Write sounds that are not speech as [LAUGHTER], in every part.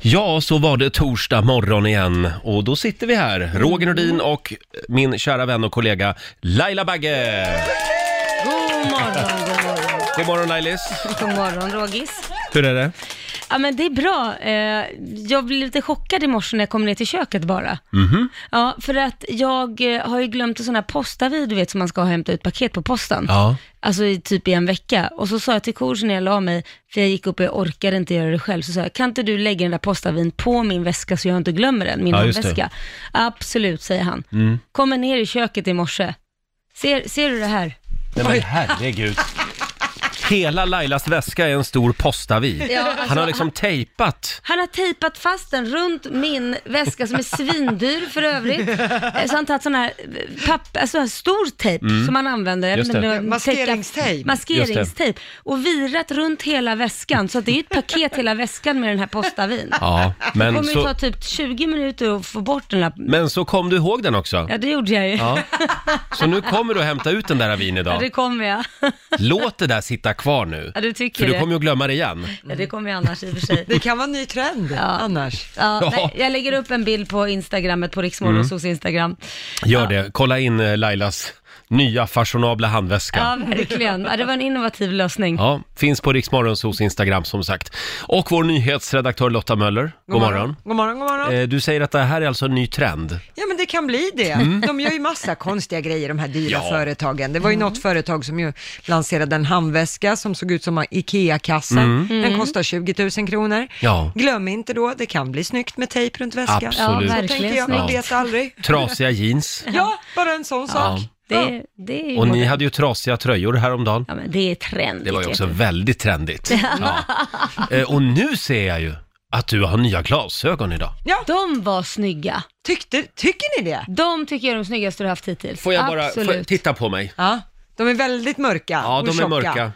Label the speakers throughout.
Speaker 1: Ja, så var det torsdag morgon igen och då sitter vi här, Roger Nordin och min kära vän och kollega Laila Bagge!
Speaker 2: God morgon, god morgon.
Speaker 1: God morgon Lailis!
Speaker 2: God morgon, Rogis.
Speaker 1: Hur är det?
Speaker 2: Ja, men det är bra. Eh, Jag blev lite chockad i morse när jag kom ner till köket bara.
Speaker 1: Mhm.
Speaker 2: Ja, för att jag eh, har ju glömt en sån här postavi, du vet, som man ska hämta ut paket på posten.
Speaker 1: Ja.
Speaker 2: Alltså i typ i en vecka. Och så sa jag till Kors när jag la mig, för jag gick upp och jag orkade inte göra det själv, så sa jag, kan inte du lägga den där postavin på min väska så jag inte glömmer den, min
Speaker 1: Ja, just det.
Speaker 2: handväska? Absolut, säger han.
Speaker 1: Mm.
Speaker 2: Kommer ner i köket i morse. Ser, ser du det här?
Speaker 1: Nej men herregud! Hela Lailas väska är en stor postavi.
Speaker 2: Ja, alltså-
Speaker 1: Han har liksom tejpat.
Speaker 2: Han har tejpat fast den runt min väska som är svindyr
Speaker 1: [LAUGHS]
Speaker 2: för övrigt. Eh, Så han tagit sån här, papp, alltså här stor tejp
Speaker 3: Mm.
Speaker 2: som man använder. Jag
Speaker 3: Just
Speaker 2: vet inte
Speaker 3: det.
Speaker 2: om det var-
Speaker 3: Maskeringstejp.
Speaker 2: täcka- Maskeringstejp. Och virat runt hela väskan. Så att det är ju ett paket hela väskan med den här postavin.
Speaker 1: Ja, men
Speaker 2: det kommer
Speaker 1: så-
Speaker 2: ju ta typ 20 minuter att få bort den här.
Speaker 1: Men så kom du ihåg den också.
Speaker 2: Ja, det gjorde jag ju.
Speaker 1: Ja. Så nu kommer du att hämta ut den där avin
Speaker 2: Ja, det
Speaker 1: idag.
Speaker 2: kommer jag. [LAUGHS]
Speaker 1: Låt det där sitta kvar nu.
Speaker 2: Ja, du tycker
Speaker 1: För du
Speaker 2: det.
Speaker 1: kommer ju att glömma det igen.
Speaker 2: Ja, det kommer jag annars i och
Speaker 1: [LAUGHS]
Speaker 2: för sig.
Speaker 3: Det kan vara en ny trend annars.
Speaker 2: Ja,
Speaker 1: Ja. Mm.
Speaker 2: Nej, jag lägger upp en bild på Instagrammet, på Riksmorgons Instagram.
Speaker 1: Gör det. Kolla in eh, Lailas nya fashionabla handväska.
Speaker 2: Ja, verkligen. Ja, det var en innovativ lösning.
Speaker 1: Ja, finns på Riksmorgonsos Instagram som sagt. Och vår nyhetsredaktör Lotta Möller, god, morgon.
Speaker 3: God morgon, god morgon.
Speaker 1: Eh, Du säger att det här är alltså en ny trend.
Speaker 3: Ja men det kan bli det. De gör ju massa konstiga grejer de här dyra
Speaker 1: Mm. Ja.
Speaker 3: företagen. Det var
Speaker 1: Mm.
Speaker 3: ju något företag som ju lanserade en handväska som såg ut som en IKEA-kasse.
Speaker 1: Mm.
Speaker 3: Den kostar 20 000 kronor.
Speaker 1: Ja.
Speaker 3: Glöm inte då, det kan bli snyggt med tejp runt väskan.
Speaker 1: Absolut. Ja, verkligen
Speaker 3: Så tänkte jag, man
Speaker 1: snyggt. [LAUGHS]
Speaker 3: vet aldrig.
Speaker 1: Trasiga jeans.
Speaker 3: Ja, bara en sån sak.
Speaker 2: Det, det är ju
Speaker 1: Och ni
Speaker 2: modernt.
Speaker 1: hade ju trasiga tröjor häromdagen.
Speaker 2: Ja, men det är trendigt.
Speaker 1: Det var ju också
Speaker 2: vet
Speaker 1: väldigt trendigt.
Speaker 2: du.
Speaker 1: Ja. Eh, Och nu ser jag ju att du har nya glasögon idag.
Speaker 3: Ja.
Speaker 2: De var snygga.
Speaker 3: Tyckte, tycker ni det?
Speaker 2: De tycker jag är de snyggaste du har haft hittills.
Speaker 1: Får jag bara,
Speaker 2: Absolut.
Speaker 1: får jag titta på mig?
Speaker 3: Ja. De är väldigt mörka
Speaker 1: Ja,
Speaker 3: och
Speaker 1: de är
Speaker 3: tjocka.
Speaker 1: mörka.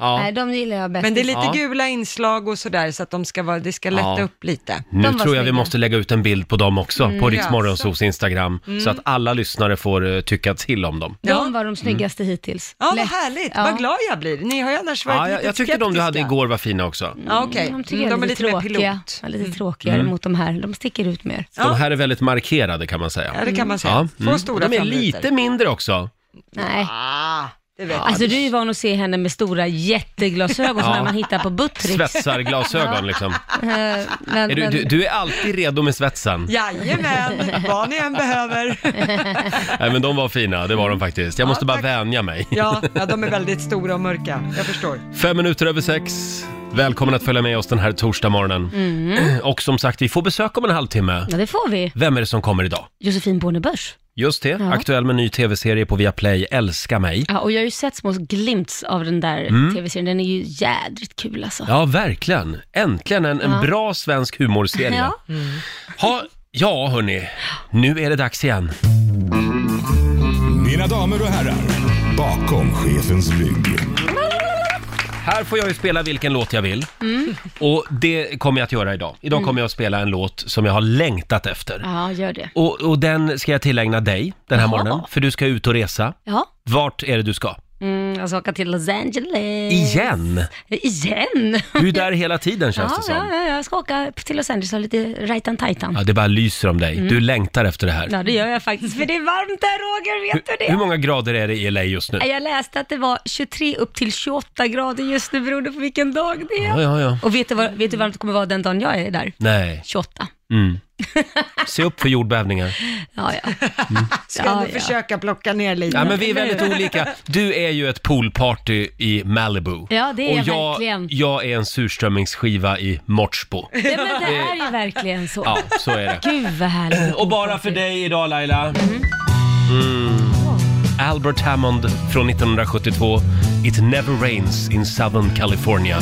Speaker 3: Ja.
Speaker 2: Nej, de gillar jag bäst.
Speaker 3: Men det är lite
Speaker 1: Ja.
Speaker 3: gula inslag och sådär så att de ska vara, det ska lätta
Speaker 1: Ja.
Speaker 3: upp lite.
Speaker 1: Nu
Speaker 2: var
Speaker 1: tror jag vi
Speaker 2: snygga.
Speaker 1: måste lägga ut en bild på dem också,
Speaker 2: Mm.
Speaker 1: på
Speaker 2: Ja,
Speaker 1: Riksmorgonsos Instagram, så att alla lyssnare får eh, tycka till om dem.
Speaker 2: De var de snyggaste
Speaker 1: Mm.
Speaker 2: hittills.
Speaker 3: Ja, vad
Speaker 2: Lätt.
Speaker 3: härligt.
Speaker 2: Ja.
Speaker 3: Vad glad jag blir. Ni har ju annars varit
Speaker 1: Ja,
Speaker 3: lite
Speaker 1: jag, jag tyckte de du
Speaker 3: skeptiska.
Speaker 1: hade igår var fina också.
Speaker 3: Ja, okej.
Speaker 2: De tycker
Speaker 3: Mm,
Speaker 2: jag
Speaker 3: de
Speaker 2: är
Speaker 3: är lite
Speaker 2: lite
Speaker 3: mer
Speaker 2: tråkiga.
Speaker 3: pilot. Mm.
Speaker 2: Ja, lite tråkigare
Speaker 1: Mm.
Speaker 2: mot de här. De sticker ut mer.
Speaker 1: De här är väldigt markerade kan man säga. mm.
Speaker 3: Ja, det kan man säga. Två stora
Speaker 1: De är
Speaker 3: favoriter.
Speaker 1: lite mindre också.
Speaker 2: Nej.
Speaker 3: Ah, det vet
Speaker 2: Alltså
Speaker 3: jag.
Speaker 2: du är ju van att se henne med stora jätteglasögon som
Speaker 1: Ja.
Speaker 2: när man hittar på Buttricks.
Speaker 1: Svetsarglasögon liksom.
Speaker 2: Eh, Men,
Speaker 1: Är du,
Speaker 2: men,
Speaker 1: du, du är alltid redo med svetsen.
Speaker 3: Jajamän, vad ni än behöver.
Speaker 1: Nej, men de var fina, det var de faktiskt. Jag måste bara vänja mig.
Speaker 3: Ja, ja, de är väldigt stora och mörka. Jag förstår.
Speaker 1: Fem minuter över sex. Välkommen att följa med oss den här torsdagmorgonen.
Speaker 2: Mm.
Speaker 1: Och som sagt, vi får besök om en halvtimme.
Speaker 2: Ja, det får vi.
Speaker 1: Vem är det som kommer idag?
Speaker 2: Josefin Bornebusch.
Speaker 1: Just det,
Speaker 2: Ja.
Speaker 1: aktuell med ny tv-serie på Viaplay, Älska mig.
Speaker 2: Ja, och jag har ju sett små glimts av den där
Speaker 1: Mm.
Speaker 2: tv-serien. Den är ju jädrigt kul alltså.
Speaker 1: Ja, verkligen. Äntligen en, en
Speaker 2: Ja.
Speaker 1: bra svensk humorserie.
Speaker 2: Ja.
Speaker 1: Ha, ja, hörni. Nu är det dags igen.
Speaker 4: Mina damer och herrar, bakom chefens rygg.
Speaker 1: Här får jag ju spela vilken låt jag vill.
Speaker 2: Mm.
Speaker 1: Och det kommer jag att göra idag. Idag kommer jag att spela en låt som jag har längtat efter.
Speaker 2: ja, gör det.
Speaker 1: Och, och den ska jag tillägna dig den här morgonen, för du ska ut och resa.
Speaker 2: Ja,
Speaker 1: Vart är det du ska?
Speaker 2: mm, jag ska åka till Los Angeles.
Speaker 1: Igen!
Speaker 2: Igen?
Speaker 1: Du är där hela tiden känns
Speaker 2: Ja,
Speaker 1: det
Speaker 2: ja,
Speaker 1: som.
Speaker 2: ja, jag ska åka till Los Angeles och ha lite rajtan tajtan.
Speaker 1: Ja, det bara lyser om dig. Du längtar efter det här.
Speaker 2: Mm. Ja, det gör jag faktiskt, för det är varmt där Roger, vet du
Speaker 1: Hur
Speaker 2: det?
Speaker 1: många grader är det i LA just nu?
Speaker 2: Nej, Jag läste att det var 23 upp till 28 grader just nu beroende på vilken dag det är.
Speaker 1: Ja, ja, ja.
Speaker 2: Och vet du, vad, vet du hur varmt det kommer vara den dagen jag är där?
Speaker 1: Nej.
Speaker 2: 28. [LAUGHS]
Speaker 1: Mm. Se upp för jordbävningar.
Speaker 2: Ja,
Speaker 1: [LAUGHS]
Speaker 2: ja.
Speaker 3: Ska
Speaker 2: Ja,
Speaker 3: ändå
Speaker 2: ja.
Speaker 3: försöka plocka ner lite.
Speaker 1: Ja, men vi är väldigt olika. Du är ju ett poolparty i Malibu.
Speaker 2: Ja, det är
Speaker 1: Och
Speaker 2: jag
Speaker 1: jag,
Speaker 2: verkligen.
Speaker 1: jag är en surströmmingsskiva i Mortsbo.
Speaker 2: ja men det är ju verkligen så.
Speaker 1: Ja, så är det.
Speaker 2: Gud vad
Speaker 1: [LAUGHS]
Speaker 2: härligt.
Speaker 1: Och bara för dig idag Laila. Mm. Albert Hammond från 1972. It never rains in Southern California.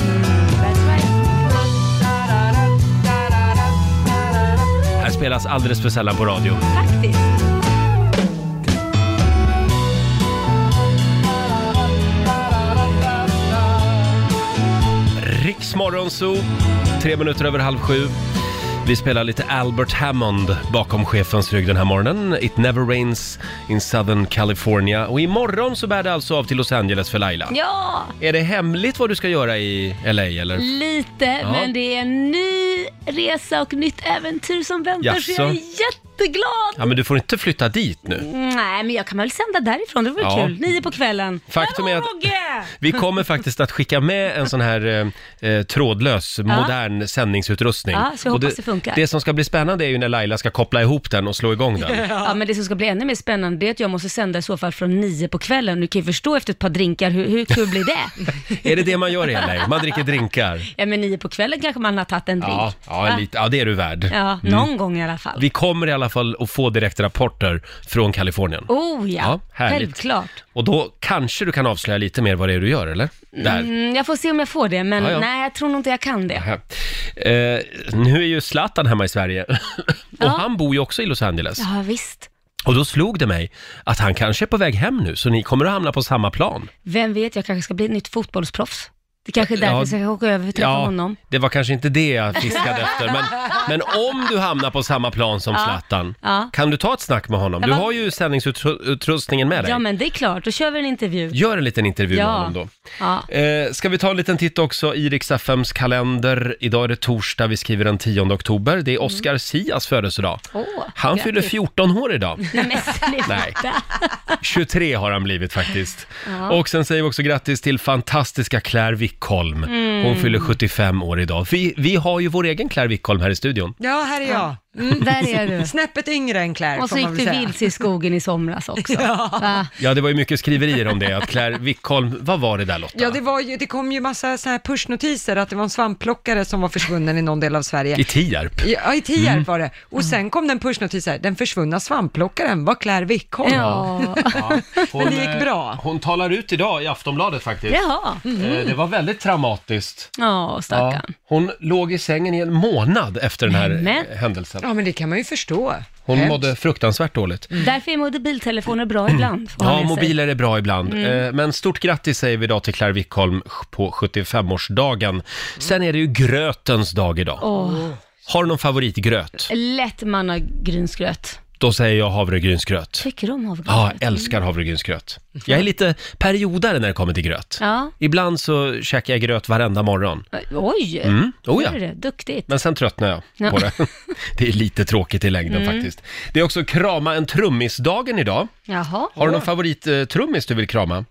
Speaker 1: Här spelas alldeles för sällan på radio.
Speaker 2: Faktiskt.
Speaker 1: Riksmorgonzoo, tre minuter över halv sju. Vi spelar lite Albert Hammond bakom chefens rygg den här morgonen. It never rains in Southern California. Och imorgon så bär det alltså av till Los Angeles för Laila.
Speaker 2: Ja,
Speaker 1: Är det hemligt vad du ska göra i LA eller?
Speaker 2: Mm. lite,
Speaker 1: Ja.
Speaker 2: men det är en ny resa och nytt äventyr som väntar så jag är
Speaker 1: Jaså?
Speaker 2: jätteglad.
Speaker 1: Ja men du får inte flytta dit nu.
Speaker 2: Nej, men jag kan väl sända därifrån, det vore
Speaker 1: Ja.
Speaker 2: kul. Nio på kvällen.
Speaker 1: Faktum är
Speaker 2: Hallå,
Speaker 1: att-
Speaker 2: Rogge!
Speaker 1: Vi kommer faktiskt att skicka med en sån här eh, eh, trådlös, modern sändningsutrustning.
Speaker 2: Ja, så jag
Speaker 1: Och
Speaker 2: hoppas det funkar.
Speaker 1: Det som ska bli spännande är ju när Laila ska koppla ihop den och slå igång den.
Speaker 2: [LAUGHS] Ja, men det som ska bli ännu mer spännande det är att jag måste sända i så fall från nio på kvällen. Du kan ju förstå efter ett par drinkar, hur, hur kul
Speaker 1: [LAUGHS]
Speaker 2: blir det?
Speaker 1: Är det det man gör i LA? Man dricker drinkar?
Speaker 2: ja, men nio på kvällen kanske man har tagit en drink.
Speaker 1: Ja, ja,
Speaker 2: Va?
Speaker 1: en lite, ja det är du värd.
Speaker 2: Ja, någon gång i alla fall.
Speaker 1: Vi kommer i alla fall att få direktrapporter från Kalifornien.
Speaker 2: Oh
Speaker 1: Ja,
Speaker 2: ja,
Speaker 1: härligt.
Speaker 2: självklart.
Speaker 1: Och då kanske du kan avslöja lite mer vad det är du gör, eller? Där.
Speaker 2: Mm, jag får se om jag får det, men
Speaker 1: Ja, ja.
Speaker 2: nej, jag tror nog inte jag kan det.
Speaker 1: Här. Eh, nu är ju Zlatan hemma i Sverige [LAUGHS] och
Speaker 2: Ja.
Speaker 1: han bor ju också i Los Angeles.
Speaker 2: Ja, visst.
Speaker 1: Och då slog det mig att han kanske är på väg hem nu, så ni kommer att hamna på samma plan.
Speaker 2: Vem vet, jag kanske ska bli ett nytt fotbollsproffs. Det kanske är
Speaker 1: Ja.
Speaker 2: därför jag ska åka över och träffa honom.
Speaker 1: det var kanske inte det jag fiskade efter,
Speaker 2: [LAUGHS]
Speaker 1: men, men om du hamnar på samma plan som Zlatan,
Speaker 2: Ja.
Speaker 1: kan du ta ett snack med honom? Du
Speaker 2: Ja, va-
Speaker 1: har ju sändningsutrustningen med dig.
Speaker 2: Ja, men det är klart. Då kör vi en intervju.
Speaker 1: Gör en liten intervju
Speaker 2: Ja.
Speaker 1: med honom då.
Speaker 2: Ja.
Speaker 1: Eh, ska vi ta en liten titt också i Rix FMs kalender. Idag är det torsdag, vi skriver den 10 oktober. Det är Oscar Sias födelsedag.
Speaker 2: Åh,
Speaker 1: han
Speaker 2: grattis.
Speaker 1: fyller 14 år idag.
Speaker 2: Nej, men sluta.
Speaker 1: 23 har han blivit faktiskt. Och sen säger vi också grattis till fantastiska Claire Wickholm. Hon fyller 75 år idag. Vi, vi har ju vår egen Claire Wickholm här i studion.
Speaker 3: Ja, här är jag. Mm.
Speaker 2: Där
Speaker 3: [LAUGHS]
Speaker 2: är du.
Speaker 3: Snäppet yngre än Claire,
Speaker 2: Och så
Speaker 3: får man
Speaker 2: gick
Speaker 3: väl
Speaker 2: du
Speaker 3: säga.
Speaker 2: vilse i skogen i somras också. Va?
Speaker 1: Ja, det var ju mycket skriverier om det, att Claire Wickholm, vad var det där Lotta?
Speaker 3: Ja, det, var ju, det kom ju massa så här pushnotiser att det var en svampplockare som var försvunnen i någon del av Sverige.
Speaker 1: I Tierp.
Speaker 3: Ja, i Tierp
Speaker 1: Mm.
Speaker 3: var det. Och sen kom den pushnotis här, den försvunna svampplockaren var Claire Wickholm.
Speaker 2: Ja.
Speaker 1: Hon,
Speaker 3: Men det gick bra.
Speaker 1: eh, Hon talar ut idag i Aftonbladet faktiskt.
Speaker 2: Jaha.
Speaker 1: Eh, Det var väldigt traumatiskt.
Speaker 2: Ja,
Speaker 1: Ja,
Speaker 2: stackarn.
Speaker 1: hon låg i sängen i en månad efter den här
Speaker 2: Nämen.
Speaker 1: eh, händelsen.
Speaker 3: Ja, men det kan man ju förstå.
Speaker 1: Hon
Speaker 3: Hemskt.
Speaker 1: mådde fruktansvärt dåligt.
Speaker 2: Därför är mobiltelefoner bra ibland. får man
Speaker 1: Ja,
Speaker 2: med sig.
Speaker 1: mobiler är bra ibland.
Speaker 2: Mm.
Speaker 1: Eh, Men stort grattis säger vi idag till Claire Wickholm på 75-årsdagen. Sen är det ju grötens dag idag.
Speaker 2: Åh,
Speaker 1: Har du någon favoritgröt?
Speaker 2: lätt mannagrynsgröt.
Speaker 1: Då säger jag havregrynsgröt.
Speaker 2: Tycker du om havregryn?
Speaker 1: Ja, jag älskar havregrynsgröt. Jag är lite periodare när det kommer till gröt.
Speaker 2: Ja.
Speaker 1: Ibland så käkar jag gröt varenda morgon.
Speaker 2: Oj!
Speaker 1: Mm. Oh, ja.
Speaker 2: Gör du det? Duktigt.
Speaker 1: Men sen tröttnar jag på det. [LAUGHS] Det är lite tråkigt i längden
Speaker 2: Mm.
Speaker 1: faktiskt. Det är också krama en trummisdagen idag.
Speaker 2: Jaha.
Speaker 1: Har du någon favorittrummis du vill krama?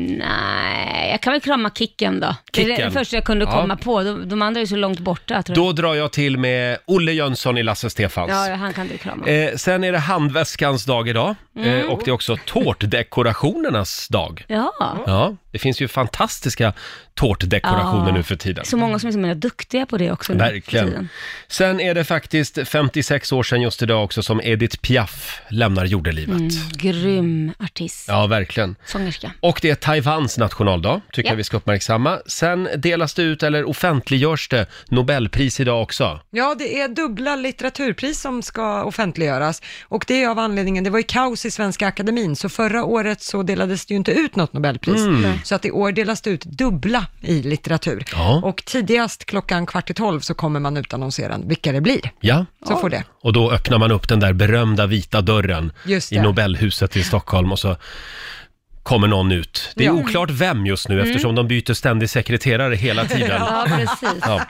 Speaker 2: Nej, jag kan väl krama Kicken då. Det är
Speaker 1: Kicken?
Speaker 2: det första jag kunde
Speaker 1: Ja.
Speaker 2: komma på. De, de andra är så långt borta tror jag.
Speaker 1: Då drar jag till med Olle Jönsson i Lasse Stefans.
Speaker 2: Ja, ja, han kan du krama.
Speaker 1: Eh, sen är det handväskans dag idag eh,
Speaker 2: Mm.
Speaker 1: och det är också tårtdekorationernas dag.
Speaker 2: Ja.
Speaker 1: Ja, det finns ju fantastiska tårtdekorationer
Speaker 2: Ja.
Speaker 1: nu för tiden.
Speaker 2: Så många som är så himla duktiga på det också nu för
Speaker 1: Verkligen.
Speaker 2: tiden.
Speaker 1: Sen är det faktiskt 56 år sedan just idag också som Edith Piaf lämnar jordelivet.
Speaker 2: Mm. Grym artist.
Speaker 1: Ja, verkligen.
Speaker 2: Sångerska.
Speaker 1: Och det är Taiwans nationaldag, tycker
Speaker 2: Ja.
Speaker 1: jag vi ska uppmärksamma. Sen delas det ut, eller offentliggörs det, Nobelpris idag också.
Speaker 3: Ja, det är dubbla litteraturpris som ska offentliggöras och det är av anledningen, det var ju kaos i Svenska Akademin, så förra året så delades det ju inte ut något Nobelpris,
Speaker 1: Mm.
Speaker 3: så att i år delas det ut dubbla i litteratur.
Speaker 1: Ja.
Speaker 3: Och tidigast klockan kvart i tolv så kommer man utannonsera vilka det blir.
Speaker 1: Ja.
Speaker 3: Så får det.
Speaker 1: Och då öppnar man upp den där berömda vita dörren
Speaker 3: Just
Speaker 1: i
Speaker 3: det.
Speaker 1: Nobelhuset i Stockholm och så kommer någon ut. Det är
Speaker 3: Ja.
Speaker 1: oklart vem just nu eftersom de byter ständig sekreterare hela
Speaker 2: [LAUGHS]
Speaker 1: tiden.
Speaker 2: Mm. Ja, precis.
Speaker 1: Ja.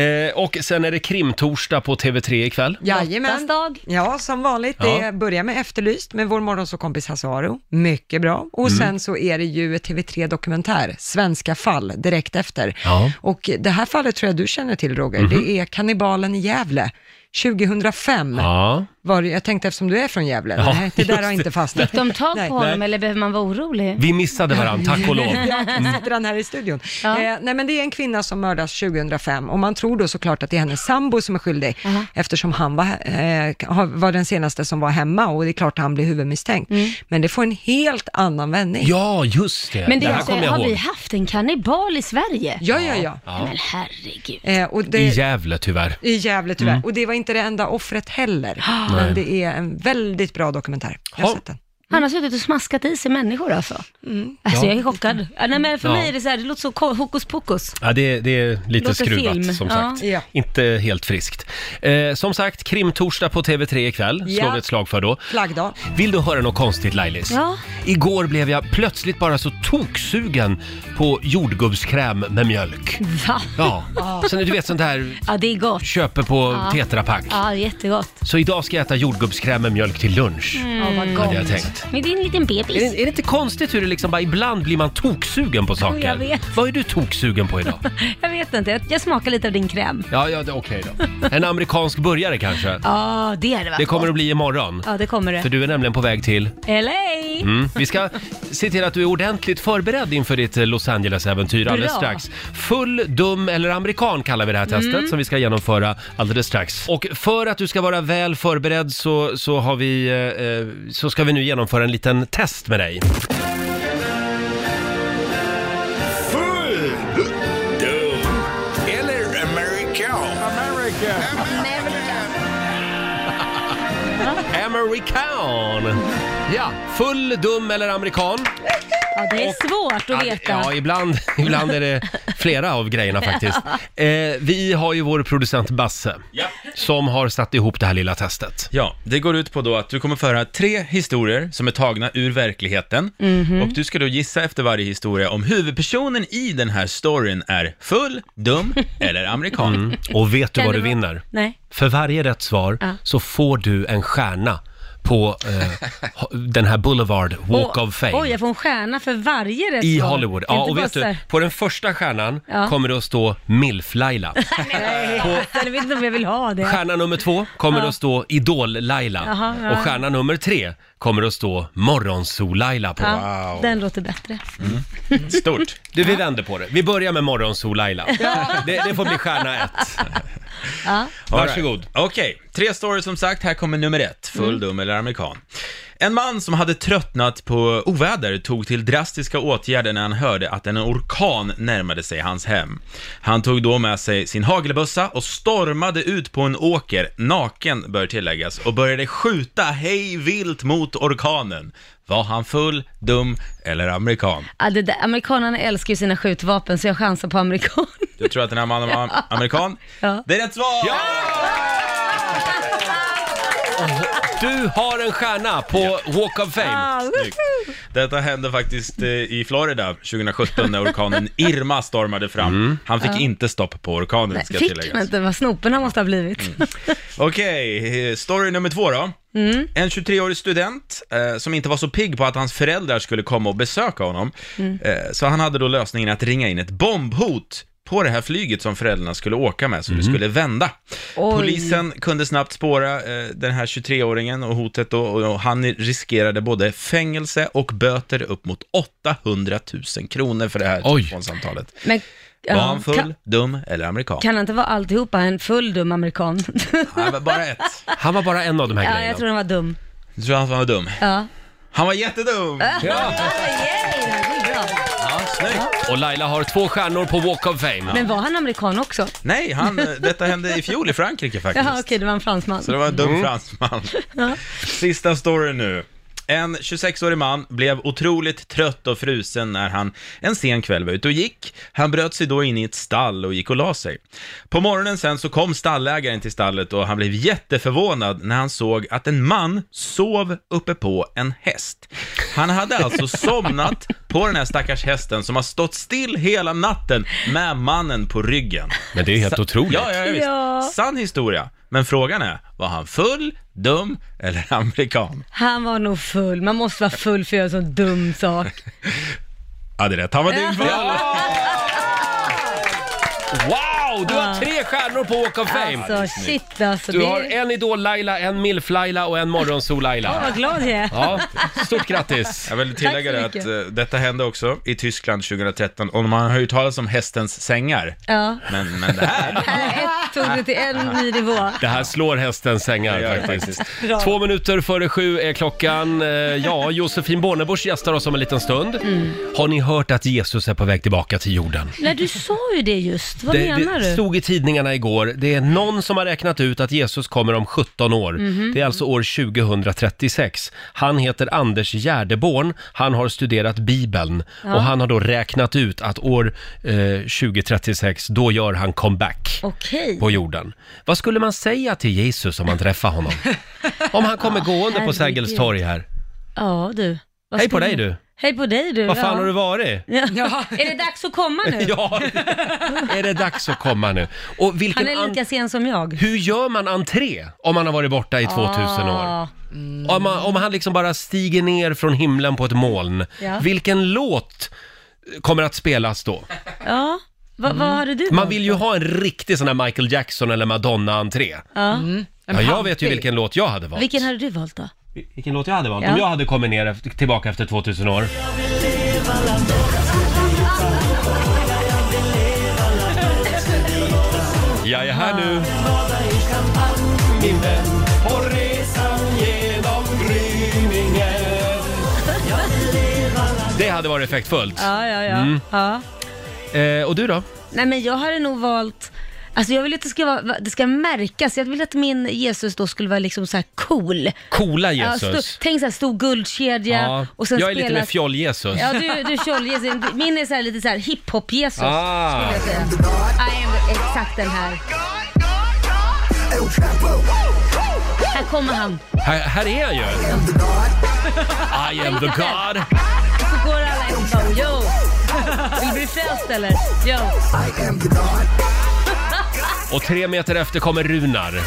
Speaker 1: Eh, och sen är det krimtorsdag på TV3 ikväll.
Speaker 3: Jajamän.
Speaker 2: Lottas dag.
Speaker 3: Ja, som vanligt.
Speaker 1: Ja.
Speaker 3: Det börjar med Efterlyst med vår morgonsåkompis Hasse Aro. Mycket bra. Och
Speaker 1: Mm.
Speaker 3: sen så är det ju ett TV3-dokumentär, Svenska fall, direkt efter.
Speaker 1: Ja. Mhm.
Speaker 3: Och det här fallet tror jag du känner till, Roger. Det är kannibalen i Gävle. 2005
Speaker 1: Ja.
Speaker 3: var det, jag tänkte eftersom du är från Gävle,
Speaker 1: Ja,
Speaker 3: nej, det där har
Speaker 1: just
Speaker 3: inte fastnat.
Speaker 2: Fick de tag på
Speaker 3: Nej.
Speaker 2: honom eller behöver man vara orolig?
Speaker 1: Vi missade varandra, tack och lov.
Speaker 3: Jag sitter han här i studion.
Speaker 2: Ja.
Speaker 3: Eh, nej men det är en kvinna som mördas 2005 och man tror då såklart att det är hennes sambo som är skyldig
Speaker 2: Jaha.
Speaker 3: eftersom han var, eh, har- var den senaste som var hemma och det är klart att han blir huvudmisstänkt. Men det får en helt annan vändning.
Speaker 1: [LAUGHS] Ja, just det.
Speaker 2: Men
Speaker 1: det
Speaker 2: det, är
Speaker 1: här
Speaker 2: alltså,
Speaker 1: kommer jag
Speaker 2: har vi
Speaker 1: ihåg.
Speaker 2: haft en kannibal i Sverige?
Speaker 3: Ja, ja, ja.
Speaker 2: Nej, Men herregud.
Speaker 3: Eh, och det,
Speaker 1: I Mm.
Speaker 3: I,
Speaker 1: Gävle tyvärr.
Speaker 3: Gävle tyvärr. Och det var inte det enda offret heller. Men det är en väldigt bra dokumentär. Jag har
Speaker 1: Ja.
Speaker 3: sett den.
Speaker 2: Han har suttit och smaskat i sig människor alltså. Alltså
Speaker 1: Ja.
Speaker 2: jag är chockad. Ja, nej, men för
Speaker 1: Ja.
Speaker 2: mig är det så här, det låter så ko- hokus pokus.
Speaker 1: Ja, det, det är lite
Speaker 2: Låter
Speaker 1: skruvat
Speaker 2: film.
Speaker 1: som
Speaker 2: Ja.
Speaker 1: sagt.
Speaker 3: Ja.
Speaker 1: Inte helt friskt. Eh, som sagt, krimtorsdag på TV3 ikväll.
Speaker 3: Ja.
Speaker 1: Slår vi ett slag för då.
Speaker 3: Flaggdag.
Speaker 1: Vill du höra något konstigt Lailis?
Speaker 2: Ja.
Speaker 1: Igår blev jag plötsligt bara så toksugen på jordgubbskräm med mjölk.
Speaker 2: Va?
Speaker 1: Ja, så när du vet sånt här
Speaker 2: Ja, det är gott.
Speaker 1: köper på
Speaker 2: Ja.
Speaker 1: Tetra Pak.
Speaker 2: Ja, jättegott.
Speaker 1: Så idag ska jag äta jordgubbskräm med mjölk till lunch.
Speaker 2: Ja, vad
Speaker 1: Hade jag tänkt.
Speaker 2: Men det är en liten
Speaker 1: Är det,
Speaker 2: bebis.
Speaker 1: är det inte konstigt hur det liksom bara ibland blir man toksugen på saker?
Speaker 2: jag vet.
Speaker 1: Vad är du toksugen på idag?
Speaker 2: Jag vet inte, jag, jag smakar lite av din kräm.
Speaker 1: Ja, ja det- okej då. En amerikansk burgare kanske?
Speaker 2: Ja, det är det va?
Speaker 1: Det kommer att bli imorgon.
Speaker 2: Ja, det kommer det.
Speaker 1: För du är nämligen på väg till...
Speaker 2: LA!
Speaker 1: Mm. Vi ska se till att du är ordentligt förberedd inför ditt eh, Los Angeles-äventyr alldeles
Speaker 2: Bra.
Speaker 1: strax. Full, dum eller amerikan kallar vi det här testet som vi ska genomföra alldeles strax. Och för att du ska vara väl förberedd så, så, har vi, eh, eh, så ska vi nu genomföra en liten test med dig.
Speaker 4: Full! Dum! Eller American. American.
Speaker 1: Amerikan! Ja, full, dum eller amerikan?
Speaker 2: Ja, det är svårt att
Speaker 1: Mm. Ja, det-
Speaker 2: veta.
Speaker 1: Ja, ibland, [LAUGHS] ibland är det flera av grejerna faktiskt.
Speaker 2: [LAUGHS]
Speaker 1: Eh, vi har ju vår producent Basse som har satt ihop det här lilla testet.
Speaker 5: Ja, det går ut på då att du kommer föra tre historier som är tagna ur verkligheten och du ska då gissa efter varje historia om huvudpersonen i den här storyn är full, dum eller amerikan.
Speaker 1: Och vet du
Speaker 2: Kan
Speaker 1: vad
Speaker 2: det
Speaker 1: du
Speaker 2: vara-
Speaker 1: vinner?
Speaker 2: Nej.
Speaker 1: För varje rätt svar
Speaker 2: Ja.
Speaker 1: så får du en stjärna på eh, den här Boulevard Walk
Speaker 2: Och-
Speaker 1: of Fame.
Speaker 2: Oj, jag får en stjärna för varje rätt
Speaker 1: I
Speaker 2: svar.
Speaker 1: Hollywood.
Speaker 2: Inte
Speaker 1: Ja, och
Speaker 2: bara
Speaker 1: vet
Speaker 2: så
Speaker 1: du,
Speaker 2: här-
Speaker 1: på den första stjärnan
Speaker 2: Ja.
Speaker 1: kommer det att stå
Speaker 2: [LAUGHS]
Speaker 1: Milf-Laila.
Speaker 2: Nej, jag vet inte om jag vill ha det.
Speaker 1: Stjärna nummer två kommer att stå Idol-Laila.
Speaker 2: Jaha, ja.
Speaker 1: Och stjärna nummer tre kommer att stå Morgonsol-Laila på.
Speaker 2: Ja, Den låter bättre.
Speaker 5: Stort.
Speaker 1: Du, vi vänder på det. Vi börjar med Morgonsol-Laila. Det, det får bli stjärna ett.
Speaker 2: Ja.
Speaker 1: [LAUGHS] Varsågod.
Speaker 5: Alright. Okej, tre stories som sagt. Här kommer nummer ett, full,
Speaker 2: Mm.
Speaker 5: dum eller amerikan. En man som hade tröttnat på oväder tog till drastiska åtgärder när han hörde att en orkan närmade sig hans hem. Han tog då med sig sin hagelbössa och stormade ut på en åker, naken bör tilläggas, och började skjuta hej vilt mot orkanen. Var han full, dum eller amerikan?
Speaker 2: Ja, det där, amerikanerna älskar ju sina skjutvapen, så jag chansar på amerikan.
Speaker 5: Du tror att den här mannen var
Speaker 2: [LAUGHS]
Speaker 5: am- amerikan?
Speaker 2: Ja.
Speaker 5: Det är rätt svar!
Speaker 1: Du har en stjärna på Walk of Fame.
Speaker 2: Ah,
Speaker 5: Snyggt. Detta hände faktiskt eh, i Florida 2017 när orkanen Irma stormade fram. Han fick inte stopp på orkanen, ska
Speaker 2: Mm. Fick man
Speaker 5: tilläggas.
Speaker 2: inte vad snoporna måste ha blivit.
Speaker 1: Mm.
Speaker 5: Okej, eh, story nummer två då.
Speaker 2: Mm.
Speaker 5: En 23-årig student eh, som inte var så pigg på att hans föräldrar skulle komma och besöka honom.
Speaker 2: Mm.
Speaker 5: Eh, så han hade då lösningen att ringa in ett bombhot på det här flyget som föräldrarna skulle åka med, så det skulle vända.
Speaker 2: Oj.
Speaker 5: Polisen kunde snabbt spåra eh, den här 23-åringen och hotet då, och, och han riskerade både fängelse och böter upp mot 800 000 kronor för det här
Speaker 1: Oj.
Speaker 5: telefonsamtalet.
Speaker 2: Men, ja,
Speaker 5: Var han full,
Speaker 2: Kan,
Speaker 5: dum eller amerikan?
Speaker 2: kan han inte vara alltihopa en full dum amerikan?
Speaker 5: Nej, men bara ett.
Speaker 1: Han var bara en av de här
Speaker 2: ja,
Speaker 1: grejerna.
Speaker 2: jag tror han var dum.
Speaker 5: Jag tror han var dum.
Speaker 2: Ja.
Speaker 5: Han var jättedum!
Speaker 2: Ja. det är bra.
Speaker 5: Ja, snyggt.
Speaker 1: Och Laila har två stjärnor på Walk of Fame.
Speaker 2: Men var han amerikan också?
Speaker 5: Nej, han, eh, detta hände i fjol i
Speaker 2: [LAUGHS]
Speaker 5: Frankrike faktiskt.
Speaker 2: Jaha, okej, det var en fransman.
Speaker 5: Så det var en dum fransman. Sista story nu. En 26-årig man blev otroligt trött och frusen när han en sen kväll var ute och gick. Han bröt sig då in i ett stall och gick och la sig. På morgonen sen så kom stallägaren till stallet och han blev jätteförvånad när han såg att en man sov uppe på en häst. Han hade alltså somnat på den här stackars hästen som har stått still hela natten med mannen på ryggen.
Speaker 1: Men det är ju helt otroligt.
Speaker 5: Ja, ja, ja, visst.
Speaker 2: Ja.
Speaker 5: Sann historia. Men frågan är, var han full, dum eller [LAUGHS] amerikan?
Speaker 2: Han var nog full. Man måste vara full för att göra en sån dum
Speaker 1: [LAUGHS]
Speaker 2: sak.
Speaker 5: Ja, det är rätt. Han var dyngfull.
Speaker 1: Wow, du har tre stjärnor på Walk of Fame.
Speaker 2: Alltså, shit alltså.
Speaker 1: Du
Speaker 2: det...
Speaker 1: har en Idol-Laila, en Milf-Laila och en
Speaker 2: Åh,
Speaker 1: Morgonsol-Laila.
Speaker 2: vad glad jag är.
Speaker 1: Ja, stort grattis.
Speaker 5: Jag vill tillägga det
Speaker 2: Tack så
Speaker 5: att
Speaker 2: mycket.
Speaker 5: eh, detta hände också i Tyskland 2013 och man har ju talat om hästens sängar.
Speaker 2: Ja.
Speaker 5: Men, men det här...
Speaker 2: [LAUGHS] Här, Ett tog det till en ny nivå.
Speaker 1: Det här slår hästens
Speaker 5: Det gör
Speaker 1: sängar
Speaker 5: det
Speaker 1: faktiskt.
Speaker 2: Bra.
Speaker 1: Två minuter före sju är klockan. Eh, Ja, Josefin Bornebusch gästar oss om en liten stund.
Speaker 2: Mm.
Speaker 1: Har ni hört att Jesus är på väg tillbaka till jorden?
Speaker 2: Nej, du sa ju det just. Vad
Speaker 1: det,
Speaker 2: menar
Speaker 1: det
Speaker 2: du?
Speaker 1: stod i tidningen tidningarna igår. Det är någon som har räknat ut att Jesus kommer om 17 år.
Speaker 2: Mhm.
Speaker 1: Det är alltså år 2036. Han heter Anders Gärdeborn. Han har studerat Bibeln och han har då räknat ut att år eh, 2036, då gör han comeback
Speaker 2: Okej.
Speaker 1: på jorden. Vad skulle man säga till Jesus om man träffar honom? Om han kommer gående på
Speaker 2: Ah, herregud.
Speaker 1: Sergels torg här.
Speaker 2: Ja, du. Vad
Speaker 1: Hej på
Speaker 2: skulle-
Speaker 1: dig du!
Speaker 2: Hej på dig du.
Speaker 1: Vad fan
Speaker 2: ja.
Speaker 1: har du varit?
Speaker 2: Ja. [LAUGHS] Är det dags att komma nu?
Speaker 1: [LAUGHS] Ja, är det dags att komma nu? Och vilken
Speaker 2: Han är
Speaker 1: an-
Speaker 2: lika sen som jag.
Speaker 1: Hur gör man entré om man har varit borta i 2000 år?
Speaker 2: Ah.
Speaker 1: Om, man, om han liksom bara stiger ner från himlen på ett moln,
Speaker 2: Ja.
Speaker 1: vilken låt kommer att spelas då?
Speaker 2: Ja. Va, Vad hade du?
Speaker 1: Mm. Man vill ju ha en riktig sån här Michael Jackson eller Madonna-entré.
Speaker 2: Ja.
Speaker 1: Ja, jag vet ju vilken låt jag hade valt.
Speaker 2: Vilken hade du valt då?
Speaker 1: Vilken låt jag hade valt?
Speaker 2: Ja.
Speaker 1: Om jag hade kommit ner efter, tillbaka efter 2000 år. Jag är här nu. Min vän. På resan genom gryningen. Det hade varit effektfullt.
Speaker 2: Ja, ja, ja.
Speaker 1: Mm.
Speaker 2: ja.
Speaker 1: Eh, och du då?
Speaker 2: Nej, men jag hade nog valt Alltså jag vill att det ska, vara, det ska märkas. Jag vill att min Jesus då skulle vara liksom så här cool.
Speaker 1: Coola
Speaker 2: Ja,
Speaker 1: Jesus.
Speaker 2: stor- tänk så här stor guldkedja
Speaker 1: Ja,
Speaker 2: och sen
Speaker 1: jag är
Speaker 2: spelas...
Speaker 1: lite mer fjoll-Jesus.
Speaker 2: Ja, du, du kör Jesus. Min är så här, lite så här hiphop-Jesus.
Speaker 1: Ah.
Speaker 2: skulle jag säga. I am exakt den här. Här kommer han.
Speaker 1: Här, här är jag ju.
Speaker 2: [LAUGHS]
Speaker 1: I am the God.
Speaker 2: Så går alla efter bara, yo. Vill du bli frälst eller? Yo.
Speaker 1: Och tre meter efter kommer Runar.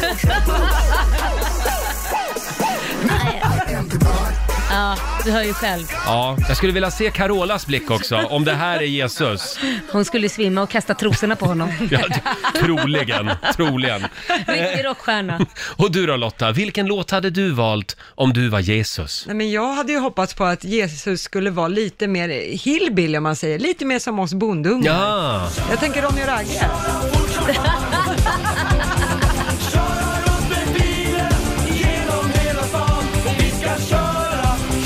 Speaker 2: Ja, du hör ju själv.
Speaker 1: Ja, jag skulle vilja se Carolas blick också, om det här är Jesus.
Speaker 2: Hon skulle svimma och kasta trosorna på honom.
Speaker 1: Ja, t- troligen, troligen.
Speaker 2: Riktig rockstjärna.
Speaker 1: Och du då Lotta, vilken låt hade du valt om du var Jesus?
Speaker 3: Nej, men jag hade ju hoppats på att Jesus skulle vara lite mer hillbilly om man säger, lite mer som oss bondungar.
Speaker 1: Ja,
Speaker 3: Jag tänker Ronny och Ragge.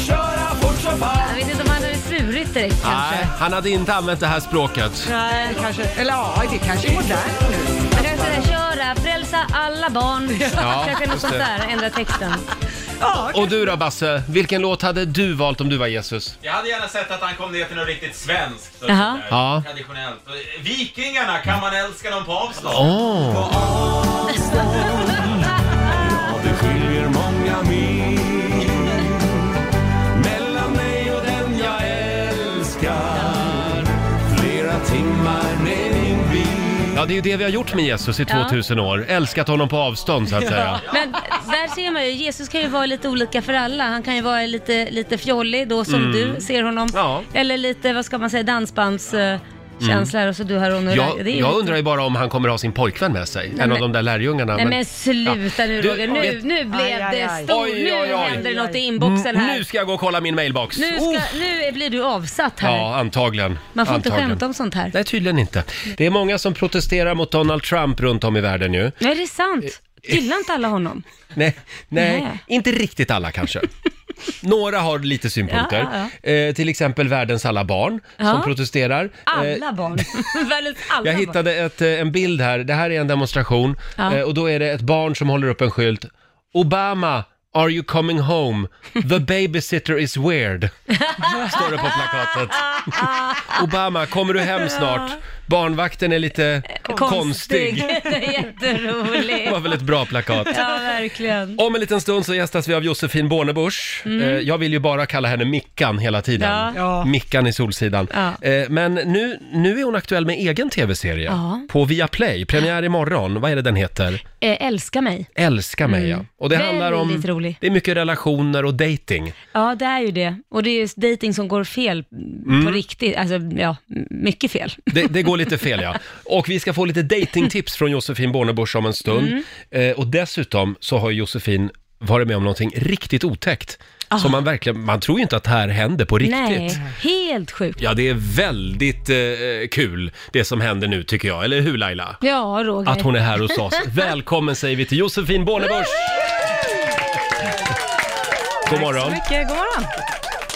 Speaker 2: Jag vet inte om han hade svurit direkt
Speaker 1: nej,
Speaker 2: kanske.
Speaker 1: han hade inte använt det här språket.
Speaker 3: Nej. Kanske, eller ja, det kanske är modernt nu.
Speaker 2: Han kanske sådär, köra, frälsa alla barn.
Speaker 1: Ja,
Speaker 2: kanske något
Speaker 1: just
Speaker 2: sånt
Speaker 1: det.
Speaker 2: där, liksom ändra texten.
Speaker 1: Och du då Basse, vilken låt hade du valt om du var Jesus?
Speaker 5: Jag hade gärna sett att han kom ner till något riktigt svenskt. och
Speaker 2: Jaha.
Speaker 5: sådär,
Speaker 1: Ja.
Speaker 5: Traditionellt. Och, eh, Vikingarna, kan man älska dem på avstånd?
Speaker 1: Åh,
Speaker 4: Det skiljer många mil mellan mig och den jag älskar. Flera timmar med din bil.
Speaker 1: Ja, det är ju det vi har gjort med Jesus i 2000 år. Älskat honom på avstånd så att säga.
Speaker 2: Men där ser man ju, Jesus kan ju vara lite olika för alla. Han kan ju vara lite, lite fjollig då som du ser honom.
Speaker 1: Mm. Ja. Mm.
Speaker 2: Eller lite, vad ska man säga, dansbandskänsla eh, och så du har honom.
Speaker 1: Jag,
Speaker 2: Det är ju
Speaker 1: jag
Speaker 2: lite-
Speaker 1: undrar ju bara om han kommer ha sin pojkvän med sig, en av
Speaker 2: men-
Speaker 1: de där lärjungarna.
Speaker 2: Nej
Speaker 1: men-
Speaker 2: men sluta nu
Speaker 1: Du,
Speaker 2: Roger, nu,
Speaker 1: vet-
Speaker 2: nu blev
Speaker 3: Aj, aj,
Speaker 2: det
Speaker 3: aj.
Speaker 2: stor,
Speaker 1: Oj, oj,
Speaker 2: nu
Speaker 1: oj.
Speaker 2: händer det något i inboxen här.
Speaker 1: Nu ska jag gå och kolla min mailbox.
Speaker 2: Nu,
Speaker 1: Oh.
Speaker 2: ska, nu blir du avsatt här.
Speaker 1: Ja, antagligen.
Speaker 2: Man får inte
Speaker 1: antagligen.
Speaker 2: skämta om sånt här.
Speaker 1: Nej, tydligen inte. Det är många som protesterar mot Donald Trump runt om i världen ju.
Speaker 2: Nej, det är sant.
Speaker 1: Eh,
Speaker 2: Gillar inte alla honom?
Speaker 1: Nej, nej,
Speaker 2: Nej.
Speaker 1: inte riktigt alla
Speaker 2: [LAUGHS]
Speaker 1: kanske. Några har lite synpunkter.
Speaker 2: Ja,
Speaker 1: Eh, till exempel världens alla barn som
Speaker 2: Ja.
Speaker 1: protesterar. Eh,
Speaker 2: Alla barn. [LAUGHS] Världens alla
Speaker 1: jag
Speaker 2: barn.
Speaker 1: hittade ett, eh, en bild här. Det här är en demonstration
Speaker 2: Ja.
Speaker 1: eh, och då är det ett barn som håller upp en skylt. Obama, are you coming home? The babysitter is weird. Står det på plakatet. Obama, kommer du hem snart? Barnvakten är lite konstig.
Speaker 2: Det [LAUGHS] är
Speaker 1: Det
Speaker 2: jätteroligt.
Speaker 1: var väl ett bra plakat.
Speaker 2: Ja, verkligen.
Speaker 1: Om en liten stund så gästas vi av Josefin Bornebusch. Eh, Jag vill ju bara kalla henne Mickan hela tiden.
Speaker 2: Mm. Ja.
Speaker 3: Ja.
Speaker 1: Mickan i Solsidan.
Speaker 2: Ja.
Speaker 1: Eh, Men nu, nu är hon aktuell med egen tv-serie
Speaker 2: Ja.
Speaker 1: på Viaplay. Premiär imorgon. Vad är det den heter?
Speaker 2: Eh, älska mig.
Speaker 1: Älska mig, ja. Och det
Speaker 2: Väldigt
Speaker 1: handlar om...
Speaker 2: rolig.
Speaker 1: Det är mycket relationer och dating.
Speaker 2: Ja, det är ju det. Och det är ju dating som går fel
Speaker 1: Mm.
Speaker 2: på riktigt. Alltså, ja, m- mycket fel.
Speaker 1: Det, det går lite fel, ja. Och vi ska få lite datingtips från Josefin Bornebusch om en stund.
Speaker 2: Mm.
Speaker 1: Eh, och dessutom så har Josefin varit med om någonting riktigt otäckt. Som man verkligen, man tror ju inte att det här händer på riktigt.
Speaker 2: Ah. Nej, helt sjukt.
Speaker 1: Ja, det är väldigt eh, kul det som händer nu tycker jag, eller hur Laila?
Speaker 2: Ja, Roger.
Speaker 1: Att hon är här hos oss. Välkommen säger vi till Josefin Bornebusch! God morgon.
Speaker 6: mycket, god morgon.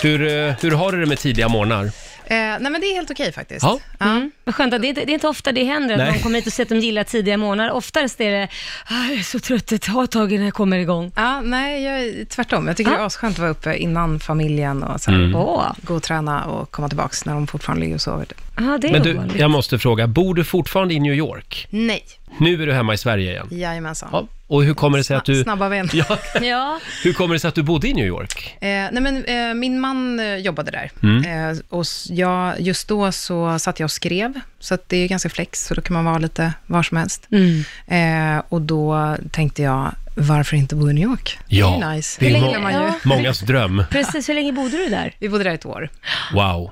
Speaker 1: Hur, eh, hur har du det med tidiga morgnar?
Speaker 6: Eh, nej, men det är helt okej faktiskt.
Speaker 1: Ja. Mm.
Speaker 2: Vad skönt, att det är, inte, det är inte ofta det händer att
Speaker 1: Nej.
Speaker 2: någon kommer hit och säger att de gillar tidiga månader. Oftast är det, "Ah, jag är så trött, det tar ett tag innan jag kommer igång.
Speaker 6: Ja, nej, jag, är- tvärtom. Jag tycker det är asskönt att vara uppe innan familjen och så här,
Speaker 1: Mm.
Speaker 2: Åh,
Speaker 6: gå och träna och komma tillbaka när de fortfarande ligger och sover. typ.
Speaker 2: ja, det är
Speaker 1: Men du,
Speaker 2: ovanligt.
Speaker 1: jag måste fråga, bor du fortfarande i New York?
Speaker 6: Nej,
Speaker 1: Nu är du hemma i Sverige igen.
Speaker 6: jajamensan.
Speaker 1: Ja. Och hur kommer det sig att du...
Speaker 6: Snabba ben.
Speaker 1: [LAUGHS] Ja,
Speaker 2: Ja,
Speaker 1: hur kommer det sig att du bodde i New York?
Speaker 6: Eh, nej men, eh, min man eh, jobbade där.
Speaker 1: Mm.
Speaker 6: Eh, och s- jag, just då så satt jag och skrev, så att det är ganska flex, så då kan man vara lite var som helst.
Speaker 2: Mm.
Speaker 6: Eh, och då tänkte jag, varför inte bo i New York?
Speaker 1: Ja,
Speaker 6: det är nice.
Speaker 1: det är
Speaker 6: Det
Speaker 1: må-
Speaker 6: gillar man ju.
Speaker 2: ja.
Speaker 1: Mångas dröm.
Speaker 2: precis. Hur länge bodde du där?
Speaker 6: Vi bodde där ett år.
Speaker 1: Wow.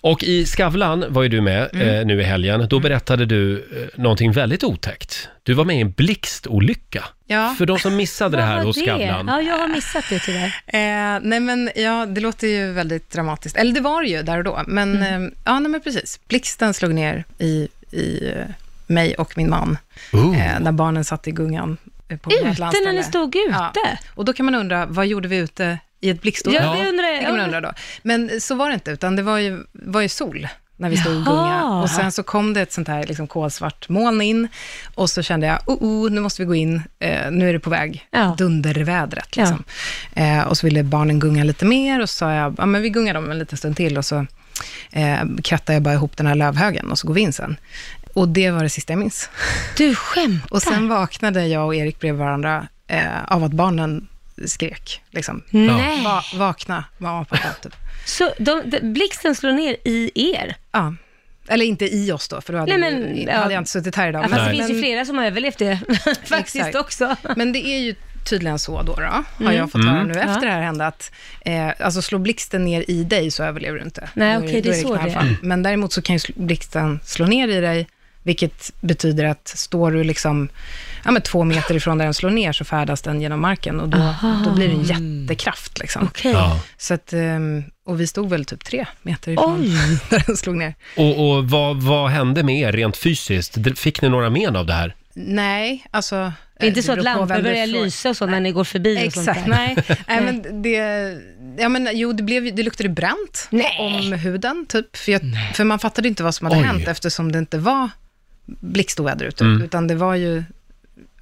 Speaker 1: Och i Skavlan var ju du med
Speaker 2: Mm.
Speaker 1: eh, nu i helgen. Då berättade du eh, någonting väldigt otäckt. Du var med i en blixtolycka.
Speaker 6: Ja.
Speaker 1: För de som missade det
Speaker 2: Vad
Speaker 1: här
Speaker 2: var
Speaker 1: hos
Speaker 2: det?
Speaker 1: Skavlan.
Speaker 2: Ja, jag har missat det tyvärr.
Speaker 6: Eh, nej men, ja, det låter ju väldigt dramatiskt. Eller det var det ju där och då, men,
Speaker 2: Mm.
Speaker 6: eh, ja, nej, men precis. Blixten slog ner i, i eh, mig och min man, eh, när barnen satt i gungan. eh, På vårt
Speaker 2: Ute när
Speaker 6: landställe.
Speaker 2: ni stod ute?
Speaker 6: Ja. Och då kan man undra, vad gjorde vi ute i ett blixtåtal?
Speaker 2: Ja, det undrar jag.
Speaker 6: Det kan man undra då. Men så var det inte, utan det var ju, var ju sol när vi stod i gunga.
Speaker 2: Jaha.
Speaker 6: Och sen så kom det ett sånt här liksom kolsvart moln in och så kände jag, oh, oh nu måste vi gå in, eh, nu är det på väg,
Speaker 2: Ja.
Speaker 6: dundervädret. Liksom. Eh, och så ville barnen gunga lite mer och så sa jag, ja men vi gungar dem en liten stund till och så eh, krattar jag bara ihop den här lövhögen och så går vi in sen. Och det var det sista jag minns.
Speaker 2: Du skämtar?
Speaker 6: Och sen vaknade jag och Erik bredvid varandra eh, av att barnen skrek. Liksom.
Speaker 2: Nej.
Speaker 6: Va- vakna, mamma och pappa. Typ.
Speaker 2: Så de, de, blixten slår ner i er?
Speaker 6: Ja. Eller inte i oss då, för då hade,
Speaker 2: Nej, men,
Speaker 6: vi,
Speaker 2: ja.
Speaker 6: hade jag inte suttit här idag.
Speaker 2: Ja, fast det
Speaker 6: men,
Speaker 2: finns ju flera som har överlevt det [LAUGHS] faktiskt
Speaker 6: Exakt.
Speaker 2: också.
Speaker 6: men det är ju tydligen så då, då har
Speaker 2: Mm.
Speaker 6: jag fått höra nu efter det här hände, att eh, alltså slår blixten ner i dig så överlever du inte.
Speaker 2: Nej,
Speaker 6: Då är- då
Speaker 2: okej, det är
Speaker 6: det
Speaker 2: så det är.
Speaker 6: knallfall. Men däremot så kan ju sl- blixten slå ner i dig, vilket betyder att står du liksom, ja, men två meter ifrån där den slår ner så färdas den genom marken och då, då blir det en
Speaker 2: Mm.
Speaker 6: jättekraft. Liksom.
Speaker 2: Okej.
Speaker 1: Ja.
Speaker 6: Så att, ehm, och vi stod väl typ tre meter ifrån
Speaker 2: Oj.
Speaker 6: [LAUGHS] där den slog ner.
Speaker 1: Och, och vad, vad hände med er rent fysiskt? D- Fick ni några men av det här?
Speaker 6: Nej, alltså...
Speaker 2: Det är inte
Speaker 6: eh,
Speaker 2: så att
Speaker 6: beror på
Speaker 2: lampor
Speaker 6: vem du
Speaker 2: börjar
Speaker 6: frågar.
Speaker 2: lysa och så när ni går förbi och sånt
Speaker 6: Exakt,
Speaker 2: där?
Speaker 6: nej. nej men det, ja, men, jo, det, blev, ju- det luktade bränt
Speaker 2: Nej.
Speaker 6: om huden, typ. För, jag, för man fattade inte vad som hade
Speaker 1: Oj.
Speaker 6: hänt eftersom det inte var blixtväder ute, utan det var ju...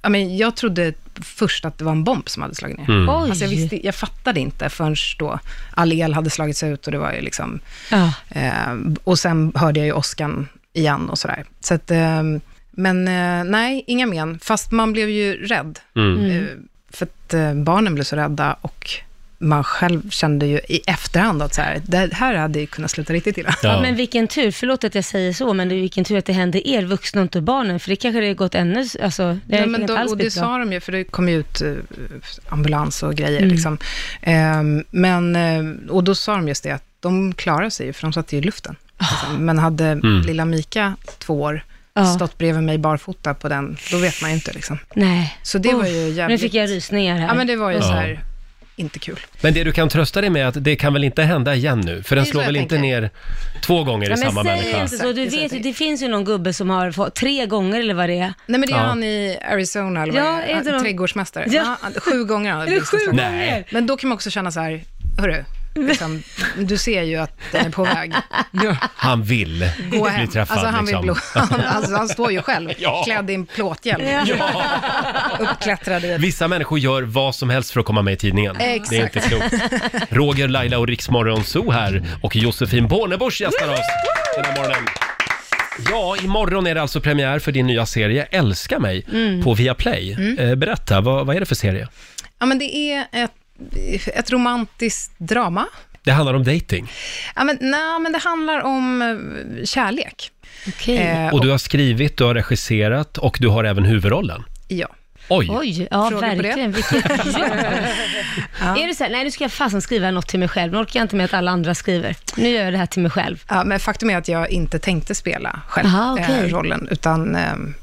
Speaker 6: Ja, men jag trodde först att det var en bomb som hade slagit ner.
Speaker 2: Oj.
Speaker 6: Alltså jag, visste, jag fattade inte förrän då all el hade slagits ut och det var ju liksom...
Speaker 2: Ja.
Speaker 6: Eh, och sen hörde jag ju åskan igen och sådär. Så att, eh, men eh, nej, inga men. Fast man blev ju rädd.
Speaker 1: Mm.
Speaker 2: Mm.
Speaker 6: Eh, för att eh, barnen blev så rädda och man själv kände ju i efterhand att så här, det här hade ju kunnat sluta riktigt illa.
Speaker 2: Ja. men vilken tur, förlåt att jag säger så, men det är vilken tur att det hände er vuxna och inte barnen, för det kanske det gått ännu, alltså, det hade
Speaker 6: Nej, men
Speaker 2: inte
Speaker 6: då,
Speaker 2: alls
Speaker 6: och det
Speaker 2: blivit bra.
Speaker 6: sa de ju, för det kom ju ut eh, ambulans och grejer.
Speaker 2: Mm.
Speaker 6: Liksom. Ehm, men, eh, och då sa de just det, att de klarade sig ju, för de satt ju i luften. Liksom. Men hade
Speaker 1: Mm.
Speaker 6: lilla Mika, två år,
Speaker 2: Ah. Ja.
Speaker 6: stått bredvid mig barfota på den, då vet man ju inte. Liksom.
Speaker 2: Nej.
Speaker 6: Så det var ju
Speaker 2: Nu
Speaker 6: jävligt-
Speaker 2: fick jag rysningar här.
Speaker 6: Ja, men det var ju så
Speaker 1: Ja.
Speaker 6: här, inte kul.
Speaker 1: Men det du kan trösta dig med är att det kan väl inte hända igen nu? För den
Speaker 6: så
Speaker 1: slår
Speaker 6: jag
Speaker 1: väl inte
Speaker 6: tänker.
Speaker 1: ner två gånger i
Speaker 2: Ja,
Speaker 1: samma
Speaker 2: men säg
Speaker 1: människa?
Speaker 2: inte så, du
Speaker 6: Exakt,
Speaker 2: vet ju,
Speaker 6: exakt.
Speaker 2: det finns ju någon gubbe som har fått tre gånger eller vad det är.
Speaker 6: Nej, men det är
Speaker 1: Ja.
Speaker 6: han i Arizona, eller vad
Speaker 2: Ja,
Speaker 6: det
Speaker 2: är det de-
Speaker 6: trädgårdsmästare.
Speaker 2: Ja.
Speaker 6: Ja. sju gånger har han blivit så-
Speaker 1: Nej.
Speaker 6: Men då kan man också känna så här, hörru, liksom, du ser ju att den är på väg.
Speaker 1: Han vill
Speaker 6: gå
Speaker 1: bli
Speaker 6: hem.
Speaker 1: träffad
Speaker 6: alltså, han,
Speaker 1: liksom.
Speaker 6: vill blå, [LAUGHS] han, alltså, han står ju själv,
Speaker 1: [LAUGHS] Ja.
Speaker 6: klädd i en plåthjälm, uppklättrad i ett...
Speaker 1: Vissa människor gör vad som helst för att komma med i tidningen.
Speaker 6: Exakt.
Speaker 1: Det är inte klokt. Roger, Laila och Riksmorgon Zoo här och Josefin Bornebusch gästar oss den här morgonen. Ja, imorgon är det alltså premiär för din nya serie Älska mig på Viaplay. Eh, Berätta, vad, vad är det för serie?
Speaker 6: Ja, men det är ett, ett romantiskt drama.
Speaker 1: Det handlar om dating.
Speaker 6: Ja, men, nej, men det handlar om eh, kärlek.
Speaker 2: Okej.
Speaker 6: Eh,
Speaker 1: Mm. Och du har skrivit, du har regisserat och du har även huvudrollen.
Speaker 6: ja.
Speaker 1: Oj!
Speaker 2: Oj, ja
Speaker 6: Frågor på det? [LAUGHS]
Speaker 2: verkligen. Vilket ja. Är det så här, nej nu ska jag fasen skriva något till mig själv, nu orkar jag inte med att alla andra skriver. Nu gör jag det här till mig själv.
Speaker 6: Ja, men faktum är att jag inte tänkte spela själv
Speaker 2: Aha, okej.
Speaker 6: eh, rollen, utan eh,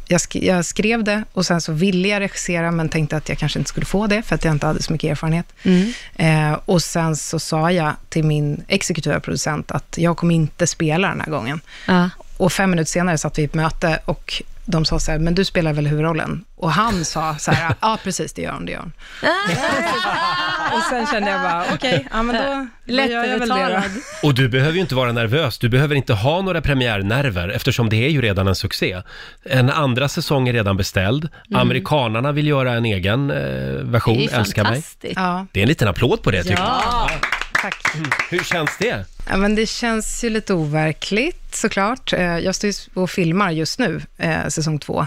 Speaker 6: jag, sk- jag skrev det och sen så ville jag regissera, men tänkte att jag kanske inte skulle få det, för att jag inte hade så mycket erfarenhet.
Speaker 2: Mm.
Speaker 6: Eh, och sen så sa jag till min exekutiva producent att jag kommer inte spela den här gången.
Speaker 2: Ja.
Speaker 6: Och fem minuter senare satt vi i ett möte och de sa så här, men du spelar väl huvudrollen? Och han sa så här, ja precis det gör hon, det gör hon.
Speaker 2: [LAUGHS]
Speaker 6: och sen kände jag bara, okej, ja men då, då
Speaker 2: Lätt
Speaker 6: gör jag väl det
Speaker 2: övertalad.
Speaker 6: då.
Speaker 1: Och du behöver ju inte vara nervös, du behöver inte ha några premiärnerver eftersom det är ju redan en succé. En andra säsong är redan beställd, amerikanarna vill göra en egen eh, version,
Speaker 2: Mm. Det är
Speaker 1: älskar mig.
Speaker 2: fantastiskt.
Speaker 6: Ja,
Speaker 1: Det är en liten applåd på det tycker
Speaker 2: Ja,
Speaker 6: tack.
Speaker 1: jag. Hur känns det?
Speaker 6: Ja, men det känns ju lite overkligt såklart. Eh, Jag står ju och filmar just nu, eh, säsong två.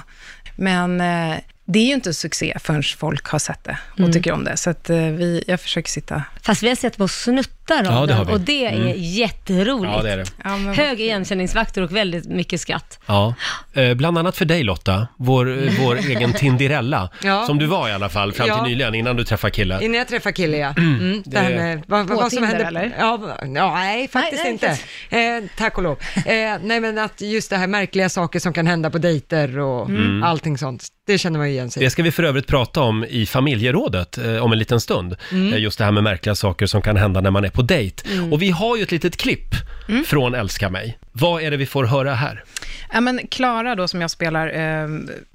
Speaker 6: Men eh, det är ju inte succé förrän folk har sett det och tycker om det. Så att eh, vi, jag försöker sitta...
Speaker 2: fast vi har sett på snuttar av
Speaker 1: Ja, det har
Speaker 2: den
Speaker 1: vi. Mm.
Speaker 2: och det är jätteroligt.
Speaker 1: Ja, det är det.
Speaker 6: Ja, men,
Speaker 2: Hög igenkänningsfaktor och väldigt mycket skratt.
Speaker 1: Ja, eh, bland annat för dig Lotta, vår, eh, vår
Speaker 2: [LAUGHS]
Speaker 1: egen Tindirella,
Speaker 3: Ja.
Speaker 1: som du var i alla fall fram till
Speaker 3: Ja.
Speaker 1: nyligen innan du träffade killen.
Speaker 3: Innan jag träffar kille, ja. Mm, det här med, vad, vad,
Speaker 6: På
Speaker 3: vad som
Speaker 6: Tinder,
Speaker 3: händer,
Speaker 6: eller?
Speaker 3: Ja, va- ja, nej, faktiskt
Speaker 2: nej,
Speaker 3: inte. Eh, tack och lov. Eh, nej, men att just det här märkliga saker som kan hända på dejter och allting sånt, det känner man ju igen sig i.
Speaker 1: Det ska vi för övrigt prata om i familjerådet eh, om en liten stund.
Speaker 2: Mm.
Speaker 1: Eh, just det här med märkliga saker som kan hända när man är på dejt. Och vi har ju ett litet klipp
Speaker 2: Mm.
Speaker 1: från Älska mig. Vad är det vi får höra här?
Speaker 6: ja, men Klara då, som jag spelar, eh,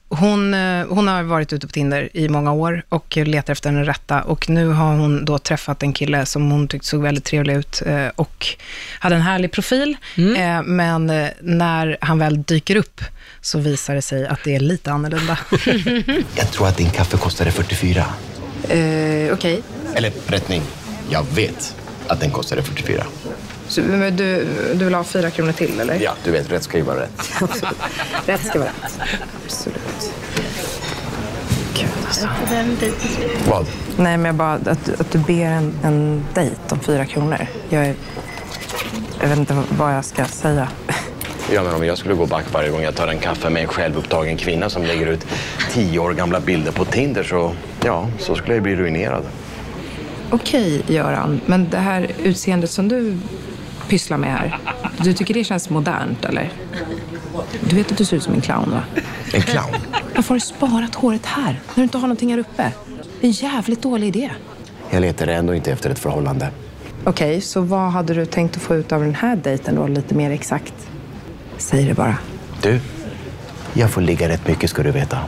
Speaker 6: hon, eh, hon har varit ute på Tinder i många år och letar efter den rätta. Och nu har hon då träffat en kille som hon tyckte såg väldigt trevlig ut eh, och hade en härlig profil. Eh, Men eh, när han väl dyker upp så visar det sig att det är lite annorlunda.
Speaker 7: Jag tror att din kaffe kostade 44.
Speaker 6: Eh, Okej.
Speaker 7: Eller rättning, jag vet att den kostade 44.
Speaker 6: Så, men Du, du vill ha fyra kronor till, eller?
Speaker 7: Ja, du vet, rätt ska ju vara rätt.
Speaker 6: Rätt ska vara rätt. Absolut. Gud, alltså.
Speaker 7: Vad?
Speaker 6: Nej, men jag bara... Att, att du ber en, en dejt om fyra kronor. Jag, är, jag vet inte vad jag ska säga. [LAUGHS]
Speaker 7: Ja, men om jag skulle gå back varje gång jag tar en kaffe med en självupptagen kvinna som lägger ut tio år gamla bilder på Tinder så, ja, så skulle jag bli ruinerad.
Speaker 6: Okej, Göran, men det här utseendet som du pysslar med här, du tycker det känns modernt, eller? Du vet att du ser ut som en clown, va?
Speaker 7: En clown?
Speaker 6: Varför har du sparat håret här, när du inte har någonting här uppe? En jävligt dålig idé.
Speaker 7: Jag letar ändå inte efter ett förhållande.
Speaker 6: Okej, så vad hade du tänkt att få ut av den här dejten då, lite mer exakt? Säg det bara.
Speaker 7: Du, jag får ligga rätt mycket ska du veta.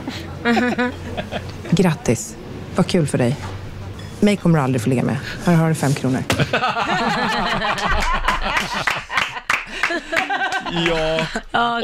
Speaker 6: Grattis, vad kul för dig. Mig kommer du aldrig få ligga med. Här har du fem kronor.
Speaker 1: Ja,
Speaker 2: Ja,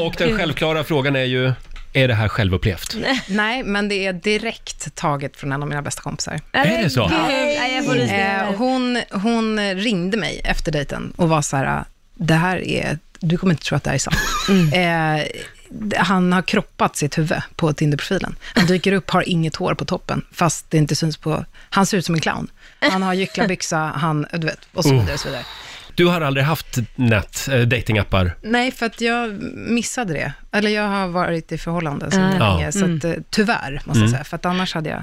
Speaker 1: [LAUGHS] och den
Speaker 2: gud.
Speaker 1: självklara frågan är ju, är det här självupplevt?
Speaker 6: [LAUGHS] Nej, men det är direkt taget från en av mina bästa kompisar.
Speaker 1: Är det så?
Speaker 2: Gud, nej, jag får rysningar.
Speaker 6: Eh, hon, hon ringde mig efter dejten och var så här, det här är, du kommer inte tro att det här är
Speaker 2: [LAUGHS]
Speaker 6: sant.
Speaker 2: Mm.
Speaker 6: Eh, d- han har kroppat sitt huvud på Tinder-profilen. Han dyker upp, har inget hår på toppen, fast det inte syns på... Han ser ut som en clown. Han har gycklarbyxa, han, du vet, och så vidare. Och så vidare.
Speaker 1: Du har aldrig haft nät, eh, datingappar.
Speaker 6: Nej, för att jag missade det. Eller jag har varit i förhållanden så
Speaker 2: Mm.
Speaker 6: länge, så att, eh, tyvärr, måste jag säga. För att annars hade jag,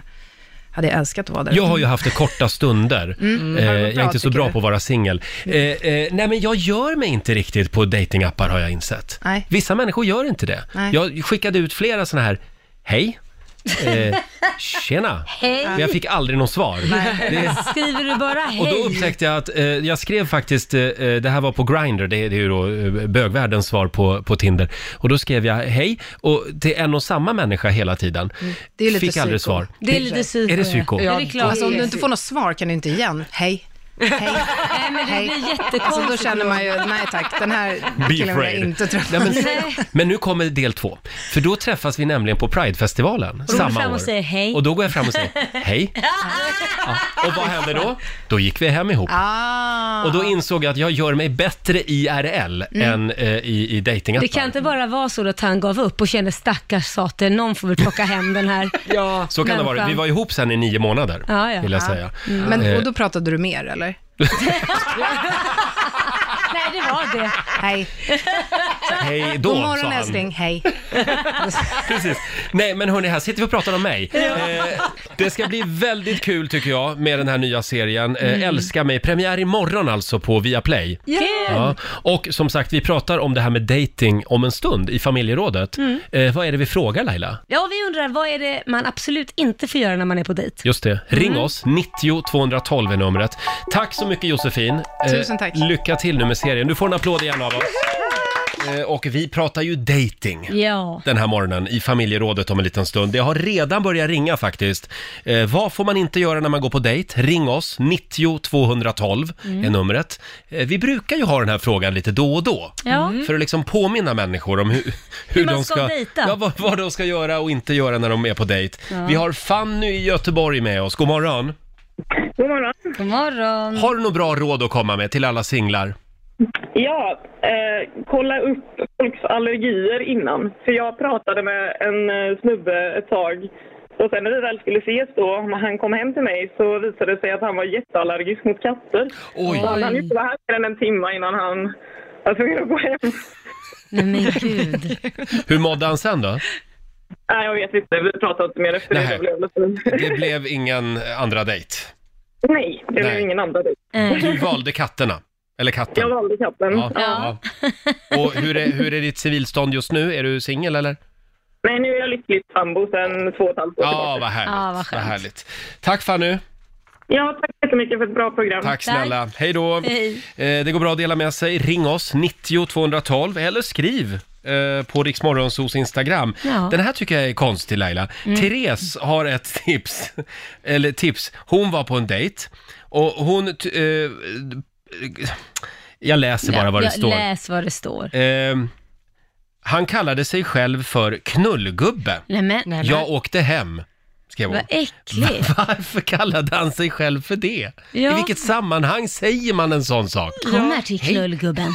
Speaker 6: hade jag älskat att vara där.
Speaker 1: Mm. Jag har ju haft det korta stunder. Eh,
Speaker 6: Har Mm. det
Speaker 1: jag
Speaker 6: gått
Speaker 1: är
Speaker 6: bra,
Speaker 1: inte så
Speaker 6: tycker
Speaker 1: bra
Speaker 6: du? Mm.
Speaker 1: på att vara singel. Eh, eh, nej, men jag gör mig inte riktigt på datingappar har jag insett.
Speaker 6: Nej.
Speaker 1: Vissa människor gör inte det.
Speaker 6: Nej.
Speaker 1: Jag skickade ut flera sådana här, hej,
Speaker 6: [LAUGHS]
Speaker 1: eh, tjena.
Speaker 2: Hej.
Speaker 1: Men jag fick aldrig något svar. Det,
Speaker 2: Skriver du bara hej?
Speaker 1: och då upptäckte jag att eh, jag skrev faktiskt, eh, eh, det här var på Grindr, det, det är ju då eh, bögvärldens svar på, på Tinder. Och då skrev jag hej och till en och samma människa hela tiden.
Speaker 6: Mm. Det är ju lite
Speaker 1: Fick aldrig
Speaker 6: psyko.
Speaker 1: svar.
Speaker 2: det är lite psyko.
Speaker 1: Är det psyko?
Speaker 2: Ja,
Speaker 3: Ja,
Speaker 2: det är klart.
Speaker 6: Alltså om du inte får något svar kan du inte igen. Hej. Hej.
Speaker 2: [LAUGHS] Nej, men det blir
Speaker 6: Alltså
Speaker 2: jättekonstigt.
Speaker 6: då känner man ju, nej tack, den här
Speaker 1: Be
Speaker 6: killen vill jag
Speaker 1: afraid.
Speaker 6: inte träffa.
Speaker 1: Nej, men,
Speaker 2: Nej.
Speaker 1: men nu kommer del två. för då träffas vi nämligen på Pridefestivalen
Speaker 2: du går
Speaker 1: samma
Speaker 2: fram
Speaker 1: år.
Speaker 2: och säger hej.
Speaker 1: Och då går jag fram och
Speaker 2: [LAUGHS]
Speaker 1: säger hej. Ja. Och vad hände då? Då gick vi hem ihop.
Speaker 6: Ah.
Speaker 1: Och då insåg jag att jag gör mig bättre IRL än eh, i, i dejtingappar.
Speaker 2: Det Mm. kan inte bara vara så att han gav upp och kände stackars sate, någon får väl plocka hem den här.
Speaker 3: Ja,
Speaker 1: Så kan det
Speaker 2: människan.
Speaker 1: vara. Vi var ihop sen i nio månader,
Speaker 2: Ja, ja.
Speaker 1: vill jag säga. Eh.
Speaker 6: Men, och då pratade du mer eller?
Speaker 2: Nej, det var det.
Speaker 6: Hej.
Speaker 1: Hej då,
Speaker 6: God
Speaker 1: sa
Speaker 6: morgon
Speaker 1: han.
Speaker 6: älskling, hej.
Speaker 1: Precis. Nej, men hörni, här sitter vi och pratar om mig. Eh, det ska bli väldigt kul tycker jag med den här nya serien. Eh,
Speaker 6: Mm.
Speaker 1: Älska mig. Premiär imorgon alltså på Viaplay. Ja. Och som sagt, vi pratar om det här med dating om en stund i familjerådet.
Speaker 6: Mm.
Speaker 1: Eh, vad är det vi frågar Laila?
Speaker 2: Ja, vi undrar, vad är det man absolut inte får göra när man är på dejt?
Speaker 1: Just det, ring
Speaker 6: Mm.
Speaker 1: oss. 90 212 är numret. Tack så mycket Josefin. Eh,
Speaker 6: Tusen tack.
Speaker 1: Lycka till nu med serien. Du får en applåd igen av oss. Eh, Och vi pratar ju dating
Speaker 2: Ja.
Speaker 1: den här morgonen i familjerådet om en liten stund. Det har redan börjat ringa faktiskt. Eh, vad får man inte göra när man går på dejt? Ring oss, 90 212
Speaker 2: Mm.
Speaker 1: är numret. Eh, vi brukar ju ha den här frågan lite då och då.
Speaker 2: Ja.
Speaker 1: För att liksom påminna människor om hur, [LAUGHS] hur,
Speaker 2: man
Speaker 1: de
Speaker 2: ska
Speaker 1: ska,
Speaker 2: dejta.
Speaker 1: ja, vad, vad de ska göra och inte göra när de är på dejt. Vi har Fanny i Göteborg med oss. God morgon.
Speaker 8: God morgon.
Speaker 2: God morgon.
Speaker 1: Har du något bra råd att komma med till alla singlar?
Speaker 8: Ja, eh, kolla upp folks allergier innan. För jag pratade med en eh, snubbe ett tag och sen när vi väl skulle ses då, när han kom hem till mig så visade det sig att han var jätteallergisk mot katter.
Speaker 1: Oj.
Speaker 8: Så han hann ju inte vara här mer än en timme innan han var tvungen att gå hem.
Speaker 2: Nej men [LAUGHS] gud.
Speaker 1: Hur mådde han sen då?
Speaker 8: Nej, jag vet inte. Vi pratade inte mer efter det.
Speaker 1: Nej.
Speaker 8: det. Blev lite...
Speaker 1: Det blev ingen andra dejt.
Speaker 8: [LAUGHS] Nej, det blev
Speaker 1: Nej.
Speaker 8: ingen andra dejt.
Speaker 2: Eh,
Speaker 1: Du valde katterna. Eller katten.
Speaker 8: Jag valde katten.
Speaker 1: Ja.
Speaker 2: Ja.
Speaker 1: ja. Och hur är, hur är ditt civilstånd just nu? Är du singel eller?
Speaker 8: Men nu är jag lyckligt sambo sedan två och ett halvt år
Speaker 1: Ja,
Speaker 8: tillbaka.
Speaker 1: vad härligt.
Speaker 2: Ja, vad skönt.
Speaker 1: härligt. Tack Fanny.
Speaker 8: Ja, tack så jättemycket för ett bra program.
Speaker 1: Tack snälla. Hej då.
Speaker 2: Hej.
Speaker 1: Eh, det går bra att dela med sig. Ring oss, 90 212 eller skriv eh, på Riksmorgonsos Instagram.
Speaker 2: Ja. Mm.
Speaker 1: Den här tycker jag är konstig Laila. Therese har ett tips. [LAUGHS] Eller tips. Hon var på en dejt och hon... t- Eh, jag läser bara vad det
Speaker 2: Ja,
Speaker 1: står.
Speaker 2: Läs vad det står.
Speaker 1: Ehm, han kallade sig själv för knullgubbe.
Speaker 2: Nej men,
Speaker 1: Jag åkte hem, skrev hon.
Speaker 2: vad äckligt.
Speaker 1: [LAUGHS] Varför kallade han sig själv för det?
Speaker 2: Ja.
Speaker 1: I vilket sammanhang säger man en sån sak?
Speaker 2: Kom här till knullgubben.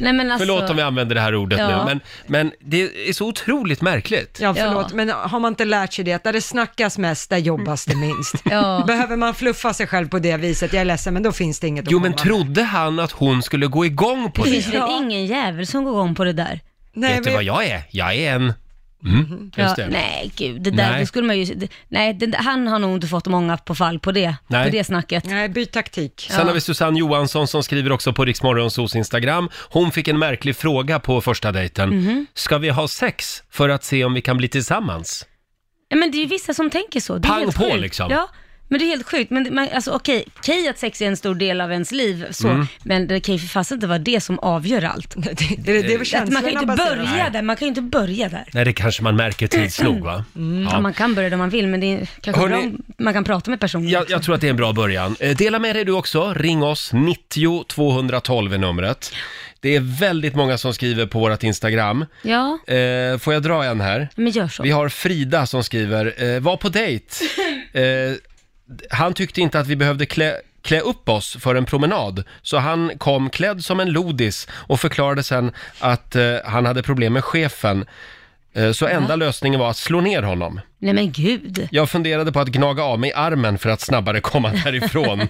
Speaker 2: Nej men alltså.
Speaker 1: Förlåt om jag använder det här ordet
Speaker 2: Ja.
Speaker 1: nu, men, men det är så otroligt märkligt.
Speaker 3: Ja, förlåt,
Speaker 2: Ja.
Speaker 3: men har man inte lärt sig det, att där det snackas mest, där jobbas det minst.
Speaker 2: [LAUGHS] Ja.
Speaker 3: Behöver man fluffa sig själv på det viset, jag är ledsen, men då finns det inget
Speaker 1: Jo,
Speaker 3: att
Speaker 1: men
Speaker 3: komma
Speaker 1: trodde han att hon skulle gå igång på det?
Speaker 2: Finns det ingen jävel som går igång på det där?
Speaker 3: med. Nej,
Speaker 1: Vet du vad
Speaker 3: men,
Speaker 1: jag är? Jag är en... Mm, just
Speaker 2: Ja,
Speaker 1: det.
Speaker 2: nej, gud, det där,
Speaker 1: Nej.
Speaker 2: nej. Då skulle man ju, det, nej, det, han har nog inte fått många på fall på det,
Speaker 1: Nej.
Speaker 2: på det snacket.
Speaker 3: nej, byt taktik.
Speaker 1: Sen har vi Susanne Johansson som skriver också på Riksmorgonsos Instagram. Hon fick en märklig fråga på första dejten. Ska vi ha sex för att se om vi kan bli tillsammans?
Speaker 2: Ja, men det är ju vissa som tänker så. Det är
Speaker 1: Pang
Speaker 2: helt
Speaker 1: på,
Speaker 2: sjukt.
Speaker 1: liksom.
Speaker 2: Ja, men det är helt sjukt. Men det- man, alltså, okej, okej att sex är en stor del av ens liv, så,
Speaker 1: Mm.
Speaker 2: men det kan ju för fasen inte vara det som avgör allt.
Speaker 3: [LAUGHS] Det, det, det, är väl
Speaker 2: Att man kan ju
Speaker 3: känslorna
Speaker 2: inte
Speaker 3: baserat.
Speaker 2: börja där, man kan ju inte börja där.
Speaker 1: Nej, det kanske man märker
Speaker 2: [CLEARS THROAT]
Speaker 1: tids nog va?
Speaker 2: Ja. Man Mm, kan börja där man vill, men det är kanske
Speaker 1: Hörni-
Speaker 2: bra om man kan prata med personen.
Speaker 1: Jag, jag tror att det är en bra början. Eh, Dela med dig du också. Ring oss, 90 212 är numret. Det är väldigt många som skriver på vårt Instagram.
Speaker 2: Ja,
Speaker 1: Eh, får jag dra en här?
Speaker 2: men gör så.
Speaker 1: Vi har Frida som skriver, eh, var på dejt.
Speaker 2: [LAUGHS]
Speaker 1: Eh, han tyckte inte att vi behövde klä, klä upp oss för en promenad, så han kom klädd som en lodis och förklarade sen att eh, han hade problem med chefen. Eh, Så enda
Speaker 2: Mm.
Speaker 1: lösningen var att slå ner honom.
Speaker 2: Nej men gud.
Speaker 1: Jag funderade på att gnaga av mig armen för att snabbare komma
Speaker 2: [LAUGHS]
Speaker 1: därifrån.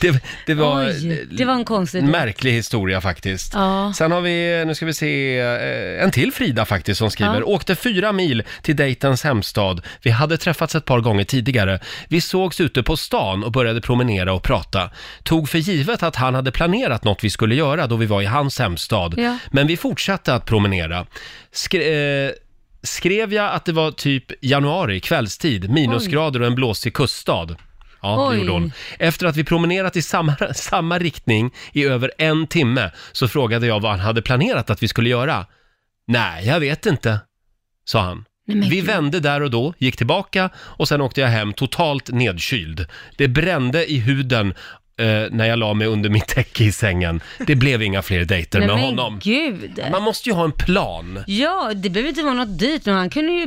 Speaker 1: det, det var...
Speaker 2: Oj, det var en konstig...
Speaker 1: En märklig historia faktiskt.
Speaker 2: Ja.
Speaker 1: Sen har vi, nu ska vi se, eh, en till Frida faktiskt som skriver.
Speaker 2: Ja.
Speaker 1: Åkte fyra mil till dejtens hemstad. Vi hade träffats ett par gånger tidigare. Vi sågs ute på stan och började promenera och prata. Tog för givet att han hade planerat något vi skulle göra då vi var i hans hemstad.
Speaker 2: Ja.
Speaker 1: Men vi fortsatte att promenera. Skre- eh, skrev jag att det var typ januari, kvällstid, minusgrader och en blåsig kuststad. Ja, det
Speaker 2: Oj.
Speaker 1: gjorde hon. Efter att vi promenerat i samma, [LAUGHS] samma riktning i över en timme så frågade jag vad han hade planerat att vi skulle göra. Nej, jag vet inte, sa han.
Speaker 2: Nej, men
Speaker 1: Vi
Speaker 2: gud.
Speaker 1: vände där och då, gick tillbaka och sen åkte jag hem totalt nedkyld. Det brände i huden eh, när jag la mig under mitt täcke i sängen. Det blev inga fler dejter
Speaker 2: Nej,
Speaker 1: med
Speaker 2: men
Speaker 1: honom.
Speaker 2: gud.
Speaker 1: Man måste ju ha en plan.
Speaker 2: Ja, det behöver inte vara något dyrt, men han kunde ju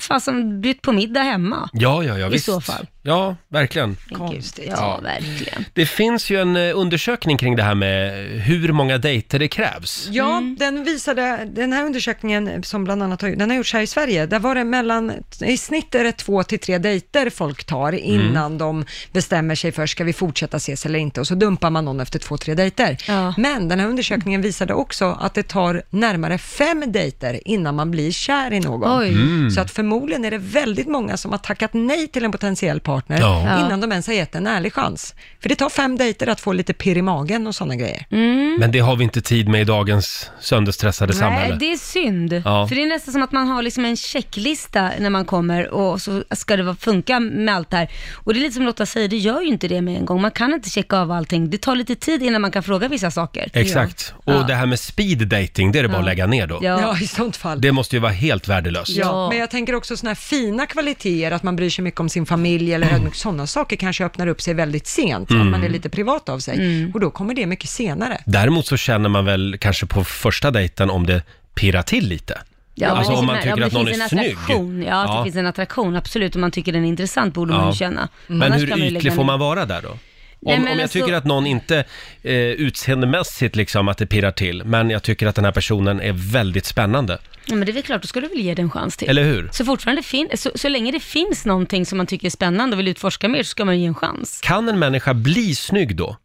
Speaker 2: fasen bjudit på middag hemma.
Speaker 1: Ja, ja, ja,
Speaker 2: I
Speaker 1: visst.
Speaker 2: så fall.
Speaker 1: Ja, verkligen.
Speaker 3: Konstigt.
Speaker 2: Ja,
Speaker 1: Ja.
Speaker 2: verkligen.
Speaker 1: Det finns ju en eh, undersökning kring det här med hur många dejter det krävs.
Speaker 3: Ja,
Speaker 2: Mm.
Speaker 3: den visade, den här undersökningen som bland annat har, den har gjorts här i Sverige, där var det mellan, i snitt är det två till tre dejter folk tar
Speaker 2: Mm.
Speaker 3: innan de bestämmer sig för, ska vi fortsätta ses eller inte? Och så dumpar man någon efter två, tre dejter.
Speaker 2: Ja.
Speaker 3: Men den här undersökningen visade också att det tar närmare fem dejter innan man blir kär i någon.
Speaker 2: Oj.
Speaker 3: Så att förmodligen är det väldigt många som har tackat nej till en potentiell partner
Speaker 1: Ja.
Speaker 2: Ja.
Speaker 3: innan de ens har gett en ärlig chans. För det tar fem dejter att få lite pirr i magen och sådana grejer.
Speaker 2: Mm.
Speaker 1: Men det har vi inte tid med i dagens sönderstressade samhälle.
Speaker 2: Nej, det är synd.
Speaker 1: Ja.
Speaker 2: För det är nästan som att man har liksom en checklista när man kommer och så ska det vara- funka med allt det här. Och det är lite som Lotta säger, det gör ju inte det med en gång. Man kan inte checka av allting. Det tar lite tid innan man kan fråga vissa saker.
Speaker 1: Exakt.
Speaker 2: Ja.
Speaker 1: Och det här med speed dating, det är det bara att
Speaker 2: Ja.
Speaker 1: lägga ner då.
Speaker 2: Ja.
Speaker 3: Ja, i sånt fall.
Speaker 1: Det måste ju vara helt värdelöst.
Speaker 2: Ja.
Speaker 3: Ja, men jag tänker också sådana här fina kvaliteter, att man bryr sig mycket om sin familj eller mm. sådana saker kanske öppnar upp sig väldigt sent, att man är lite privat av sig. Och då kommer det mycket senare.
Speaker 1: Däremot så känner man väl kanske på första dejten om det pirrar till lite.
Speaker 2: Ja,
Speaker 1: Alltså,
Speaker 2: det
Speaker 1: om
Speaker 2: finns
Speaker 1: man
Speaker 2: en-
Speaker 1: tycker
Speaker 2: det
Speaker 1: att någon
Speaker 2: finns
Speaker 1: är
Speaker 2: en
Speaker 1: snygg.
Speaker 2: Attraktion. Ja, att
Speaker 1: Ja.
Speaker 2: det finns en attraktion, absolut. Om man tycker den är intressant borde
Speaker 1: Ja.
Speaker 2: man ju känna.
Speaker 1: Men
Speaker 2: Annars kan
Speaker 1: hur
Speaker 2: man ju lägga
Speaker 1: ytlig får
Speaker 2: ner.
Speaker 1: man vara där då? Om,
Speaker 2: Nej, men
Speaker 1: om jag
Speaker 2: alltså-
Speaker 1: tycker att någon inte eh, utseendemässigt liksom att det pirrar till, men jag tycker att den här personen är väldigt spännande.
Speaker 2: Ja, men det är väl klart, då ska du väl ge den en chans till.
Speaker 1: Eller hur?
Speaker 2: Så, fortfarande fin- så, så länge det finns någonting som man tycker är spännande och vill utforska mer så ska man ju ge en chans.
Speaker 1: Kan en människa bli snygg då?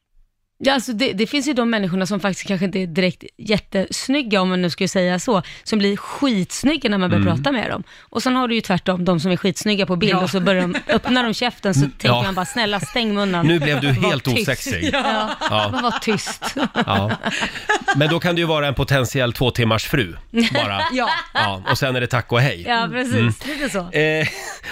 Speaker 2: Ja, alltså det, det finns ju de människorna som faktiskt kanske inte är direkt jättesnygga, om man nu skulle säga så, som blir skitsnygga när man
Speaker 1: Mm.
Speaker 2: börjar prata med dem. Och sen har du ju tvärtom de som är skitsnygga på bild och så
Speaker 1: [LAUGHS]
Speaker 2: börjar de, öppnar de käften så tänker
Speaker 1: Mm. ja.
Speaker 2: man bara, snälla stäng munnen.
Speaker 1: Nu blev du helt
Speaker 2: Var tyst.
Speaker 1: osexig.
Speaker 2: [LAUGHS] Ja,
Speaker 1: Ja.
Speaker 2: men var
Speaker 1: [LAUGHS]
Speaker 2: tyst. [LAUGHS]
Speaker 1: Ja. Men då kan det ju vara en potentiell två timmars fru
Speaker 2: [LAUGHS]
Speaker 1: bara.
Speaker 3: Ja.
Speaker 1: Ja, och sen är det tack och hej.
Speaker 2: Ja, precis. Lite så.
Speaker 1: Eh,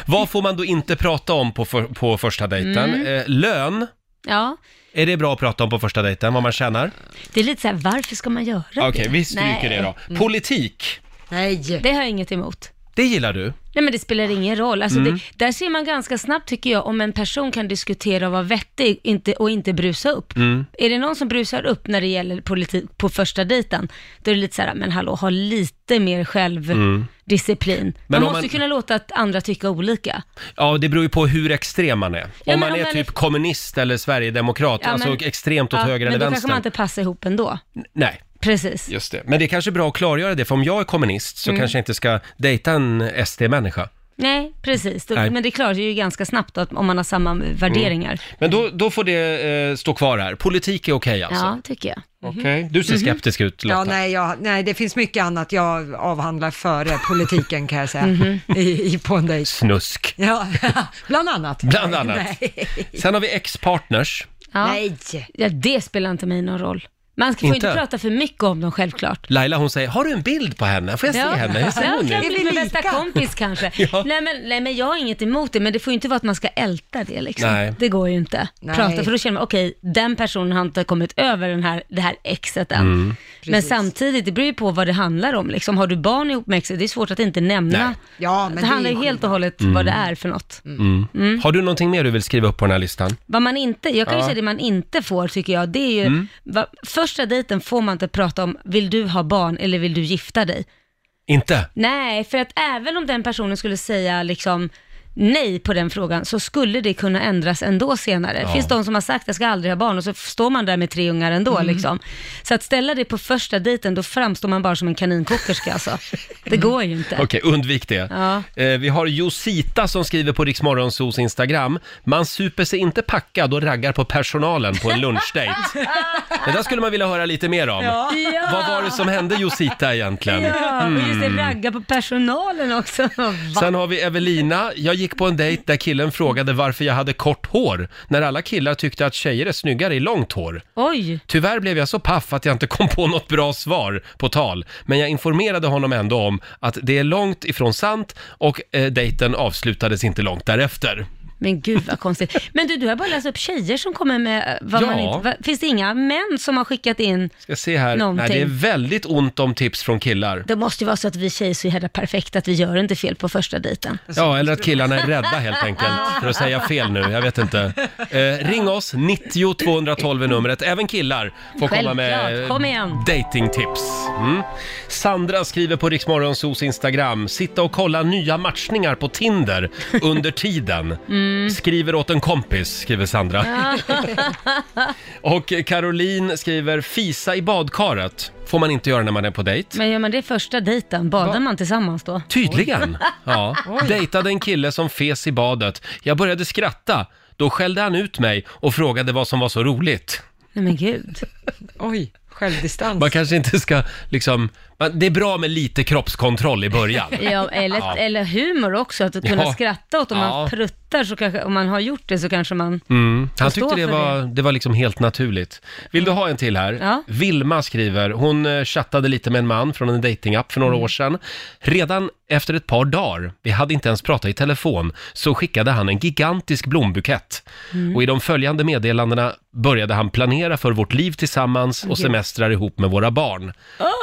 Speaker 1: vad får man då inte prata om på, för, på första dejten?
Speaker 2: Mm.
Speaker 1: Eh, lön,
Speaker 2: Ja,
Speaker 1: är det bra att prata om på första dejten, vad man tjänar?
Speaker 2: det är lite så här, varför ska man göra det?
Speaker 1: Okej, vi stryker
Speaker 2: Nej. Mm.
Speaker 1: det då. Politik,
Speaker 3: Nej.
Speaker 2: Det har jag inget emot.
Speaker 1: det gillar du?
Speaker 2: Nej men det
Speaker 1: Ah.
Speaker 2: spelar ingen roll. Alltså
Speaker 1: Mm.
Speaker 2: det, där ser man ganska snabbt tycker jag om en person kan diskutera och vara vettig inte, och inte brusa upp.
Speaker 1: Mm.
Speaker 2: Är det någon som brusar upp när det gäller politik på första dejten, då är det lite så här, men hallå, ha lite mer självdisciplin.
Speaker 1: Mm. Men
Speaker 2: Man
Speaker 1: om
Speaker 2: måste
Speaker 1: man-
Speaker 2: kunna låta att andra tycka olika.
Speaker 1: Ja, det beror ju på hur extrem man är. Om
Speaker 2: men
Speaker 1: man
Speaker 2: om
Speaker 1: är
Speaker 2: man är-
Speaker 1: typ kommunist eller sverigedemokrat,
Speaker 2: Ja,
Speaker 1: alltså
Speaker 2: men-
Speaker 1: extremt åt
Speaker 2: Ja,
Speaker 1: höger
Speaker 2: men
Speaker 1: eller
Speaker 2: då kanske
Speaker 1: vänster.
Speaker 2: man inte passar ihop ändå.
Speaker 1: Nej,
Speaker 2: Precis.
Speaker 1: just det. Men det är kanske bra att klargöra det, för om jag är kommunist
Speaker 2: Mm.
Speaker 1: så kanske jag inte ska dejta en SD-människa.
Speaker 2: Nej, precis. Då,
Speaker 1: Nej. Mm.
Speaker 2: Men det klarar ju ganska snabbt att, om man har samma värderingar.
Speaker 1: Men då, då får det eh, stå kvar här. Politik är okej alltså?
Speaker 2: Ja, Mhm. tycker jag.
Speaker 1: Okej. Du ser skeptisk ut Lotta.
Speaker 3: Ja, nej, jag, nej, det finns mycket annat jag avhandlar [LAUGHS] före politiken kan jag säga, I, i, på en dejt.
Speaker 1: Snusk.
Speaker 3: Ja, [LAUGHS] bland annat.
Speaker 1: Bland annat.
Speaker 3: Nej.
Speaker 1: Sen har vi ex-partners.
Speaker 2: Ja.
Speaker 3: Nej.
Speaker 2: Ja, det spelar inte mig någon roll. Man får inte,
Speaker 1: Inte?
Speaker 2: inte prata för mycket om dem, självklart.
Speaker 1: Laila hon säger, har du en bild på henne? Får jag se henne? Hur ser
Speaker 2: Ja,
Speaker 1: hon
Speaker 2: kan
Speaker 1: ut?
Speaker 2: bli min bästa kompis kanske.
Speaker 1: [LAUGHS] Ja.
Speaker 2: nej, men, nej, men jag har inget emot det, men det får ju inte vara att man ska älta det liksom.
Speaker 1: Nej.
Speaker 2: Det går ju inte.
Speaker 3: Nej.
Speaker 2: Prata, för då känner man, okej, den personen har inte kommit över den här, det här exet än.
Speaker 1: Mm.
Speaker 2: Men
Speaker 3: Precis.
Speaker 2: samtidigt, det beror ju på vad det handlar om liksom. Har du barn ihop med exet, det är svårt att inte nämna.
Speaker 1: Nej. Mm.
Speaker 3: Ja, men
Speaker 2: det,
Speaker 3: det är
Speaker 2: handlar ju
Speaker 3: ju Mm.
Speaker 2: helt och hållet vad det är för något. Mm.
Speaker 1: Har du någonting mer du vill skriva upp på den här listan?
Speaker 2: Vad man inte, jag kan ju
Speaker 1: Ja. Mm.
Speaker 2: säga det man inte får tycker jag, det är ju, va, första dejten får man inte prata om, vill du ha barn eller vill du gifta dig?
Speaker 1: Inte?
Speaker 2: Nej, för att även om den personen skulle säga liksom nej på den frågan så skulle det kunna ändras ändå senare. Det finns de som har sagt jag ska aldrig ha barn och så står man där med tre ungar ändå
Speaker 1: Mm.
Speaker 2: liksom. Så att ställa det på första dejten, då framstår man bara som en kaninkockerska alltså. Det går ju inte.
Speaker 1: Okej, undvik det.
Speaker 2: Ja.
Speaker 1: Eh, vi har Josita som skriver på Riksmorgonsos Instagram. Man super sig inte packad och raggar på personalen på en lunchdate.
Speaker 2: [LAUGHS]
Speaker 1: det där skulle man vilja höra lite mer om.
Speaker 2: Ja,
Speaker 1: Vad var det Mm. som hände Josita egentligen?
Speaker 2: ja. och just det ragga på personalen också. Va?
Speaker 1: Sen har vi Evelina. Jag gick på en dejt där killen frågade varför jag hade kort hår, när alla killar tyckte att tjejer är snyggare i långt hår.
Speaker 2: Oj,
Speaker 1: Tyvärr blev jag så paff att jag inte kom på något bra svar på tal, men jag informerade honom ändå om att det är långt ifrån sant och eh, dejten avslutades inte långt därefter.
Speaker 2: men gud vad konstigt. Men du, du har bara läst upp tjejer som kommer med eh, vad man
Speaker 1: Ja.
Speaker 2: inte... Va, finns det inga män som har skickat in
Speaker 1: Ska se här.
Speaker 2: Någonting.
Speaker 1: Nej, det är väldigt ont om tips från killar.
Speaker 2: Det måste ju vara så att vi tjejer är så jävla perfekta att vi gör inte fel på första dejten.
Speaker 1: Ja, eller att killarna är rädda helt enkelt för att säga fel nu. Jag vet inte. Eh, ring oss, 90 212 är numret. Även killar får komma
Speaker 2: Självklart.
Speaker 1: med eh,
Speaker 2: Kom igen.
Speaker 1: datingtips. Mm. Sandra skriver på Riksmorgonsos Instagram, sitta och kolla nya matchningar på Tinder under tiden.
Speaker 2: [LAUGHS] Mm.
Speaker 1: Skriver åt en kompis, skriver Sandra. [LAUGHS] och Caroline skriver, fisa i badkaret får man inte göra när man är på dejt.
Speaker 2: Men gör man det första dejten, badar man tillsammans då?
Speaker 1: Tydligen. Ja. Dejtade en kille som fes i badet. Jag började skratta. Då skällde han ut mig och frågade vad som var så roligt.
Speaker 2: Nej men gud.
Speaker 3: Oj. Självdistans.
Speaker 1: Man kanske inte ska liksom... Man, det är bra med lite kroppskontroll i början.
Speaker 2: Ja, eller,
Speaker 1: Ja.
Speaker 2: eller humor också, att kunna
Speaker 1: Ja.
Speaker 2: skratta åt om
Speaker 1: Ja.
Speaker 2: man pruttar, så kanske, om man har gjort det så kanske man...
Speaker 1: Mm. Han
Speaker 2: Jag
Speaker 1: tyckte
Speaker 2: står
Speaker 1: det
Speaker 2: för Mm.
Speaker 1: var, det var liksom helt naturligt. Vill du ha en till här?
Speaker 2: Ja.
Speaker 1: Vilma skriver, hon eh, chattade lite med en man från en datingapp för några
Speaker 2: Mm.
Speaker 1: år sedan. Redan efter ett par dagar, vi hade inte ens pratat i telefon, så skickade han en gigantisk blombukett.
Speaker 2: Mm.
Speaker 1: Och i de följande meddelandena började han planera för vårt liv tillsammans och semestrar ihop med våra barn.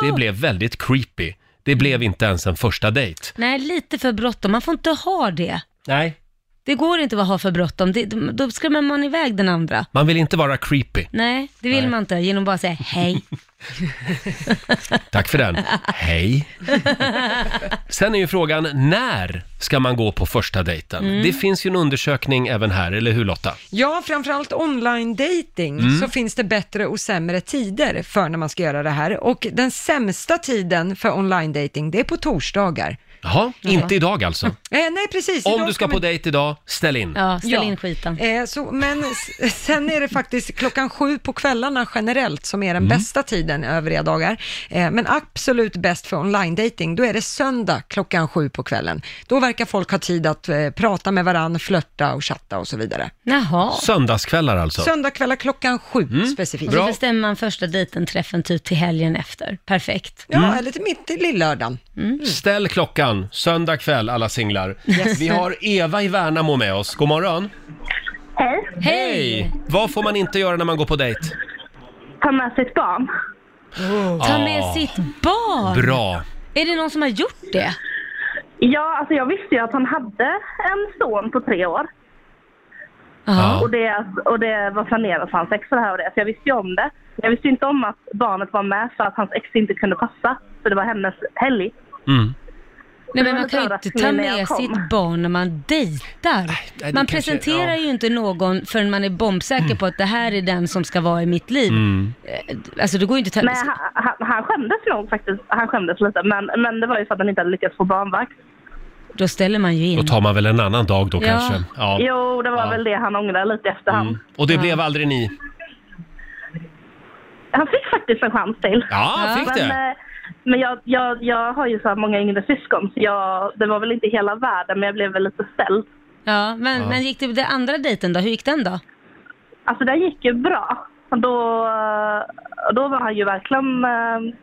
Speaker 1: Det
Speaker 2: Oh!
Speaker 1: blev väldigt creepy. Det blev inte ens en första dejt.
Speaker 2: Nej, lite för bråttom. Man får inte ha det.
Speaker 1: Nej.
Speaker 2: Det går inte att ha för bråttom. Det- Då skrämmer man iväg den andra.
Speaker 1: Man vill inte vara creepy.
Speaker 2: Nej, det vill
Speaker 1: Nej.
Speaker 2: man inte. Genom att bara säga hej.
Speaker 1: Tack för [LAUGHS] den. Hej. Sen är ju frågan, när ska man gå på första dejten? Det finns ju en undersökning även här, eller hur Lotta?
Speaker 3: Ja, framförallt online dating
Speaker 1: Mm.
Speaker 3: så finns det bättre och sämre tider för när man ska göra det här. Och den sämsta tiden för online dating det är på torsdagar.
Speaker 1: Jaha, inte [LAUGHS] idag alltså.
Speaker 3: Eh, nej, precis.
Speaker 1: Om
Speaker 3: idag
Speaker 1: du ska på
Speaker 3: man-
Speaker 1: dejt idag, ställ in.
Speaker 2: Ja, ställ
Speaker 3: Ja.
Speaker 2: in skiten.
Speaker 3: Eh, så, men s- sen är det faktiskt klockan sju på kvällarna generellt som är den
Speaker 1: Mm.
Speaker 3: bästa tiden övriga dagar. Eh, men absolut bäst för online dating då är det söndag klockan sju på kvällen. Då verkar folk ha tid att eh, prata med varandra, flörta och chatta och så vidare.
Speaker 2: Jaha.
Speaker 1: Söndagskvällar alltså.
Speaker 3: Söndagkvällar klockan sju
Speaker 1: Mm.
Speaker 3: specifikt.
Speaker 2: Och så bestämmer man första dejten, träffen typ till helgen efter. Perfekt.
Speaker 3: Ja, eller till mitt i lillördagen.
Speaker 1: Mm. Ställ klockan, söndag kväll alla singlar. Vi har Eva i Värnamo med oss. God morgon.
Speaker 9: Hej.
Speaker 1: Hej! Vad får man inte göra när man går på dejt?
Speaker 9: Ta med sitt barn.
Speaker 2: Ta
Speaker 1: Ah.
Speaker 2: med sitt barn.
Speaker 1: Bra.
Speaker 2: Är det någon som har gjort det?
Speaker 9: Ja, alltså jag visste ju att han hade en son på tre år.
Speaker 1: Ja.
Speaker 9: Och det, och det var planerat för hans ex och det här och det. Så jag visste ju om det. Jag visste ju inte om att barnet var med för att hans ex inte kunde passa. För det var hennes helg.
Speaker 1: Mm.
Speaker 2: Nej, men
Speaker 9: var
Speaker 2: man kan ju
Speaker 9: lite
Speaker 2: inte ta
Speaker 9: överraskning när
Speaker 2: med
Speaker 9: jag kom.
Speaker 2: sitt barn när man dejtar.
Speaker 1: det
Speaker 2: Man
Speaker 1: kanske-
Speaker 2: presenterar
Speaker 1: ja.
Speaker 2: ju inte någon förrän man är bombsäker på att det här är den som ska vara i mitt liv. Eh, Alltså det går ju inte att ta...
Speaker 9: Men han, han, han skämdes nog faktiskt. Han skämdes lite. Men, men det var ju för att han inte hade lyckats få barnvakt.
Speaker 2: Då ställer man ju
Speaker 1: Då
Speaker 2: in.
Speaker 1: tar man väl en annan dag då
Speaker 2: Ja.
Speaker 1: kanske. Ja.
Speaker 9: Jo, det var
Speaker 1: Ja. Mm.
Speaker 9: väl det han ångrade lite efterhand.
Speaker 1: Och det blev aldrig ni?
Speaker 9: Han fick faktiskt en chans till.
Speaker 1: Ja,
Speaker 2: Ja.
Speaker 1: fick
Speaker 9: Men,
Speaker 1: det.
Speaker 9: eh, men jag, jag, jag har ju så här många yngre syskon så jag, det var väl inte hela världen men jag blev väl lite ställd.
Speaker 2: Ja, men, men gick det, den andra dejten då? Hur gick den då?
Speaker 9: Alltså det gick ju bra. Och Då, eh, då var han ju verkligen eh,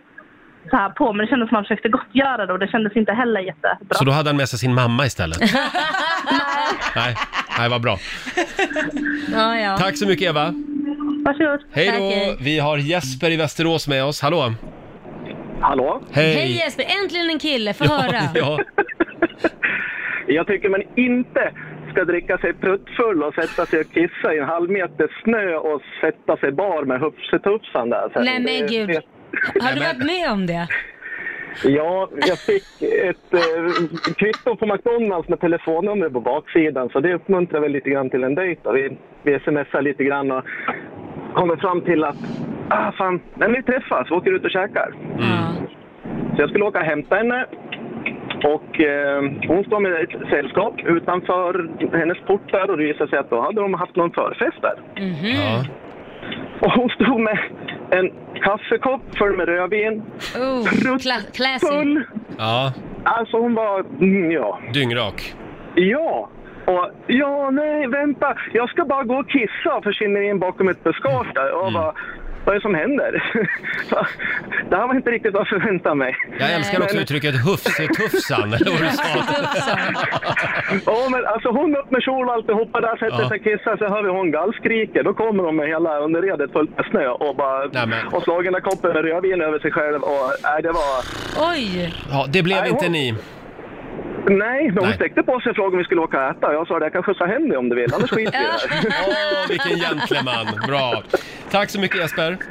Speaker 9: så här på men det kändes som han försökte gottgöra det och det kändes inte heller jättebra.
Speaker 1: Så då hade han med sig sin mamma
Speaker 2: [LAUGHS]
Speaker 1: istället? Nej, nej vad bra.
Speaker 2: Ja, ja.
Speaker 1: Tack så mycket Eva.
Speaker 9: Varsågod.
Speaker 1: Hej
Speaker 2: Tack,
Speaker 1: då.
Speaker 2: hej.
Speaker 1: Vi har Jesper i Västerås med oss. Hallå.
Speaker 10: Hallå?
Speaker 1: Hej.
Speaker 2: Hej Jesper, äntligen en kille, få höra.
Speaker 1: Ja,
Speaker 10: Jag tycker man inte ska dricka sig pruttfull och sätta sig och kissa i en halv meter snö och sätta sig bar med Hufse-Tufsan där. sen.
Speaker 2: Nej
Speaker 10: Det-
Speaker 2: men gud. Har du varit med om det?
Speaker 10: Ja, jag fick ett eh, kvitto på McDonalds med telefonnummer på baksidan så det uppmuntrar väl lite grann till en dejt. då. Vi, vi smsar lite grann och kommer fram till att ah, fan, men vi träffas och åker ut och käkar.
Speaker 2: Ja.
Speaker 10: Så jag skulle åka och hämta henne. Och eh, hon står med ett sällskap utanför hennes port där och det visade sig att då hade de haft någon förfest där.
Speaker 2: Mm.
Speaker 1: ja.
Speaker 10: Och hon stod med en kaffekopp full med rödvin,
Speaker 2: Oh, kla- classy.
Speaker 10: full.
Speaker 1: ja.
Speaker 10: Alltså hon var, mm, ja,
Speaker 1: dyngrak.
Speaker 10: ja. Och ja, nej, vänta, jag ska bara gå och kissa och försvinner in bakom ett buskage där.
Speaker 1: Mm.
Speaker 10: Och bara, vad är det som händer? [LAUGHS] det här var inte riktigt vad jag förväntade mig.
Speaker 1: Jag älskar också
Speaker 10: Men-
Speaker 1: uttrycket hufse-tufsan, eller vad du
Speaker 2: [LAUGHS]
Speaker 1: sa.
Speaker 10: Ja, men alltså hon upp med kjol och alltihopa där, sätter
Speaker 1: Ja.
Speaker 10: sig och kissar, så hör vi hon gallskriker. Då kommer hon med hela underredet fullt med snö och bara...
Speaker 1: Nej, men-
Speaker 10: Och slagen av koppen med rödvin över sig själv och... Nej, det var...
Speaker 2: Oj,
Speaker 1: Ja, det blev
Speaker 10: Nej,
Speaker 1: inte
Speaker 10: hon-
Speaker 2: [LAUGHS]
Speaker 1: ni.
Speaker 10: Nej, men hon
Speaker 1: Nej.
Speaker 10: sträckte på sig och frågade om vi skulle åka och äta. Jag sa det, jag kan skjutsa hem dig om du vill, annars skiter vi i det här."
Speaker 1: Åh, vilken gentleman. Bra. Tack så mycket Jesper.
Speaker 10: [LAUGHS]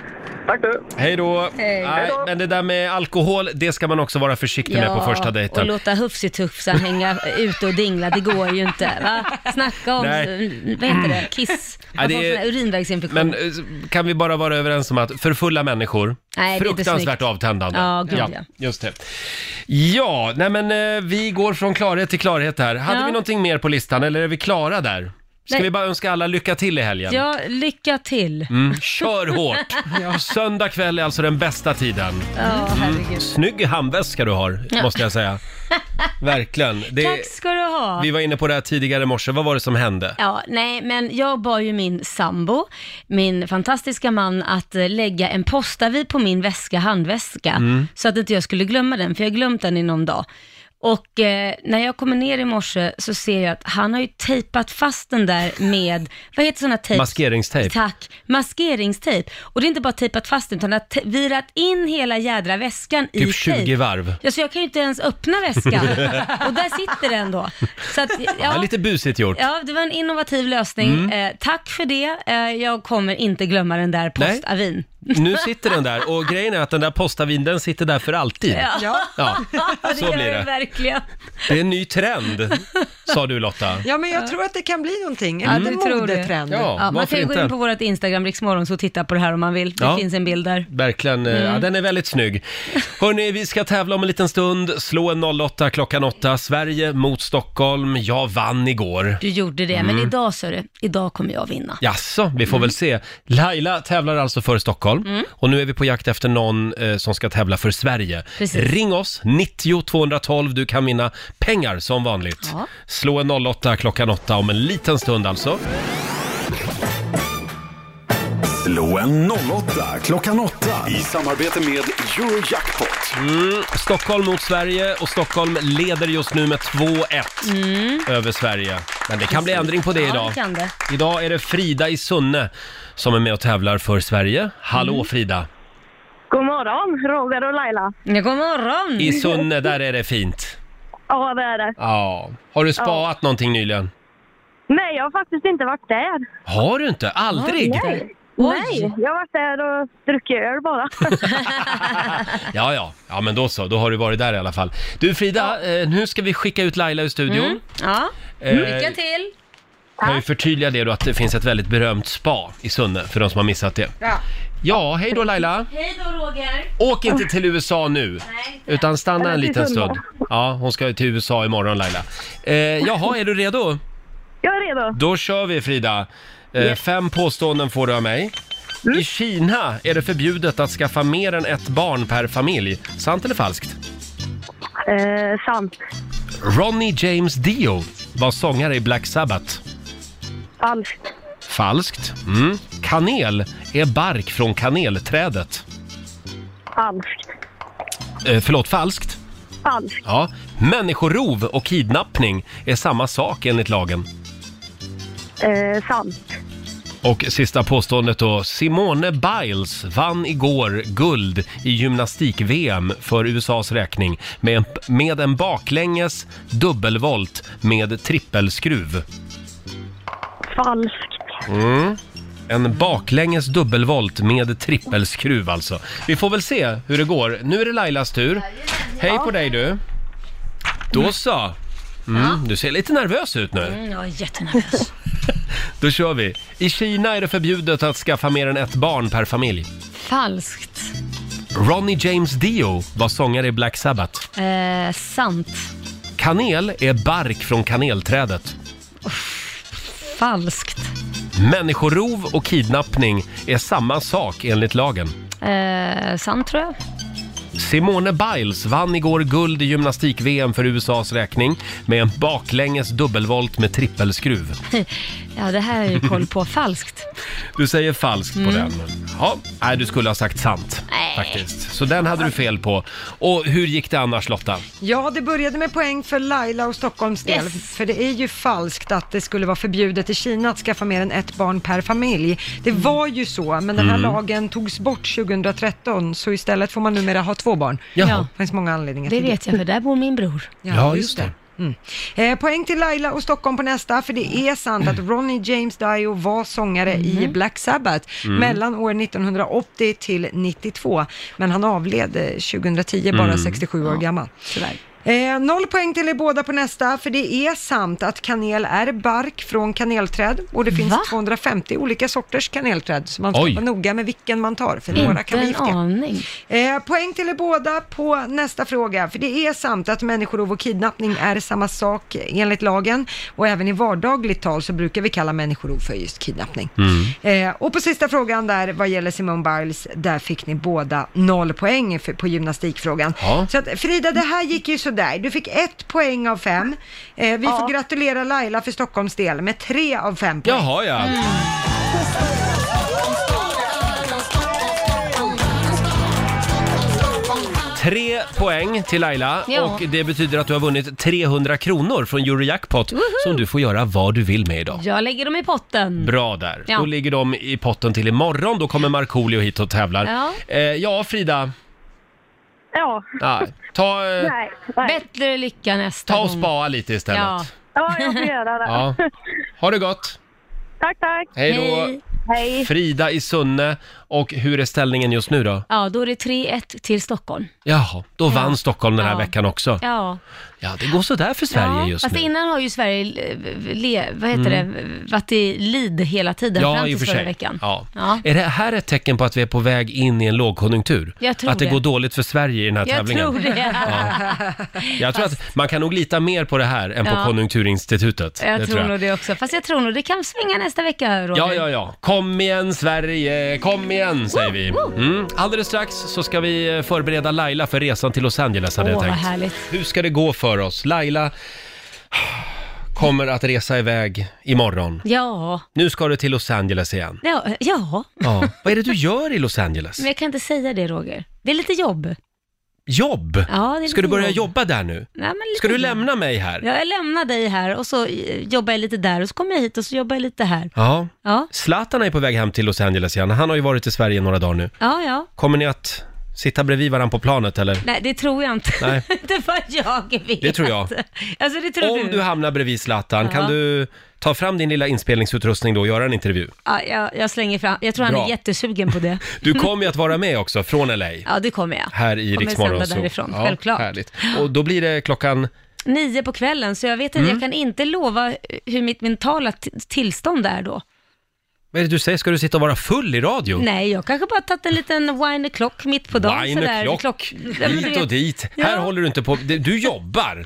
Speaker 10: Tack du!
Speaker 1: Hej då.
Speaker 2: Hej.
Speaker 1: Nej, men det där med alkohol, det ska man också vara försiktig med på första
Speaker 2: och
Speaker 1: dejten.
Speaker 2: låta Hufsitufsan hänga ute och dingla, det går ju inte. Va? Snacka om,
Speaker 1: Nej.
Speaker 2: vad heter det, kiss. Man
Speaker 1: det
Speaker 2: får
Speaker 1: är-
Speaker 2: sån här urinvägsinfektion.
Speaker 1: Men eh, kan vi bara vara överens om att för fulla människor,
Speaker 2: Nej, det är inte
Speaker 1: fruktansvärt
Speaker 2: snyggt.
Speaker 1: avtändande.
Speaker 2: Ja, gud, ja.
Speaker 1: Just det. Ja, nej men eh, vi går från klarhet till klarhet här. Hade
Speaker 2: Ja.
Speaker 1: vi någonting mer på listan eller är vi klara där? Ska
Speaker 2: Nej.
Speaker 1: vi bara önska alla lycka till i helgen?
Speaker 2: Ja, lycka till.
Speaker 1: Mm. Kör
Speaker 2: [LAUGHS]
Speaker 1: hårt! Söndag kväll är alltså den bästa tiden. Mm.
Speaker 2: Ja, herregud.
Speaker 1: Snygg handväska du har,
Speaker 2: Ja.
Speaker 1: måste jag
Speaker 2: [LAUGHS]
Speaker 1: säga. Verkligen. Det-
Speaker 2: Tack ska du ha.
Speaker 1: vi var inne på det här tidigare i morse, vad var det som hände?
Speaker 2: Ja, nej, men jag bad ju min sambo, min fantastiska man, att eh, lägga en postavi på min väska, handväska,
Speaker 11: Mm.
Speaker 2: så att inte jag skulle glömma den, för jag har glömt den i någon dag. Och eh, när jag kommer ner i morse så ser jag att han har ju tejpat fast den där med, vad heter sådana tejp?
Speaker 1: Maskeringstejp. Typ
Speaker 2: Tack, maskeringstejp. Och det är inte bara tejpat fast den, utan han har te- virat in hela jädra väskan i
Speaker 1: Typ 20
Speaker 2: tejp.
Speaker 1: varv.
Speaker 2: Ja, så jag kan ju inte ens öppna
Speaker 1: [LAUGHS]
Speaker 2: väskan. och där sitter den då. Så att,
Speaker 1: Ja, lite busigt gjort.
Speaker 2: Ja, det var en innovativ lösning.
Speaker 1: Mm.
Speaker 2: Eh, tack för det. Eh, jag kommer inte glömma den där
Speaker 1: Nej. [LAUGHS]
Speaker 2: postavin.
Speaker 1: Nu sitter den där och grejen är att den där postavin, den sitter där för alltid.
Speaker 2: Ja,
Speaker 1: Ja,
Speaker 2: det
Speaker 1: så
Speaker 2: gör
Speaker 1: blir
Speaker 2: den
Speaker 1: det.
Speaker 2: verkligen.
Speaker 1: Det är en ny trend, sa du Lotta.
Speaker 3: Ja, men jag tror att det kan bli någonting.
Speaker 2: Ja,
Speaker 3: En
Speaker 2: det
Speaker 3: liten
Speaker 2: tror det.
Speaker 3: modetrend.
Speaker 1: Ja,
Speaker 2: man
Speaker 1: varför
Speaker 2: kan ju gå
Speaker 1: inte?
Speaker 2: in på vårt Instagram, Riksmorgon, så titta på det här om man vill. Det
Speaker 1: Ja.
Speaker 2: finns en bild där.
Speaker 1: Verkligen, eh,
Speaker 2: Mm.
Speaker 1: ja, den är väldigt snygg. Hörni, vi ska tävla om en liten stund. Slå en 08 klockan 8. Sverige mot Stockholm. Jag vann igår.
Speaker 2: Du gjorde det,
Speaker 1: Mm.
Speaker 2: men idag så är det, idag kommer jag vinna.
Speaker 1: Jaså, vi får väl se. Laila tävlar alltså för Stockholm
Speaker 2: Mm.
Speaker 1: och nu är vi på jakt efter någon eh, som ska tävla för Sverige.
Speaker 2: Precis.
Speaker 1: Ring oss, 90 212. Du kan vinna pengar som vanligt.
Speaker 2: Ja.
Speaker 1: Slå en 08 klockan 8 om en liten stund alltså.
Speaker 4: Slå en 08 klockan 8 i samarbete med Eurojackpot.
Speaker 1: Mm, Stockholm mot Sverige och Stockholm leder just nu med 2-1
Speaker 2: Mm.
Speaker 1: över Sverige. Men det kan bli ändring på det
Speaker 2: ja,
Speaker 1: idag.
Speaker 2: Det kan det.
Speaker 1: Idag är det Frida i Sunne som är med och tävlar för Sverige. Hallå
Speaker 2: Mm.
Speaker 1: Frida!
Speaker 9: God morgon, Roger och Laila.
Speaker 2: Ja, god morgon!
Speaker 1: I Sunne, där är det fint.
Speaker 9: Ja, det är det.
Speaker 1: Ja. Har du spaat någonting nyligen?
Speaker 9: Nej, jag har faktiskt inte varit där.
Speaker 1: Har du inte? Aldrig?
Speaker 9: Nej. Nej, jag har varit där och druckit öl bara. [LAUGHS]
Speaker 1: Ja, ja. Ja, men då så. Då har du varit där i alla fall. Du Frida, eh, nu ska vi skicka ut Laila ur studion.
Speaker 2: Mm. Ja,
Speaker 1: Eh,
Speaker 2: lycka till!
Speaker 1: Kan ju förtydliga det då att det finns ett väldigt berömt spa i Sunne för de som har missat det.
Speaker 2: Ja.
Speaker 1: Ja, hej då Laila!
Speaker 2: Hej då Roger!
Speaker 1: Åk inte till USA nu, utan stanna en
Speaker 2: Eller till
Speaker 1: liten
Speaker 2: Sunne.
Speaker 1: stund. Ja, hon ska ju till USA imorgon Laila. Eh, jaha, är du redo?
Speaker 9: Jag är redo.
Speaker 1: Då kör vi Frida. Eh, Fem påståenden får du av mig. I Kina är det förbjudet att skaffa mer än ett barn per familj. Sant eller falskt?
Speaker 9: Eh, sant.
Speaker 1: Ronnie James Dio var sångare i Black Sabbath.
Speaker 9: Falskt.
Speaker 1: Falskt. Mm. Kanel är bark från kanelträdet.
Speaker 9: Falskt.
Speaker 1: Eh, förlåt, falskt?
Speaker 9: Falskt.
Speaker 1: Ja. Människorov och kidnappning är samma sak enligt lagen.
Speaker 9: Eh, sant.
Speaker 1: Och sista påståendet då. Simone Biles vann igår guld i gymnastik-VM för USAs räkning med en, med en baklänges dubbelvolt med trippelskruv.
Speaker 9: Falskt.
Speaker 1: Mm. En baklänges dubbelvolt med trippelskruv alltså. Vi får väl se hur det går. Nu är det Lailas tur. Hej på dig du. Då så. Mm, du ser lite nervös ut nu.
Speaker 2: Mm, jag
Speaker 9: [LAUGHS]
Speaker 2: är jättenervös.
Speaker 1: Då kör vi. I Kina är det förbjudet att skaffa mer än ett barn per familj.
Speaker 2: Falskt.
Speaker 1: Ronnie James Dio var sångare i Black Sabbath.
Speaker 2: Eh, sant.
Speaker 1: Kanel är bark från kanelträdet.
Speaker 2: Falskt.
Speaker 1: Människorov och kidnappning är samma sak enligt lagen.
Speaker 2: Eh, sant tror jag.
Speaker 1: Simone Biles vann igår guld i gymnastik-VM för USAs räkning med en baklänges dubbelvolt med trippelskruv.
Speaker 2: Ja, det här är ju
Speaker 9: [LAUGHS]
Speaker 2: koll på. Falskt.
Speaker 1: Du säger falskt på
Speaker 2: Mm.
Speaker 1: den. Ja, nej, du skulle ha sagt sant faktiskt. Så den hade du fel på. Och hur gick det annars Lotta?
Speaker 3: Ja, det började med poäng för Laila och Stockholms del.
Speaker 2: Yes.
Speaker 3: För det är ju falskt att det skulle vara förbjudet i Kina att skaffa mer än ett barn per familj. Det var ju så, men den här
Speaker 1: Mm.
Speaker 3: lagen togs bort 2013, så istället får man numera ha två barn.
Speaker 1: Jaha. Ja.
Speaker 3: Det finns många anledningar
Speaker 2: Det
Speaker 3: till
Speaker 2: vet jag, för där bor min bror.
Speaker 1: Ja, just det.
Speaker 3: Mm. Eh, poäng till Laila och Stockholm på nästa, för det
Speaker 1: Mm.
Speaker 3: är sant att Ronnie James Dio var sångare i Black Sabbath
Speaker 1: Mm.
Speaker 3: mellan år 1980 till 92, men han avled eh, 2010, bara
Speaker 1: Mm.
Speaker 3: 67 år gammal. Eh, noll poäng till er båda på nästa, för det är sant att kanel är bark från kanelträd och det finns 250 olika sorters kanelträd, så man ska
Speaker 2: Oj.
Speaker 3: vara noga med vilken man tar, för några
Speaker 2: Inte
Speaker 3: kan vara
Speaker 2: en
Speaker 3: giftiga.
Speaker 2: aning.
Speaker 3: Eh, poäng till er båda på nästa fråga, för det är sant att människorov och kidnappning är samma sak enligt lagen och även i vardagligt tal så brukar vi kalla människorov för just kidnappning. Eh, och på sista frågan där, vad gäller Simone Biles, där fick ni båda noll poäng för, på gymnastikfrågan.
Speaker 11: Ja.
Speaker 3: Så att, Frida, det här gick ju sådär. Du fick ett poäng av fem. Eh, vi får gratulera Laila för Stockholms del med tre av fem poäng.
Speaker 1: Jaha, ja.
Speaker 2: Mm.
Speaker 1: Tre poäng till Laila
Speaker 2: Ja.
Speaker 1: och det betyder att du har vunnit 300 kronor från Eurojackpot som du får göra vad du vill med idag.
Speaker 2: Jag lägger dem i potten.
Speaker 1: Bra där.
Speaker 2: Ja.
Speaker 1: Då ligger de i potten till imorgon. Då kommer Markoolio hit och tävlar.
Speaker 2: Ja.
Speaker 1: Eh, ja, Frida.
Speaker 9: Ja.
Speaker 1: Ja, ta, eh,
Speaker 2: Bättre lycka nästa
Speaker 1: ta
Speaker 2: gång.
Speaker 1: och spara lite istället.
Speaker 2: Ja.
Speaker 9: ja, jag får göra det.
Speaker 1: Ja. Ha det gott!
Speaker 9: Tack, tack.
Speaker 1: Hej då.
Speaker 2: Hej.
Speaker 1: Frida i Sunne. Och hur är ställningen just nu då?
Speaker 2: Ja, då är det 3-1 till Stockholm.
Speaker 1: Jaha, då
Speaker 2: Ja.
Speaker 1: vann Stockholm den här
Speaker 2: Ja.
Speaker 1: veckan också. Ja.
Speaker 2: Ja.
Speaker 1: det går sådär för Sverige
Speaker 2: ja,
Speaker 1: just
Speaker 2: fast
Speaker 1: nu.
Speaker 2: innan har ju Sverige, eh, le, vad heter
Speaker 1: Mm.
Speaker 2: det, varit i lid hela tiden
Speaker 1: Ja,
Speaker 2: fram
Speaker 1: i och för
Speaker 2: till förra
Speaker 1: sig.
Speaker 2: veckan.
Speaker 1: Ja.
Speaker 2: Ja.
Speaker 1: Är det här ett tecken på att vi är på väg in i en lågkonjunktur?
Speaker 2: Jag tror
Speaker 1: att det,
Speaker 2: det.
Speaker 1: går dåligt för Sverige i den här
Speaker 2: Jag
Speaker 1: tävlingen?
Speaker 2: tror det. [LAUGHS]
Speaker 1: Jag tror att man kan nog lita mer på det här än på
Speaker 2: Ja.
Speaker 1: Konjunkturinstitutet.
Speaker 2: Jag
Speaker 1: det
Speaker 2: tror nog det också. Fast jag tror nog det kan svänga nästa vecka, Roger.
Speaker 1: Ja, ja, ja. Kom igen Sverige, kom igen säger vi. Mm. Alldeles strax så ska vi eh, förbereda Laila för resan till Los Angeles hade jag
Speaker 2: Åh, vad
Speaker 1: tänkt.
Speaker 2: härligt.
Speaker 1: Hur ska det gå för oss? Laila kommer att resa iväg imorgon.
Speaker 2: Ja.
Speaker 1: Nu ska du till Los Angeles igen.
Speaker 2: Ja, ja.
Speaker 1: Ja. Vad är det du gör i Los Angeles?
Speaker 2: men jag kan inte säga det, Roger. Det är lite jobb.
Speaker 1: Jobb?
Speaker 2: Ja, det är
Speaker 1: ska du
Speaker 2: lite
Speaker 1: börja
Speaker 2: jobb.
Speaker 1: jobba där nu?
Speaker 2: Nej, men lite
Speaker 1: Ska du
Speaker 2: jobb.
Speaker 1: lämna mig här?
Speaker 2: Ja, jag lämnar dig här och så eh, jobbar jag lite där och så kommer jag hit och så jobbar jag lite här.
Speaker 1: Ja.
Speaker 2: Ja,
Speaker 1: Zlatan är på väg hem till Los Angeles igen. Han har ju varit i Sverige några dagar nu.
Speaker 2: ja. ja.
Speaker 1: Kommer ni att sitta bredvid varandra på planet eller?
Speaker 2: Nej, det tror jag [LAUGHS] inte.
Speaker 1: Nej.
Speaker 2: det var jag vet.
Speaker 1: Det tror jag.
Speaker 2: Alltså, det tror
Speaker 1: Om
Speaker 2: du.
Speaker 1: du hamnar bredvid Zlatan,
Speaker 2: Ja.
Speaker 1: kan du ta fram din lilla inspelningsutrustning då och göra en intervju?
Speaker 2: Ja, jag, jag slänger fram. Jag tror
Speaker 1: Bra.
Speaker 2: han är jättesugen på det. [LAUGHS]
Speaker 1: Du kommer ju att vara med också från LA.
Speaker 2: Ja, det
Speaker 1: [LAUGHS]
Speaker 2: kommer jag.
Speaker 1: Här i
Speaker 2: Kommer
Speaker 1: Rix
Speaker 2: sända
Speaker 1: Morgonzoo.
Speaker 2: därifrån, självklart.
Speaker 1: Härligt. Och då blir det klockan...
Speaker 2: Nio på kvällen, så jag vet inte,
Speaker 1: Mm.
Speaker 2: jag kan inte lova hur mitt mentala t- tillstånd är då.
Speaker 1: Vad är det du säger? Ska du sitta och vara full i radio?
Speaker 2: Nej, jag kanske bara tagit en liten wine o'clock mitt på dagen.
Speaker 1: Wine
Speaker 2: sådär,
Speaker 1: o'clock,
Speaker 2: klock- Ja, men du
Speaker 1: Hit och
Speaker 2: vet-
Speaker 1: dit.
Speaker 2: Ja.
Speaker 1: Här håller du inte på... Du jobbar!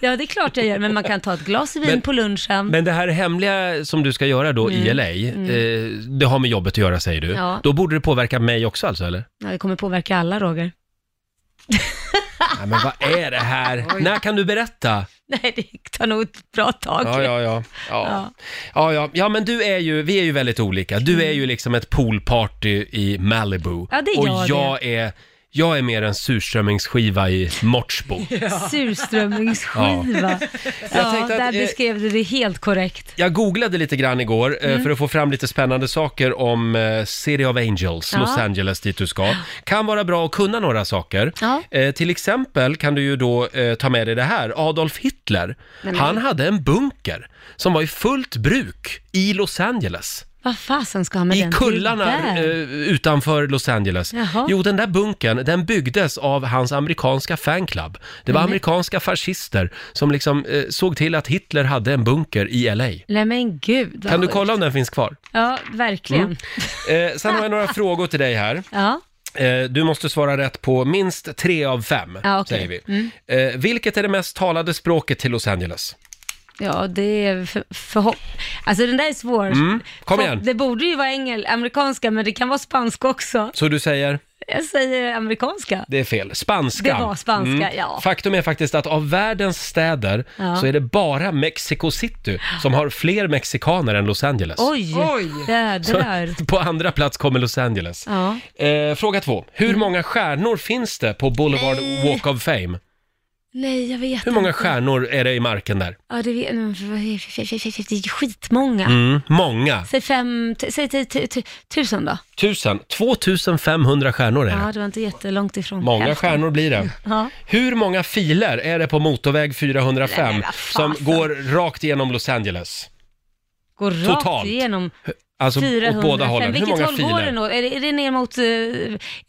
Speaker 2: Ja, det är klart jag gör, men man kan ta ett glas vin
Speaker 1: Men-
Speaker 2: på lunchen.
Speaker 1: Men det här hemliga som du ska göra då i
Speaker 2: Mm.
Speaker 1: LA,
Speaker 2: Mm.
Speaker 1: eh, det har med jobbet att göra säger du.
Speaker 2: Ja.
Speaker 1: Då borde det påverka mig också alltså,
Speaker 2: [LAUGHS]
Speaker 1: eller?
Speaker 2: Ja, det kommer påverka alla, Roger. [LAUGHS]
Speaker 1: Nej, men vad är det här? När kan du berätta?
Speaker 2: Nej, det tar nog ett bra [LAUGHS] tag.
Speaker 1: Ja, ja, ja. Ja.
Speaker 2: Ja.
Speaker 1: Ja, ja. ja, men du är ju, vi är ju väldigt olika. Du är ju liksom ett poolparty i Malibu.
Speaker 2: Mm. Ja, det är
Speaker 1: Och
Speaker 2: jag
Speaker 1: jag är, jag är mer en surströmmingsskiva i
Speaker 2: [LAUGHS]
Speaker 1: Morsbo.
Speaker 2: Surströmmingsskiva. Ja,
Speaker 1: Jag tänkte att,
Speaker 2: där
Speaker 1: eh,
Speaker 2: beskrev du det helt korrekt.
Speaker 1: Jag googlade lite grann igår eh,
Speaker 2: Mm.
Speaker 1: för att få fram lite spännande saker om eh, City of Angels,
Speaker 2: Ja.
Speaker 1: Los Angeles dit du ska. Kan vara bra att kunna några saker.
Speaker 2: Ja.
Speaker 1: Eh, till exempel kan du ju då eh, ta med dig det här, Adolf Hitler.
Speaker 2: men-
Speaker 1: Han hade en bunker som var i fullt bruk i Los Angeles.
Speaker 2: Vad fasen ska han med
Speaker 1: I
Speaker 2: den till
Speaker 1: kullarna
Speaker 2: där?
Speaker 1: eh, utanför Los Angeles.
Speaker 2: Jaha.
Speaker 1: Jo, den där bunkern, den byggdes av hans amerikanska fanclub. Det var
Speaker 2: Nej, men-
Speaker 1: amerikanska fascister som liksom eh, såg till att Hitler hade en bunker i LA.
Speaker 2: Nej men gud. vad
Speaker 1: Kan du
Speaker 2: sjukt.
Speaker 1: kolla om den finns kvar?
Speaker 2: Ja, verkligen.
Speaker 1: Mm. Eh, sen har jag
Speaker 2: [LAUGHS]
Speaker 1: några frågor till dig här.
Speaker 2: Ja.
Speaker 1: Eh, du måste svara rätt på minst tre av fem,
Speaker 2: Ja, okej.
Speaker 1: säger vi.
Speaker 2: Mm.
Speaker 1: Eh, vilket är det mest talade språket till Los Angeles?
Speaker 2: Ja, det är för, förhopp... Alltså den där är svår.
Speaker 1: Mm. Kom
Speaker 2: För-
Speaker 1: igen,
Speaker 2: Det borde ju vara engel, amerikanska, men det kan vara spanska också.
Speaker 1: så du säger?
Speaker 2: Jag säger amerikanska.
Speaker 1: Det är fel. Spanska.
Speaker 2: Det var spanska, ja.
Speaker 1: Faktum är faktiskt att av världens städer
Speaker 2: Ja.
Speaker 1: så är det bara Mexico City som har fler mexikaner än Los Angeles.
Speaker 2: Oj, jädrar.
Speaker 1: Så på andra plats kommer Los Angeles.
Speaker 2: Ja. Mm.
Speaker 1: Eh, fråga två. Hur många stjärnor finns det på Boulevard
Speaker 2: Nej.
Speaker 1: Walk of Fame?
Speaker 2: Nej, jag vet
Speaker 1: Hur många
Speaker 2: inte.
Speaker 1: stjärnor är det i marken där?
Speaker 2: Ja, det vet men för- för- för- för- Det är ju skitmånga.
Speaker 1: Mm, många.
Speaker 2: Säg fem, t- säg t- t- t- tusen då.
Speaker 1: Tusen. 2500 stjärnor är det.
Speaker 2: Ja, det var inte jättelångt ifrån.
Speaker 1: Många
Speaker 2: Hälften. Mm.
Speaker 1: stjärnor blir det.
Speaker 2: Ja.
Speaker 1: Hur många filer är det på motorväg 405
Speaker 2: Nej, men vad
Speaker 1: som går rakt igenom Los Angeles?
Speaker 2: Går rakt
Speaker 1: Totalt.
Speaker 2: igenom
Speaker 1: Alltså åt
Speaker 2: 405.
Speaker 1: båda hållen.
Speaker 2: Vilket
Speaker 1: Hur många
Speaker 2: håll går
Speaker 1: filer?
Speaker 2: den åt? Är det, är, det ner mot, eh,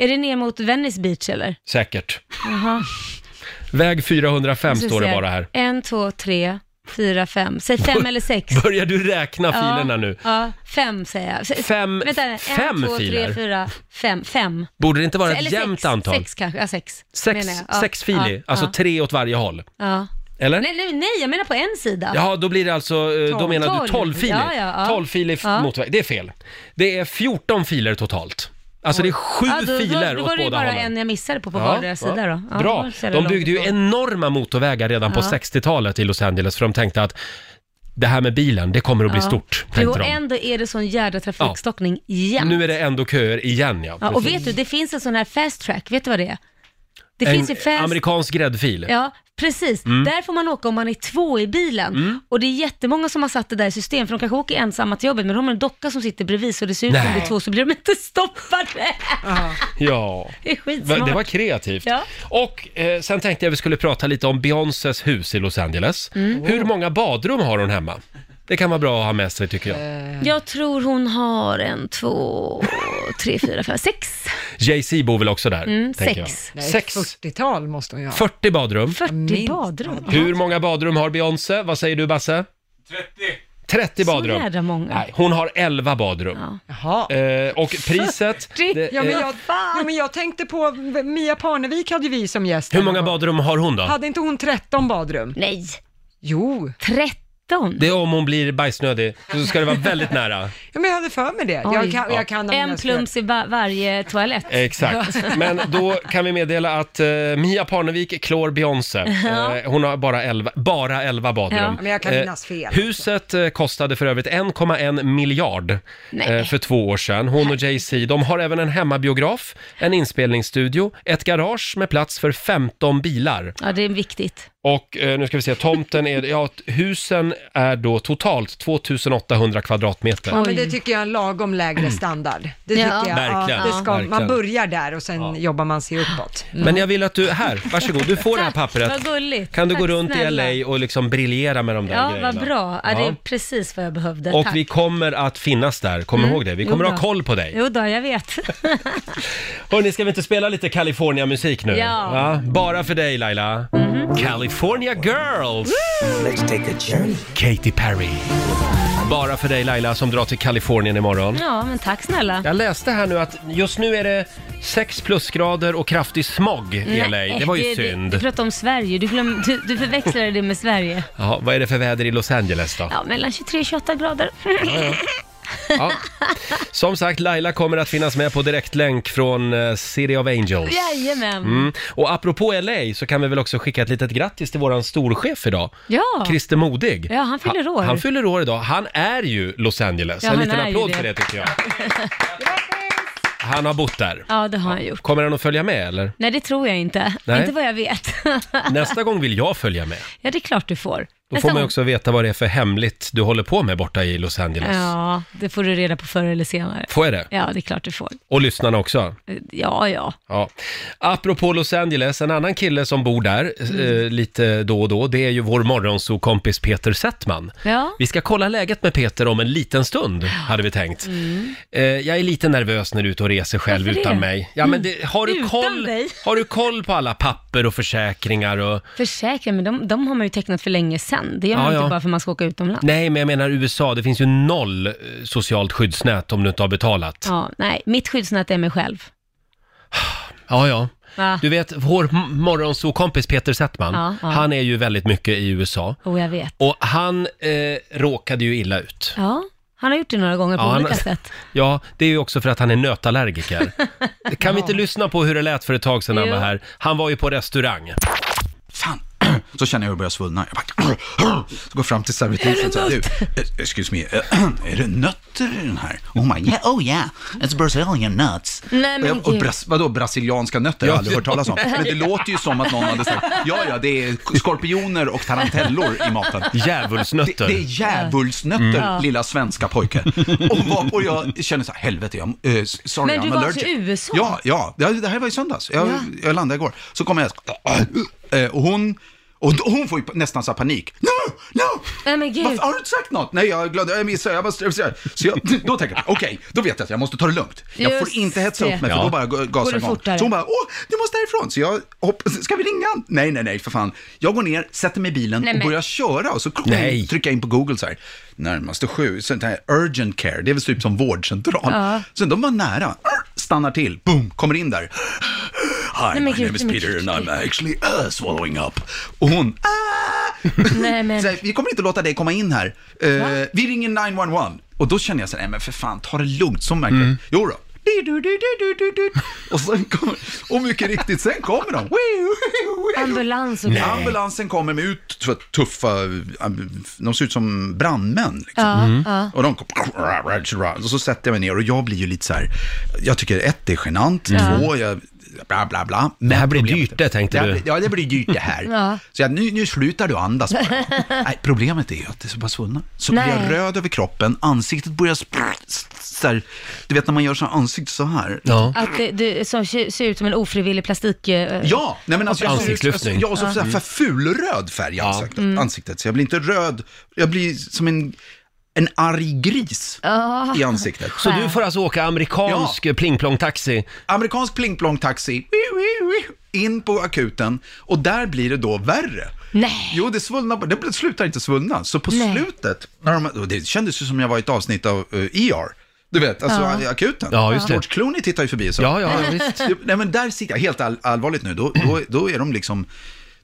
Speaker 2: är det ner mot Venice Beach eller?
Speaker 1: Säkert.
Speaker 2: Jaha.
Speaker 1: Väg 405
Speaker 2: Nu ska vi
Speaker 1: står det
Speaker 2: se.
Speaker 1: bara här.
Speaker 2: En, två, tre, fyra, fem. Säg fem eller sex.
Speaker 1: Börjar du räkna filerna nu?
Speaker 2: Ja, fem säger jag. S-
Speaker 1: Fem-
Speaker 2: vänta, en,
Speaker 1: fem
Speaker 2: två,
Speaker 1: filer?
Speaker 2: tre, fyra, fem. Fem.
Speaker 1: Borde det inte vara
Speaker 2: Eller
Speaker 1: ett jämnt
Speaker 2: sex,
Speaker 1: antal?
Speaker 2: Sex kanske, ja sex.
Speaker 1: Sex,
Speaker 2: menar jag. Ja,
Speaker 1: sexfilig,
Speaker 2: ja,
Speaker 1: alltså
Speaker 2: ja,
Speaker 1: tre åt varje håll.
Speaker 2: ja.
Speaker 1: Eller?
Speaker 2: Nej, nej, nej, jag menar på en sida.
Speaker 1: Ja, då blir det alltså, eh, då
Speaker 2: Tolv.
Speaker 1: menar du
Speaker 2: Tolv.
Speaker 1: 12 filer.
Speaker 2: Ja, ja, ja.
Speaker 1: 12 filer
Speaker 2: Ja.
Speaker 1: motväg. Det är fel. Det är 14 filer totalt. Alltså det är sju
Speaker 2: Ja, då,
Speaker 1: filer
Speaker 2: då, då
Speaker 1: åt
Speaker 2: var det ju
Speaker 1: båda
Speaker 2: bara
Speaker 1: hållen.
Speaker 2: en jag missade på, på
Speaker 1: Ja,
Speaker 2: vardera
Speaker 1: ja.
Speaker 2: sida då. Ja,
Speaker 1: Bra.
Speaker 2: då ser det
Speaker 1: De
Speaker 2: långt
Speaker 1: byggde ju
Speaker 2: ut.
Speaker 1: enorma motorvägar redan på
Speaker 2: Ja.
Speaker 1: 60-talet i Los Angeles för de tänkte att det här med bilen, det kommer att bli
Speaker 2: Ja.
Speaker 1: stort.
Speaker 2: Jo,
Speaker 1: Tänkte
Speaker 2: och
Speaker 1: de.
Speaker 2: ändå är det sån jädra trafikstockning igen.
Speaker 1: Nu är det ändå köer igen ja.
Speaker 2: ja, och
Speaker 1: Precis.
Speaker 2: vet du, det finns en sån här fast track, vet du vad det är? Det
Speaker 1: en
Speaker 2: finns ju fast...
Speaker 1: amerikansk gräddfil.
Speaker 2: Ja, precis.
Speaker 1: Mm.
Speaker 2: Där får man åka om man är två i bilen.
Speaker 1: Mm.
Speaker 2: Och det är jättemånga som har satt det där i system, för de kanske åker ensamma till jobbet, men de har en docka som sitter bredvid, så det ser ut som
Speaker 1: Nej.
Speaker 2: det är två, så blir [LAUGHS] de inte stoppade.
Speaker 1: Ja.
Speaker 2: Det är
Speaker 1: Va-
Speaker 2: skitsmart.
Speaker 1: Det var kreativt.
Speaker 2: Ja.
Speaker 1: Och eh, sen tänkte jag vi skulle prata lite om Beyoncés hus i Los Angeles.
Speaker 2: Mm.
Speaker 1: Hur många badrum har hon hemma? Det kan vara bra att ha med sig tycker
Speaker 2: Eh.
Speaker 1: jag.
Speaker 2: Jag tror hon har en, två, tre, fyra, fem, sex.
Speaker 1: Jay-Z bor väl också där?
Speaker 2: Mm,
Speaker 1: tänker jag.
Speaker 2: sex.
Speaker 3: Nej,
Speaker 1: Sex.
Speaker 3: 40-tal måste hon ju ha.
Speaker 1: 40 badrum.
Speaker 2: 40 badrum.
Speaker 1: Hur många badrum har Beyoncé? Vad säger du Basse? 30. 30 badrum.
Speaker 2: Så jädra många.
Speaker 1: Nej, hon har 11 badrum. Eh, och
Speaker 3: [LAUGHS]
Speaker 1: priset? det
Speaker 3: ja, men
Speaker 1: är-
Speaker 3: jag, ja, men jag tänkte på, Mia Parnevik hade ju vi som gäst.
Speaker 1: Hur många badrum har hon då?
Speaker 3: Hade inte hon 13 badrum?
Speaker 2: Nej.
Speaker 3: Jo.
Speaker 2: 13?
Speaker 1: Det är om hon blir bajsnödig, så ska det vara väldigt nära.
Speaker 3: Ja, men jag hade för mig det. Jag kan, jag kan ha mina
Speaker 2: en plums i va- varje toalett.
Speaker 1: Exakt, men då kan vi meddela att eh, Mia Parnevik klår Beyoncé.
Speaker 2: Ja.
Speaker 1: Eh, hon har bara 11, bara 11 badrum.
Speaker 2: Ja, men jag kan
Speaker 1: Eh,
Speaker 2: minnas fel.
Speaker 1: Huset eh, kostade för övrigt 1,1 miljard
Speaker 2: Nej.
Speaker 1: eh, för två år sedan. Hon och Jay-Z, de har även en hemmabiograf, en inspelningsstudio, ett garage med plats för 15 bilar.
Speaker 2: [LAUGHS] Ja, det är viktigt.
Speaker 1: Och eh, nu ska vi se, tomten är, ja, husen är då totalt 2800 kvadratmeter.
Speaker 3: Ja, men det tycker jag är en lagom lägre standard. Det
Speaker 2: Ja.
Speaker 3: tycker jag.
Speaker 1: Verkligen,
Speaker 3: det ska,
Speaker 1: verkligen.
Speaker 3: man börjar där och sen jobbar man sig uppåt.
Speaker 1: Men jag vill att du, här, varsågod, du får det här pappret.
Speaker 2: Vad gulligt.
Speaker 1: Kan du
Speaker 2: Tack
Speaker 1: gå runt
Speaker 2: snälla.
Speaker 1: i LA och liksom briljera med de där
Speaker 2: Ja,
Speaker 1: grejerna?
Speaker 2: vad bra. Ja, det är
Speaker 1: Ja.
Speaker 2: precis vad jag behövde.
Speaker 1: Och
Speaker 2: Tack.
Speaker 1: vi kommer att finnas där, kom
Speaker 2: Mm.
Speaker 1: ihåg det. Vi kommer
Speaker 2: Jo
Speaker 1: ha
Speaker 2: då.
Speaker 1: koll på dig.
Speaker 2: Jo då, jag vet. [LAUGHS]
Speaker 1: Hörni, ska vi inte spela lite California-musik nu?
Speaker 2: Ja. Mhm.
Speaker 1: bara för dig Laila. California Girls! Let's take a journey. Katy Perry. Bara för dig Laila som drar till Kalifornien imorgon.
Speaker 2: Ja, men tack snälla.
Speaker 1: Jag läste här nu att just nu är det 6 plusgrader och kraftig smog i LA. Det
Speaker 2: [LAUGHS]
Speaker 1: var ju
Speaker 2: du,
Speaker 1: synd.
Speaker 2: Du, du pratar om Sverige, du, glöm, du, du förväxlade det med Sverige.
Speaker 1: Jaha, vad är det för väder i Los Angeles då?
Speaker 2: Ja, mellan 23 och 28 grader.
Speaker 1: Ja. Som sagt, Laila kommer att finnas med på direktlänk från eh, City of Angels.
Speaker 2: Jajamän.
Speaker 1: Mm. Och apropå LA så kan vi väl också skicka ett litet grattis till våran storchef idag.
Speaker 2: Ja.
Speaker 1: Christer Modig.
Speaker 2: Ja, han fyller år.
Speaker 1: Han, fyller år idag. Han är ju Los Angeles.
Speaker 2: Ja,
Speaker 1: en
Speaker 2: han
Speaker 1: liten
Speaker 2: är ju
Speaker 1: applåd
Speaker 2: det.
Speaker 1: för det tycker
Speaker 2: [LAUGHS]
Speaker 1: jag. Han har bott där.
Speaker 2: Ja, det har han gjort.
Speaker 1: Kommer han att följa med
Speaker 2: [LAUGHS]
Speaker 1: eller?
Speaker 2: Nej, det tror jag inte.
Speaker 1: Nej.
Speaker 2: Inte vad jag vet. [LAUGHS]
Speaker 1: Nästa gång vill jag följa med.
Speaker 2: Ja, det är klart du får.
Speaker 1: Då
Speaker 2: Nästa
Speaker 1: får man ju
Speaker 2: gång.
Speaker 1: också veta vad det är för hemligt du håller på med borta i Los Angeles.
Speaker 2: Ja, det får du reda på förr eller senare.
Speaker 1: Får jag det?
Speaker 2: Ja, det är klart du får.
Speaker 1: Och lyssnarna också.
Speaker 2: Ja, ja.
Speaker 1: Ja. Apropå Los Angeles, en annan kille som bor där
Speaker 2: Mm.
Speaker 1: eh, lite då och då, det är ju vår morgonsokompis Peter Settman.
Speaker 2: Ja.
Speaker 1: Vi ska kolla läget med Peter om en liten stund, hade vi tänkt.
Speaker 2: Mm.
Speaker 1: Eh, jag är lite nervös när du är ute och reser själv
Speaker 2: Varför det?
Speaker 1: utan mig. Ja, men det, har, du
Speaker 2: Utan
Speaker 1: koll,
Speaker 2: dig?
Speaker 1: har du koll på alla papper och försäkringar och...
Speaker 2: Försäkra, men de, de har man ju tecknat för länge sedan. Det gör
Speaker 1: Ja,
Speaker 2: man
Speaker 1: ja.
Speaker 2: inte bara för att man ska åka utomlands.
Speaker 1: Nej, men jag menar USA, det finns ju noll eh, socialt skyddsnät om du inte har betalat.
Speaker 2: Ja, nej, mitt skyddsnät är mig själv.
Speaker 1: Ja, ja.
Speaker 2: Va?
Speaker 1: Du vet, vår m- morgonsokompis Peter Settman,
Speaker 2: Ja, ja.
Speaker 1: han är ju väldigt mycket i USA.
Speaker 2: Och jag vet.
Speaker 1: Och han eh, råkade ju illa ut.
Speaker 2: Ja, han har gjort det några gånger på
Speaker 1: Ja, han-
Speaker 2: olika sätt.
Speaker 1: [LAUGHS] Ja, det är ju också för att han är
Speaker 2: [LAUGHS]
Speaker 1: nötallergiker. Kan vi inte lyssna på hur det lät för ett tag sedan han
Speaker 2: Jo.
Speaker 1: var här? Han var ju på restaurang.
Speaker 11: Fan! [CLEARS THROAT] Så känner jag hur det börjar svullna. Jag bara... [CLEARS THROAT] Så går fram till servitrisen och säger du, eh, excuse me, eh, [CLEARS THROAT] är det nötter i den här? Och hon bara, yeah, oh yeah, it's Brazilian nuts.
Speaker 2: Nej,
Speaker 11: och
Speaker 2: men
Speaker 11: jag, och
Speaker 2: gud.
Speaker 11: bras, vadå, brasilianska nötter? Jag har aldrig hört talas om. Men det låter ju som att någon hade sagt, ja ja, det är skorpioner och tarantellor i maten.
Speaker 1: Djävulsnötter.
Speaker 11: Det, det är djävulsnötter,
Speaker 2: Mm.
Speaker 11: lilla svenska pojke. Och varpå jag känner så här, helvete, jag, eh, sorry,
Speaker 2: Men du
Speaker 11: I'm
Speaker 2: var
Speaker 11: allergic.
Speaker 2: till USA?
Speaker 11: Ja, ja, det det här var i söndags. Jag,
Speaker 2: Ja.
Speaker 11: jag landade igår. Så kommer jag, eh, och hon, och Och då- hon får ju nästan så här panik. No, no!
Speaker 2: Nej men gud.
Speaker 11: Varför har du inte sagt något? Nej, jag glömde, jag missade, jag var stressad. Så jag, då tänker jag, okej, då vet jag att jag måste ta det lugnt. Jag får
Speaker 12: Just
Speaker 11: inte hetsa upp mig,
Speaker 12: det.
Speaker 11: för
Speaker 12: Ja.
Speaker 11: då bara ga-
Speaker 12: Går
Speaker 11: gasar
Speaker 12: det
Speaker 11: jag igång.
Speaker 12: fortare?
Speaker 11: Så hon bara, åh, du måste härifrån. Så jag hoppas, ska vi ringa han? Nej, nej, nej, för fan. Jag går ner, sätter mig i bilen
Speaker 12: Nej,
Speaker 11: och
Speaker 12: men-
Speaker 11: börjar köra och så
Speaker 12: Nej.
Speaker 11: trycker jag in på Google så här, närmaste sju, sånt här urgent care, det är väl typ som vårdcentral.
Speaker 12: Ja.
Speaker 11: Så de var nära, stannar till, boom, kommer in där. Hi,
Speaker 12: Nej, men
Speaker 11: my
Speaker 12: gud,
Speaker 11: name is
Speaker 12: nej, men
Speaker 11: Peter
Speaker 12: gud,
Speaker 11: and I'm
Speaker 12: gud.
Speaker 11: actually uh, swallowing up. Och hon, "Ah!"
Speaker 2: Nej, men...
Speaker 11: så här, vi kommer inte låta dig komma in här. Eh, vi ringer 911. Och då känner jag så här, nej men för fan, ta det lugnt, som märker mm. Jo då. Du, du, du, du, du,
Speaker 2: [LAUGHS]
Speaker 11: du, du. Och, sen kommer, och mycket riktigt, sen kommer de. [LAUGHS]
Speaker 2: Ambulans och grejer.
Speaker 11: Ambulansen kommer med ut så här tuffa, de ser ut som brandmän. Liksom.
Speaker 2: Ja, Mm. ja.
Speaker 11: Och de kom, och så sätter jag mig ner och jag blir ju lite så här, jag tycker ett, det är genant,
Speaker 12: Ja.
Speaker 11: två, jag, bla bla bla. Men
Speaker 1: Det här blir
Speaker 11: problemet-
Speaker 1: dyrt det, tänkte
Speaker 11: Det här
Speaker 1: du.
Speaker 11: blir- Ja, det blir dyrt det
Speaker 12: [LAUGHS]
Speaker 11: här.
Speaker 12: Ja.
Speaker 11: Så jag, nu, nu slutar
Speaker 12: [LAUGHS]
Speaker 11: du andas bara. Nej, problemet är ju att det är så bara svullnad. Så blir
Speaker 12: Nej.
Speaker 11: jag röd över kroppen, ansiktet börjar spr- s- så här, du vet när man gör så här ansikte så här.
Speaker 2: Att det, det som ser ser ut som en ofrivillig plastik... eh,
Speaker 11: Ja, nej men alltså jag, alltså,
Speaker 1: Ansiktslyftning.
Speaker 11: jag har så, så här
Speaker 2: Ja.
Speaker 11: för fulröd färg i ansiktet,
Speaker 2: Mm.
Speaker 11: ansiktet, så jag blir inte röd, jag blir som en, en arg gris i ansiktet.
Speaker 12: [LAUGHS]
Speaker 1: Så du får alltså åka amerikansk plingplong-taxi?
Speaker 11: Amerikansk plingplong-taxi, in på akuten och där blir det då värre.
Speaker 2: Nej.
Speaker 11: Jo, det, svullna, det bl- slutar inte svullna. Så på
Speaker 12: Nej.
Speaker 11: slutet, när de, och det kändes ju som jag var i ett avsnitt av eh, ER. Du vet, alltså
Speaker 12: Ja.
Speaker 11: akuten.
Speaker 12: Ja, just det.
Speaker 11: George Clooney tittar ju förbi så.
Speaker 12: Ja, ja, visst.
Speaker 11: [LAUGHS] Nej, men där sitter jag, helt all, allvarligt nu, då, då, då är de liksom,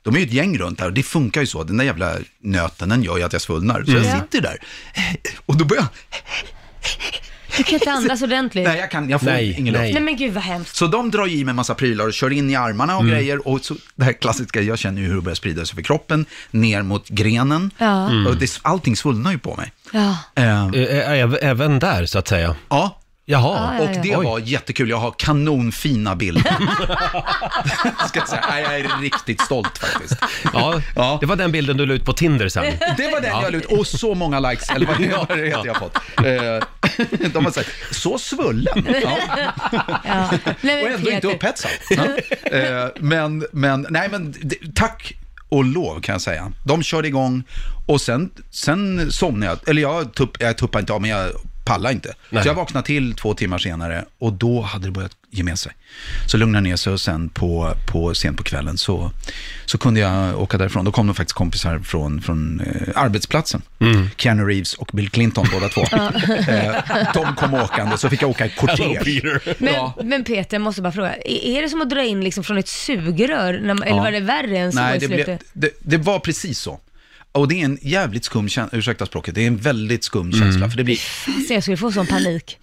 Speaker 11: de är ju ett gäng runt där och det funkar ju så. Den där jävla nöten, den gör ju att jag svullnar. Så
Speaker 2: Mm.
Speaker 11: jag sitter där Eh, och då börjar jag,
Speaker 2: Du kan inte andas ordentligt.
Speaker 11: nej jag kan, jag får
Speaker 1: Nej,
Speaker 11: ingen luft.
Speaker 2: Nej men gud vad hemskt.
Speaker 11: Så de drar i med massa prylar och kör in i armarna och
Speaker 12: Mm.
Speaker 11: grejer. Och så, det här klassiska, jag känner ju hur det börjar sprida sig för kroppen, ner mot grenen.
Speaker 2: Ja. Mm.
Speaker 11: Och det, allting svullnar ju på mig. Ehm,
Speaker 2: Ja.
Speaker 1: eh, Även där, så att säga?
Speaker 11: Ja.
Speaker 1: Jaha.
Speaker 11: och det
Speaker 1: Oj.
Speaker 11: var jättekul. Jag har kanonfina bilder. [LAUGHS] Ska jag, säga. Nej, jag är riktigt stolt faktiskt.
Speaker 1: Ja, det var den bilden du la ut på Tinder
Speaker 2: [LAUGHS]
Speaker 1: sen. [LAUGHS]
Speaker 11: Det var den
Speaker 1: Ja.
Speaker 11: jag la ut och så många likes, eller vad det var det heter jag fått. Eh, [LAUGHS] De har sagt, så svullen. Ja.
Speaker 2: Nej,
Speaker 11: [LAUGHS] Och
Speaker 2: men
Speaker 11: ändå inte
Speaker 2: Peter.
Speaker 11: upphetsad. Ja. Eh, men, men, nej men d- tack och lov kan jag säga. De körde igång och sen, sen somnade jag, eller jag, tupp, jag tuppade inte av men jag pallade inte. Så jag vaknade till två timmar senare och då hade det börjat ge med sig. Så lugnade jag ner sig och sen på, på, sent på kvällen så, så kunde jag åka därifrån. Då kom det faktiskt kompisar från, från eh, arbetsplatsen. Keanu Reeves och Bill Clinton båda två.
Speaker 2: Ja.
Speaker 11: eh, de kom åkande så fick jag åka i
Speaker 12: Hello,
Speaker 11: kortege.
Speaker 2: Men,
Speaker 11: Ja.
Speaker 2: men Peter, jag måste bara fråga. Är är det som att dra in liksom från ett sugrör? När, man- Eller
Speaker 11: Ja.
Speaker 2: var det värre än så
Speaker 11: Nej,
Speaker 2: i
Speaker 11: det,
Speaker 2: slutet?
Speaker 11: blev, det, det var precis så. Och det är en jävligt skum känsla, ursäkta språket, det är en väldigt skum
Speaker 1: Mm.
Speaker 11: känsla. För det blir,
Speaker 2: Så jag skulle få
Speaker 11: [LAUGHS]
Speaker 2: sån panik.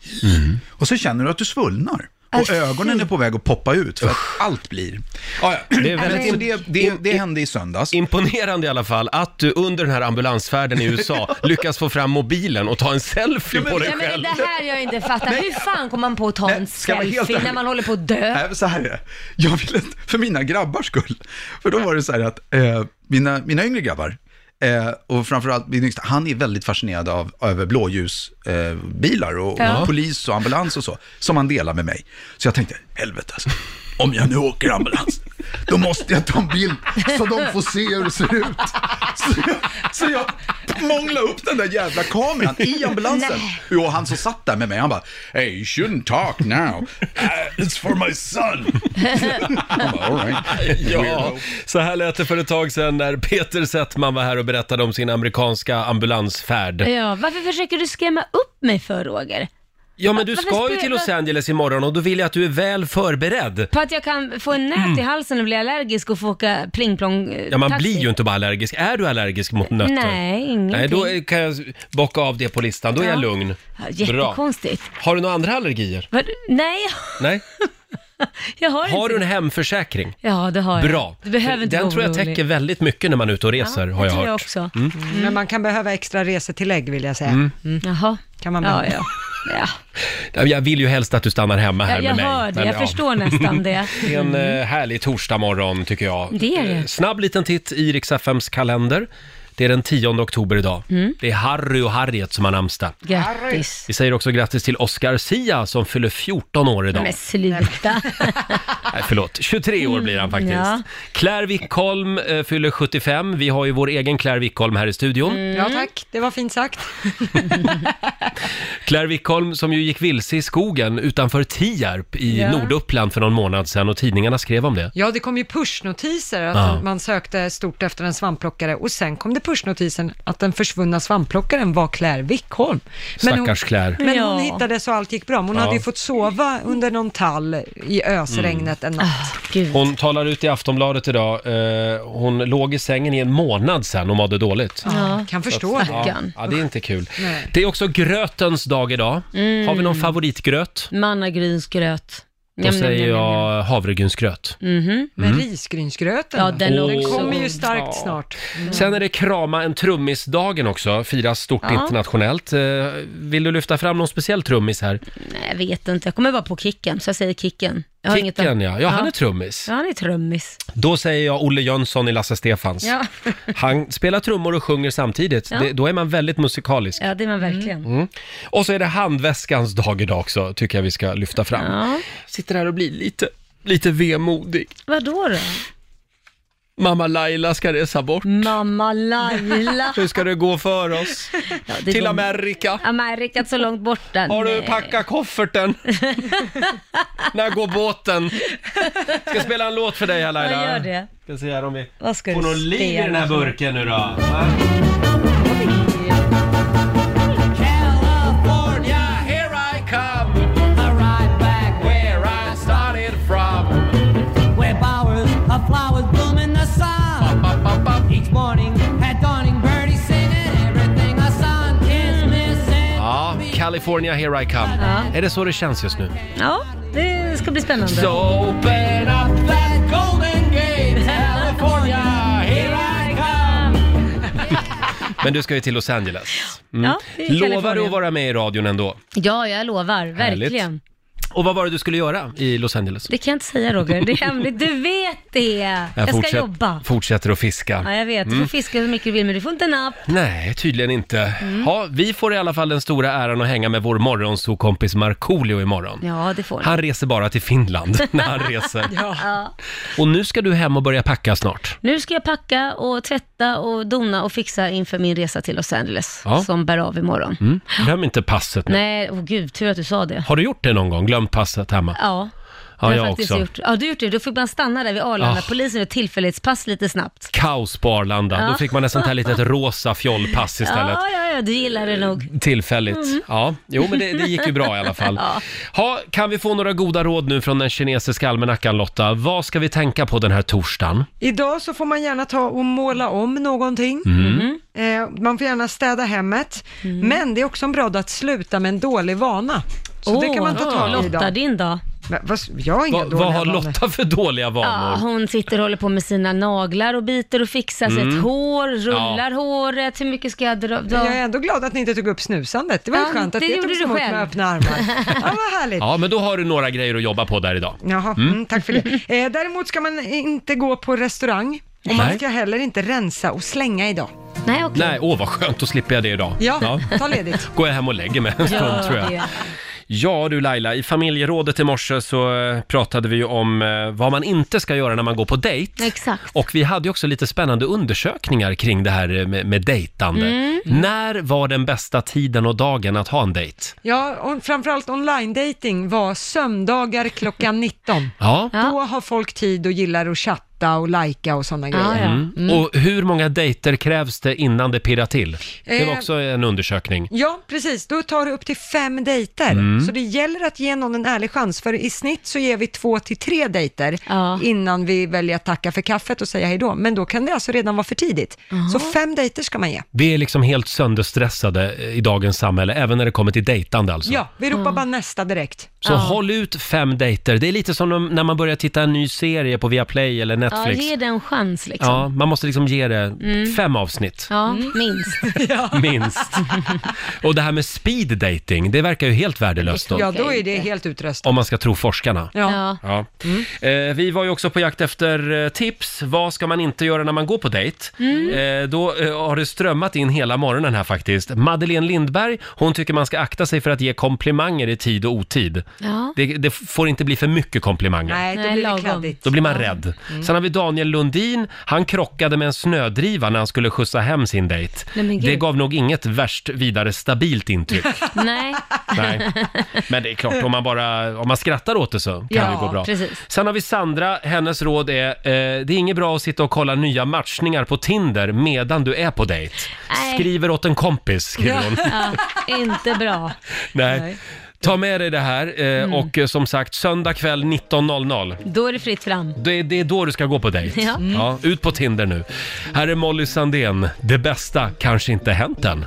Speaker 11: och så känner du att du svullnar.
Speaker 2: Aj,
Speaker 11: Och
Speaker 2: fy.
Speaker 11: ögonen är på väg att poppa ut för att allt blir... Ja, ja.
Speaker 1: Det är väldigt
Speaker 11: Men så
Speaker 1: im-
Speaker 11: det, det, det hände i söndags.
Speaker 1: Imponerande i alla fall att du under den här ambulansfärden i
Speaker 2: [LAUGHS]
Speaker 1: USA lyckas få fram mobilen och ta en selfie på dig
Speaker 2: Nej, men
Speaker 1: själv.
Speaker 2: det här jag inte fattar.
Speaker 11: Nej.
Speaker 2: Hur fan kommer man på att ta en
Speaker 11: ska jag vara helt
Speaker 2: selfie när
Speaker 11: ärlig?
Speaker 2: man håller på att dö?
Speaker 11: Nej, så här är det. Jag ville inte, för mina grabbars skull, för då var det så här att eh, mina, mina yngre grabbar, eh, och framförallt min yngsta, han är väldigt fascinerad av över blåljusbilar eh, bilar och,
Speaker 12: Ja.
Speaker 11: och polis och ambulans och så, som han delar med mig. Så jag tänkte, helvete alltså, om jag nu åker ambulans, då måste jag ta en bild så de får se hur det ser ut. Så jag, så jag månglade upp den där jävla kameran i ambulansen.
Speaker 12: Nej.
Speaker 11: Jo, han som satt där med mig, han bara, hey, you shouldn't talk now. "Uh, it's for my son. [LAUGHS]
Speaker 1: Ja, så här lät det för ett tag sedan när Peter Settman var här och berättade om sin amerikanska ambulansfärd.
Speaker 2: Ja, varför försöker du skrämma upp mig för, Roger?
Speaker 1: Ja, men du
Speaker 2: Varför
Speaker 1: ska ju
Speaker 2: spe-
Speaker 1: till Los Angeles imorgon och då vill jag att du är väl förberedd.
Speaker 2: På att jag kan få en
Speaker 11: Mm.
Speaker 2: nät i halsen och bli allergisk och få åka plingplong eh,
Speaker 1: Ja, man
Speaker 2: taxi.
Speaker 1: blir ju inte bara allergisk. Är du allergisk mot nötter?
Speaker 2: Nej, ingenting.
Speaker 1: Nej, då är- kan jag bocka av det på listan. Då är jag
Speaker 2: Ja.
Speaker 1: lugn.
Speaker 2: Ja, Jättekonstigt.
Speaker 1: Bra. Har du några andra allergier?
Speaker 2: Vad- Nej, [LAUGHS]
Speaker 1: Nej?
Speaker 2: jag har,
Speaker 1: Har
Speaker 2: inte
Speaker 1: du en
Speaker 2: det.
Speaker 1: hemförsäkring?
Speaker 2: Ja, det har jag.
Speaker 1: Bra.
Speaker 2: Du behöver inte
Speaker 1: Den
Speaker 2: vara
Speaker 1: tror jag
Speaker 2: orolig.
Speaker 1: täcker väldigt mycket när man är ute och reser, har jag
Speaker 2: tror
Speaker 1: hört.
Speaker 2: jag också.
Speaker 1: Mm.
Speaker 3: Men man kan behöva extra resetillägg vill jag säga.
Speaker 1: Mm.
Speaker 2: Jaha.
Speaker 3: Kan man
Speaker 2: Ja,
Speaker 3: behöva.
Speaker 2: ja. ja.
Speaker 1: Ja, Jag vill ju helst att du stannar hemma här
Speaker 2: Ja, jag
Speaker 1: med mig.
Speaker 2: hör det.
Speaker 1: men
Speaker 2: Jag
Speaker 1: ja.
Speaker 2: förstår nästan det.
Speaker 1: [LAUGHS] Det är en
Speaker 2: Mm.
Speaker 1: eh, härlig torsdagmorgon tycker jag.
Speaker 2: Det är det.
Speaker 1: Eh, Snabb liten titt i Riksaffems kalender. Det är den 10 oktober idag.
Speaker 2: Mm.
Speaker 1: Det är Harry och Harriet som har namnsdag.
Speaker 2: Grattis.
Speaker 1: Vi säger också grattis till Oscar Sia som fyller 14 år idag. [LAUGHS]
Speaker 2: Men sluta.
Speaker 1: Nej, förlåt. 23 år blir han faktiskt.
Speaker 2: Ja.
Speaker 1: Claire Wickholm eh, fyller 75. Vi har ju vår egen Claire Wickholm här i studion.
Speaker 2: Mm.
Speaker 3: Ja tack, det var fint sagt.
Speaker 1: Claire Wickholm som ju gick vilse i skogen utanför Tierp i
Speaker 3: Ja.
Speaker 1: Norduppland för någon månad sedan och tidningarna skrev om det.
Speaker 3: Ja, det kom ju pushnotiser att
Speaker 1: Ja.
Speaker 3: man sökte stort efter en svampplockare och sen kom det pushnotisen att den försvunna svampplockaren var Claire Wickholm.
Speaker 1: Stackars
Speaker 3: hon,
Speaker 1: Claire.
Speaker 3: Men hon
Speaker 1: Ja.
Speaker 3: hittades och allt gick bra. Men Hon
Speaker 1: Ja.
Speaker 3: hade ju fått sova under någon tall i ösregnet en
Speaker 2: Ah.
Speaker 3: natt.
Speaker 1: Hon talar ut i Aftonbladet idag. Eh, Hon låg i sängen i en månad sedan och mådde dåligt.
Speaker 3: Ja, kan förstå
Speaker 1: Så att- ja,
Speaker 3: det.
Speaker 1: ja, det är inte kul.
Speaker 2: Nej.
Speaker 1: Det är också grötens dag idag.
Speaker 2: Mm.
Speaker 1: Har vi någon favoritgröt?
Speaker 2: Mannagrynsgröt.
Speaker 1: Då säger jag havregrynsgröt.
Speaker 2: Mhm.
Speaker 1: Men Mm.
Speaker 3: risgrynsgröten
Speaker 2: Ja, den,
Speaker 1: då?
Speaker 2: är
Speaker 1: Den
Speaker 2: också
Speaker 1: kommer ju
Speaker 2: god.
Speaker 3: starkt snart.
Speaker 2: Mm.
Speaker 1: Sen är det krama en trummis-dagen också, firas stort
Speaker 2: Ja.
Speaker 1: internationellt. Eh, Vill du lyfta fram någon speciell trummis här?
Speaker 2: Nej, jag vet inte. Jag kommer vara på Kicken, så jag säger Kicken. Jag har inget
Speaker 1: Kicken
Speaker 2: an-
Speaker 1: ja. ja, han är trummis.
Speaker 2: Ja, han är trummis.
Speaker 1: Då säger jag Olle Jönsson i Lasse Stefans. [LAUGHS]
Speaker 2: Ja.
Speaker 1: Han spelar trummor och sjunger samtidigt.
Speaker 2: Ja.
Speaker 1: Det, då är man väldigt musikalisk.
Speaker 2: ja, det är man verkligen.
Speaker 1: Mm. Och så är det handväskans dag idag också, tycker jag vi ska lyfta fram. Sitter här och blir lite, lite vemodig.
Speaker 2: Vadå då?
Speaker 1: Mamma Laila ska resa bort. [LAUGHS]
Speaker 2: Mamma Laila.
Speaker 1: Hur ska det gå för oss?
Speaker 2: Ja, [LAUGHS] det
Speaker 1: Till
Speaker 2: går-
Speaker 1: Amerika.
Speaker 2: Amerika så långt borta.
Speaker 1: Har du
Speaker 2: Nej.
Speaker 1: packat
Speaker 2: [LAUGHS]
Speaker 1: kofferten? När går båten? Ska spela en låt för dig här Laila.
Speaker 2: Ja, gör det.
Speaker 1: Ska se här om vi
Speaker 2: Vad ska
Speaker 1: får
Speaker 2: du
Speaker 1: någon liv i
Speaker 2: spela
Speaker 1: den här
Speaker 2: för?
Speaker 1: burken nu då. Va? California, here I come. I ride back where I started from.
Speaker 12: Where bowers of flowers bloom in the sun. Each morning at dawning, birdies singing, everything a sun is missing.
Speaker 1: Ja, California, here I come. Är det så det känns just nu?
Speaker 2: Ja, det ska bli spännande.
Speaker 1: So open up
Speaker 12: that golden gate, California,
Speaker 1: here
Speaker 12: I come.
Speaker 1: [LAUGHS] Men du ska ju till Los Angeles. Mm.
Speaker 2: Ja, det är
Speaker 1: Lovar du
Speaker 2: Kalifornien.
Speaker 1: att vara med i radion ändå?
Speaker 2: Ja, jag lovar.
Speaker 1: Härligt.
Speaker 2: Verkligen.
Speaker 1: Och vad var det du skulle göra i Los Angeles?
Speaker 2: Det kan jag inte säga Roger, det är hemligt. Du vet det! Jag, ska
Speaker 1: fortsätt-
Speaker 2: jobba.
Speaker 1: fortsätter att fiska.
Speaker 2: Ja, jag vet. Du får
Speaker 1: Mm.
Speaker 2: fiska hur mycket du vill, men du får inte en app.
Speaker 1: Nej, tydligen inte.
Speaker 2: Mm.
Speaker 1: Ja, vi får i alla fall den stora äran att hänga med vår morgonsokompis Markoolio imorgon.
Speaker 2: Ja, det får du.
Speaker 1: Han reser bara till
Speaker 2: [LAUGHS]
Speaker 1: Finland när han reser.
Speaker 2: Ja.
Speaker 1: Och nu ska du hem och börja packa snart.
Speaker 2: Nu ska jag packa och tvätta och dona och fixa inför min resa till Los Angeles,
Speaker 1: Ja.
Speaker 2: som bär av imorgon.
Speaker 1: Mm. Glöm inte passet nu.
Speaker 2: Nej, åh gud, tur att du sa det.
Speaker 1: Har du gjort det någon gång? Glömt passet hemma?
Speaker 2: Ja.
Speaker 1: Ja,
Speaker 2: har
Speaker 1: jag
Speaker 2: faktiskt
Speaker 1: också.
Speaker 2: Gjort. Ja, du har gjort det. Då fick man stanna där vid Arlanda.
Speaker 1: Ah.
Speaker 2: Polisen och tillfällighetspass lite snabbt.
Speaker 1: Kaos på Arlanda.
Speaker 2: Ja.
Speaker 1: Då fick man ett sånt här litet rosa fjollpass istället.
Speaker 2: Ja, ja, ja, du gillar det nog.
Speaker 1: Tillfälligt.
Speaker 2: Mm.
Speaker 1: Ja, jo men det, det gick ju bra i alla fall.
Speaker 2: [LAUGHS] Ja.
Speaker 1: Ha, kan vi få några goda råd nu från den kinesiska almanackan Lotta? Vad ska vi tänka på den här torsdagen?
Speaker 3: Idag så får man gärna ta och måla om någonting.
Speaker 1: Mm.
Speaker 3: Eh, man får gärna städa hemmet.
Speaker 2: Mm.
Speaker 3: Men det är också en bra dag att sluta med en dålig vana. Så det kan man ta
Speaker 2: Åh,
Speaker 3: tag i idag.
Speaker 2: Lotta, din dag?
Speaker 3: Men vad- Jag har inga
Speaker 1: Va,
Speaker 3: dåliga
Speaker 1: vad har
Speaker 3: vanor.
Speaker 1: Lotta för dåliga
Speaker 2: Ja,
Speaker 1: vanor?
Speaker 2: hon sitter och håller på med sina naglar och biter och fixar
Speaker 1: Mm.
Speaker 2: sitt hår, rullar
Speaker 1: Ja.
Speaker 2: håret, hur mycket ska jag dra? dra?
Speaker 3: Jag är ändå glad att ni inte tog upp snusandet. Det var ju
Speaker 2: Ja,
Speaker 3: skönt att
Speaker 2: det
Speaker 3: det,
Speaker 2: gjorde
Speaker 3: togs
Speaker 2: du
Speaker 3: emot
Speaker 2: själv.
Speaker 3: med öppna armar. Ja,
Speaker 1: [LAUGHS]
Speaker 3: vad härligt.
Speaker 1: Ja, men då har du några grejer att jobba på där idag.
Speaker 3: Jaha,
Speaker 1: Mm.
Speaker 3: mm, tack för
Speaker 1: [LAUGHS]
Speaker 3: det. Eh, däremot ska man inte gå på restaurang och
Speaker 1: Nej.
Speaker 3: man ska heller inte rensa och slänga idag.
Speaker 2: Nej,
Speaker 1: Nej, åh vad skönt, då slipper jag det idag.
Speaker 3: Ja, ta ledigt.
Speaker 1: Går jag hem och lägger mig en stund tror jag. Ja du Laila, i familjerådet i morse så eh, pratade vi ju om eh, vad man inte ska göra när man går på dejt.
Speaker 2: Exakt.
Speaker 1: Och vi hade ju också lite spännande undersökningar kring det här eh, med, med dejtande.
Speaker 3: Mm.
Speaker 1: När var den bästa tiden och dagen att ha en dejt?
Speaker 3: Ja, och framförallt online dating var söndagar klockan 19.
Speaker 1: Ja.
Speaker 3: Då har folk tid och gillar att chatta och lajka och sådana grejer.
Speaker 1: Mm.
Speaker 3: Mm.
Speaker 1: Och hur många dejter krävs det innan det pirrar till? Det var
Speaker 3: Eh.
Speaker 1: också en undersökning.
Speaker 3: Ja, precis. Då tar det upp till fem dejter.
Speaker 1: Mm.
Speaker 3: Så det gäller att ge någon en ärlig chans, för i snitt så ger vi två till tre dejter innan vi väljer att tacka för kaffet och säga hej då. Men då kan det alltså redan vara för tidigt. Så fem dejter ska man ge.
Speaker 1: Vi är liksom helt sönderstressade eh, i dagens samhälle, även när det kommer till dejtande alltså.
Speaker 3: Ja, vi ropar bara nästa direkt.
Speaker 1: Så håll ut fem dejter. Det är lite som när man börjar titta en ny serie på Viaplay eller
Speaker 2: Ja,
Speaker 1: Netflix.
Speaker 2: ge det en chans liksom.
Speaker 1: Ja, man måste liksom ge det
Speaker 2: Mm.
Speaker 1: fem
Speaker 2: [LAUGHS]
Speaker 1: avsnitt.
Speaker 2: Ja, minst.
Speaker 1: Minst. Och det här med speed dating, det verkar ju helt värdelöst då.
Speaker 3: Ja, då är det helt utröstat.
Speaker 1: Om man ska tro forskarna.
Speaker 3: Ja.
Speaker 1: [LAUGHS] Ja.
Speaker 2: Mm.
Speaker 1: Eh, vi var ju också på jakt efter eh, tips. Vad ska man inte göra när man går på dejt?
Speaker 12: Mm.
Speaker 1: Eh, då eh, har det strömmat in hela morgonen här faktiskt. Madeleine Lindberg, hon tycker man ska akta sig för att ge komplimanger i tid och otid.
Speaker 2: Ja.
Speaker 1: Det, det får inte bli för mycket komplimanger.
Speaker 3: Nej, det blir det kladdigt.
Speaker 1: Då blir man rädd.
Speaker 2: Mm.
Speaker 1: Sen har vi Daniel Lundin. Han krockade med en snödriva när han skulle skjutsa hem sin dejt.
Speaker 2: Nej, men gud.
Speaker 1: Det gav nog inget värst vidare stabilt
Speaker 2: [LAUGHS]
Speaker 1: intryck.
Speaker 2: Nej.
Speaker 1: Nej. Men det är klart, om man bara om man skrattar åt det så kan
Speaker 2: Ja,
Speaker 1: det gå bra.
Speaker 2: precis.
Speaker 1: Sen har vi Sandra, hennes råd är, eh, det är inget bra att sitta och kolla nya matchningar på Tinder medan du är på dejt.
Speaker 2: Nej.
Speaker 1: Skriver åt en kompis, skriver hon.
Speaker 2: Ja, inte bra.
Speaker 1: Nej. Ta med dig det här eh,
Speaker 2: Mm.
Speaker 1: och eh, som sagt, söndag kväll 19.00.
Speaker 2: Då är det fritt fram.
Speaker 1: Det är, det är då du ska gå på dejt.
Speaker 2: Ja. Mm.
Speaker 1: Ja, ut på Tinder nu. Här är Molly Sandén. Det bästa kanske inte hänt än.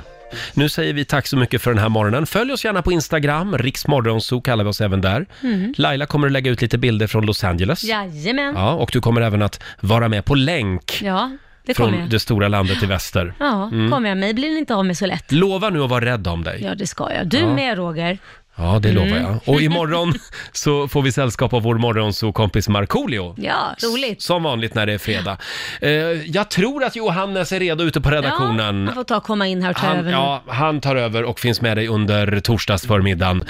Speaker 1: Nu säger vi tack så mycket för den här morgonen. Följ oss gärna på Instagram, riksmorgonso kallar vi oss även där.
Speaker 2: Mm.
Speaker 1: Laila kommer att lägga ut lite bilder från Los Angeles.
Speaker 2: Jajamän. Ja,
Speaker 1: Ja, och du kommer även att vara med på länk
Speaker 2: det kommer
Speaker 1: från
Speaker 2: jag.
Speaker 1: det stora landet i väster.
Speaker 2: Ja,
Speaker 1: Mm.
Speaker 2: kommer jag. Mig blir det inte av med så lätt.
Speaker 1: Lova nu att vara rädd om dig.
Speaker 2: Ja, det ska jag. Du
Speaker 1: Ja.
Speaker 2: med Roger.
Speaker 1: Ja, det
Speaker 2: Mm.
Speaker 1: lovar jag. Och imorgon [LAUGHS] så får vi sällskap av vår morgonsokompis Markoolio.
Speaker 2: Ja, roligt.
Speaker 1: Som vanligt när det är fredag. Eh, jag tror att Johannes är redo ute på redaktionen.
Speaker 2: Ja, han får ta och komma in här och ta
Speaker 1: han,
Speaker 2: över nu.
Speaker 1: ja, han tar över och finns med dig under torsdagsförmiddagen.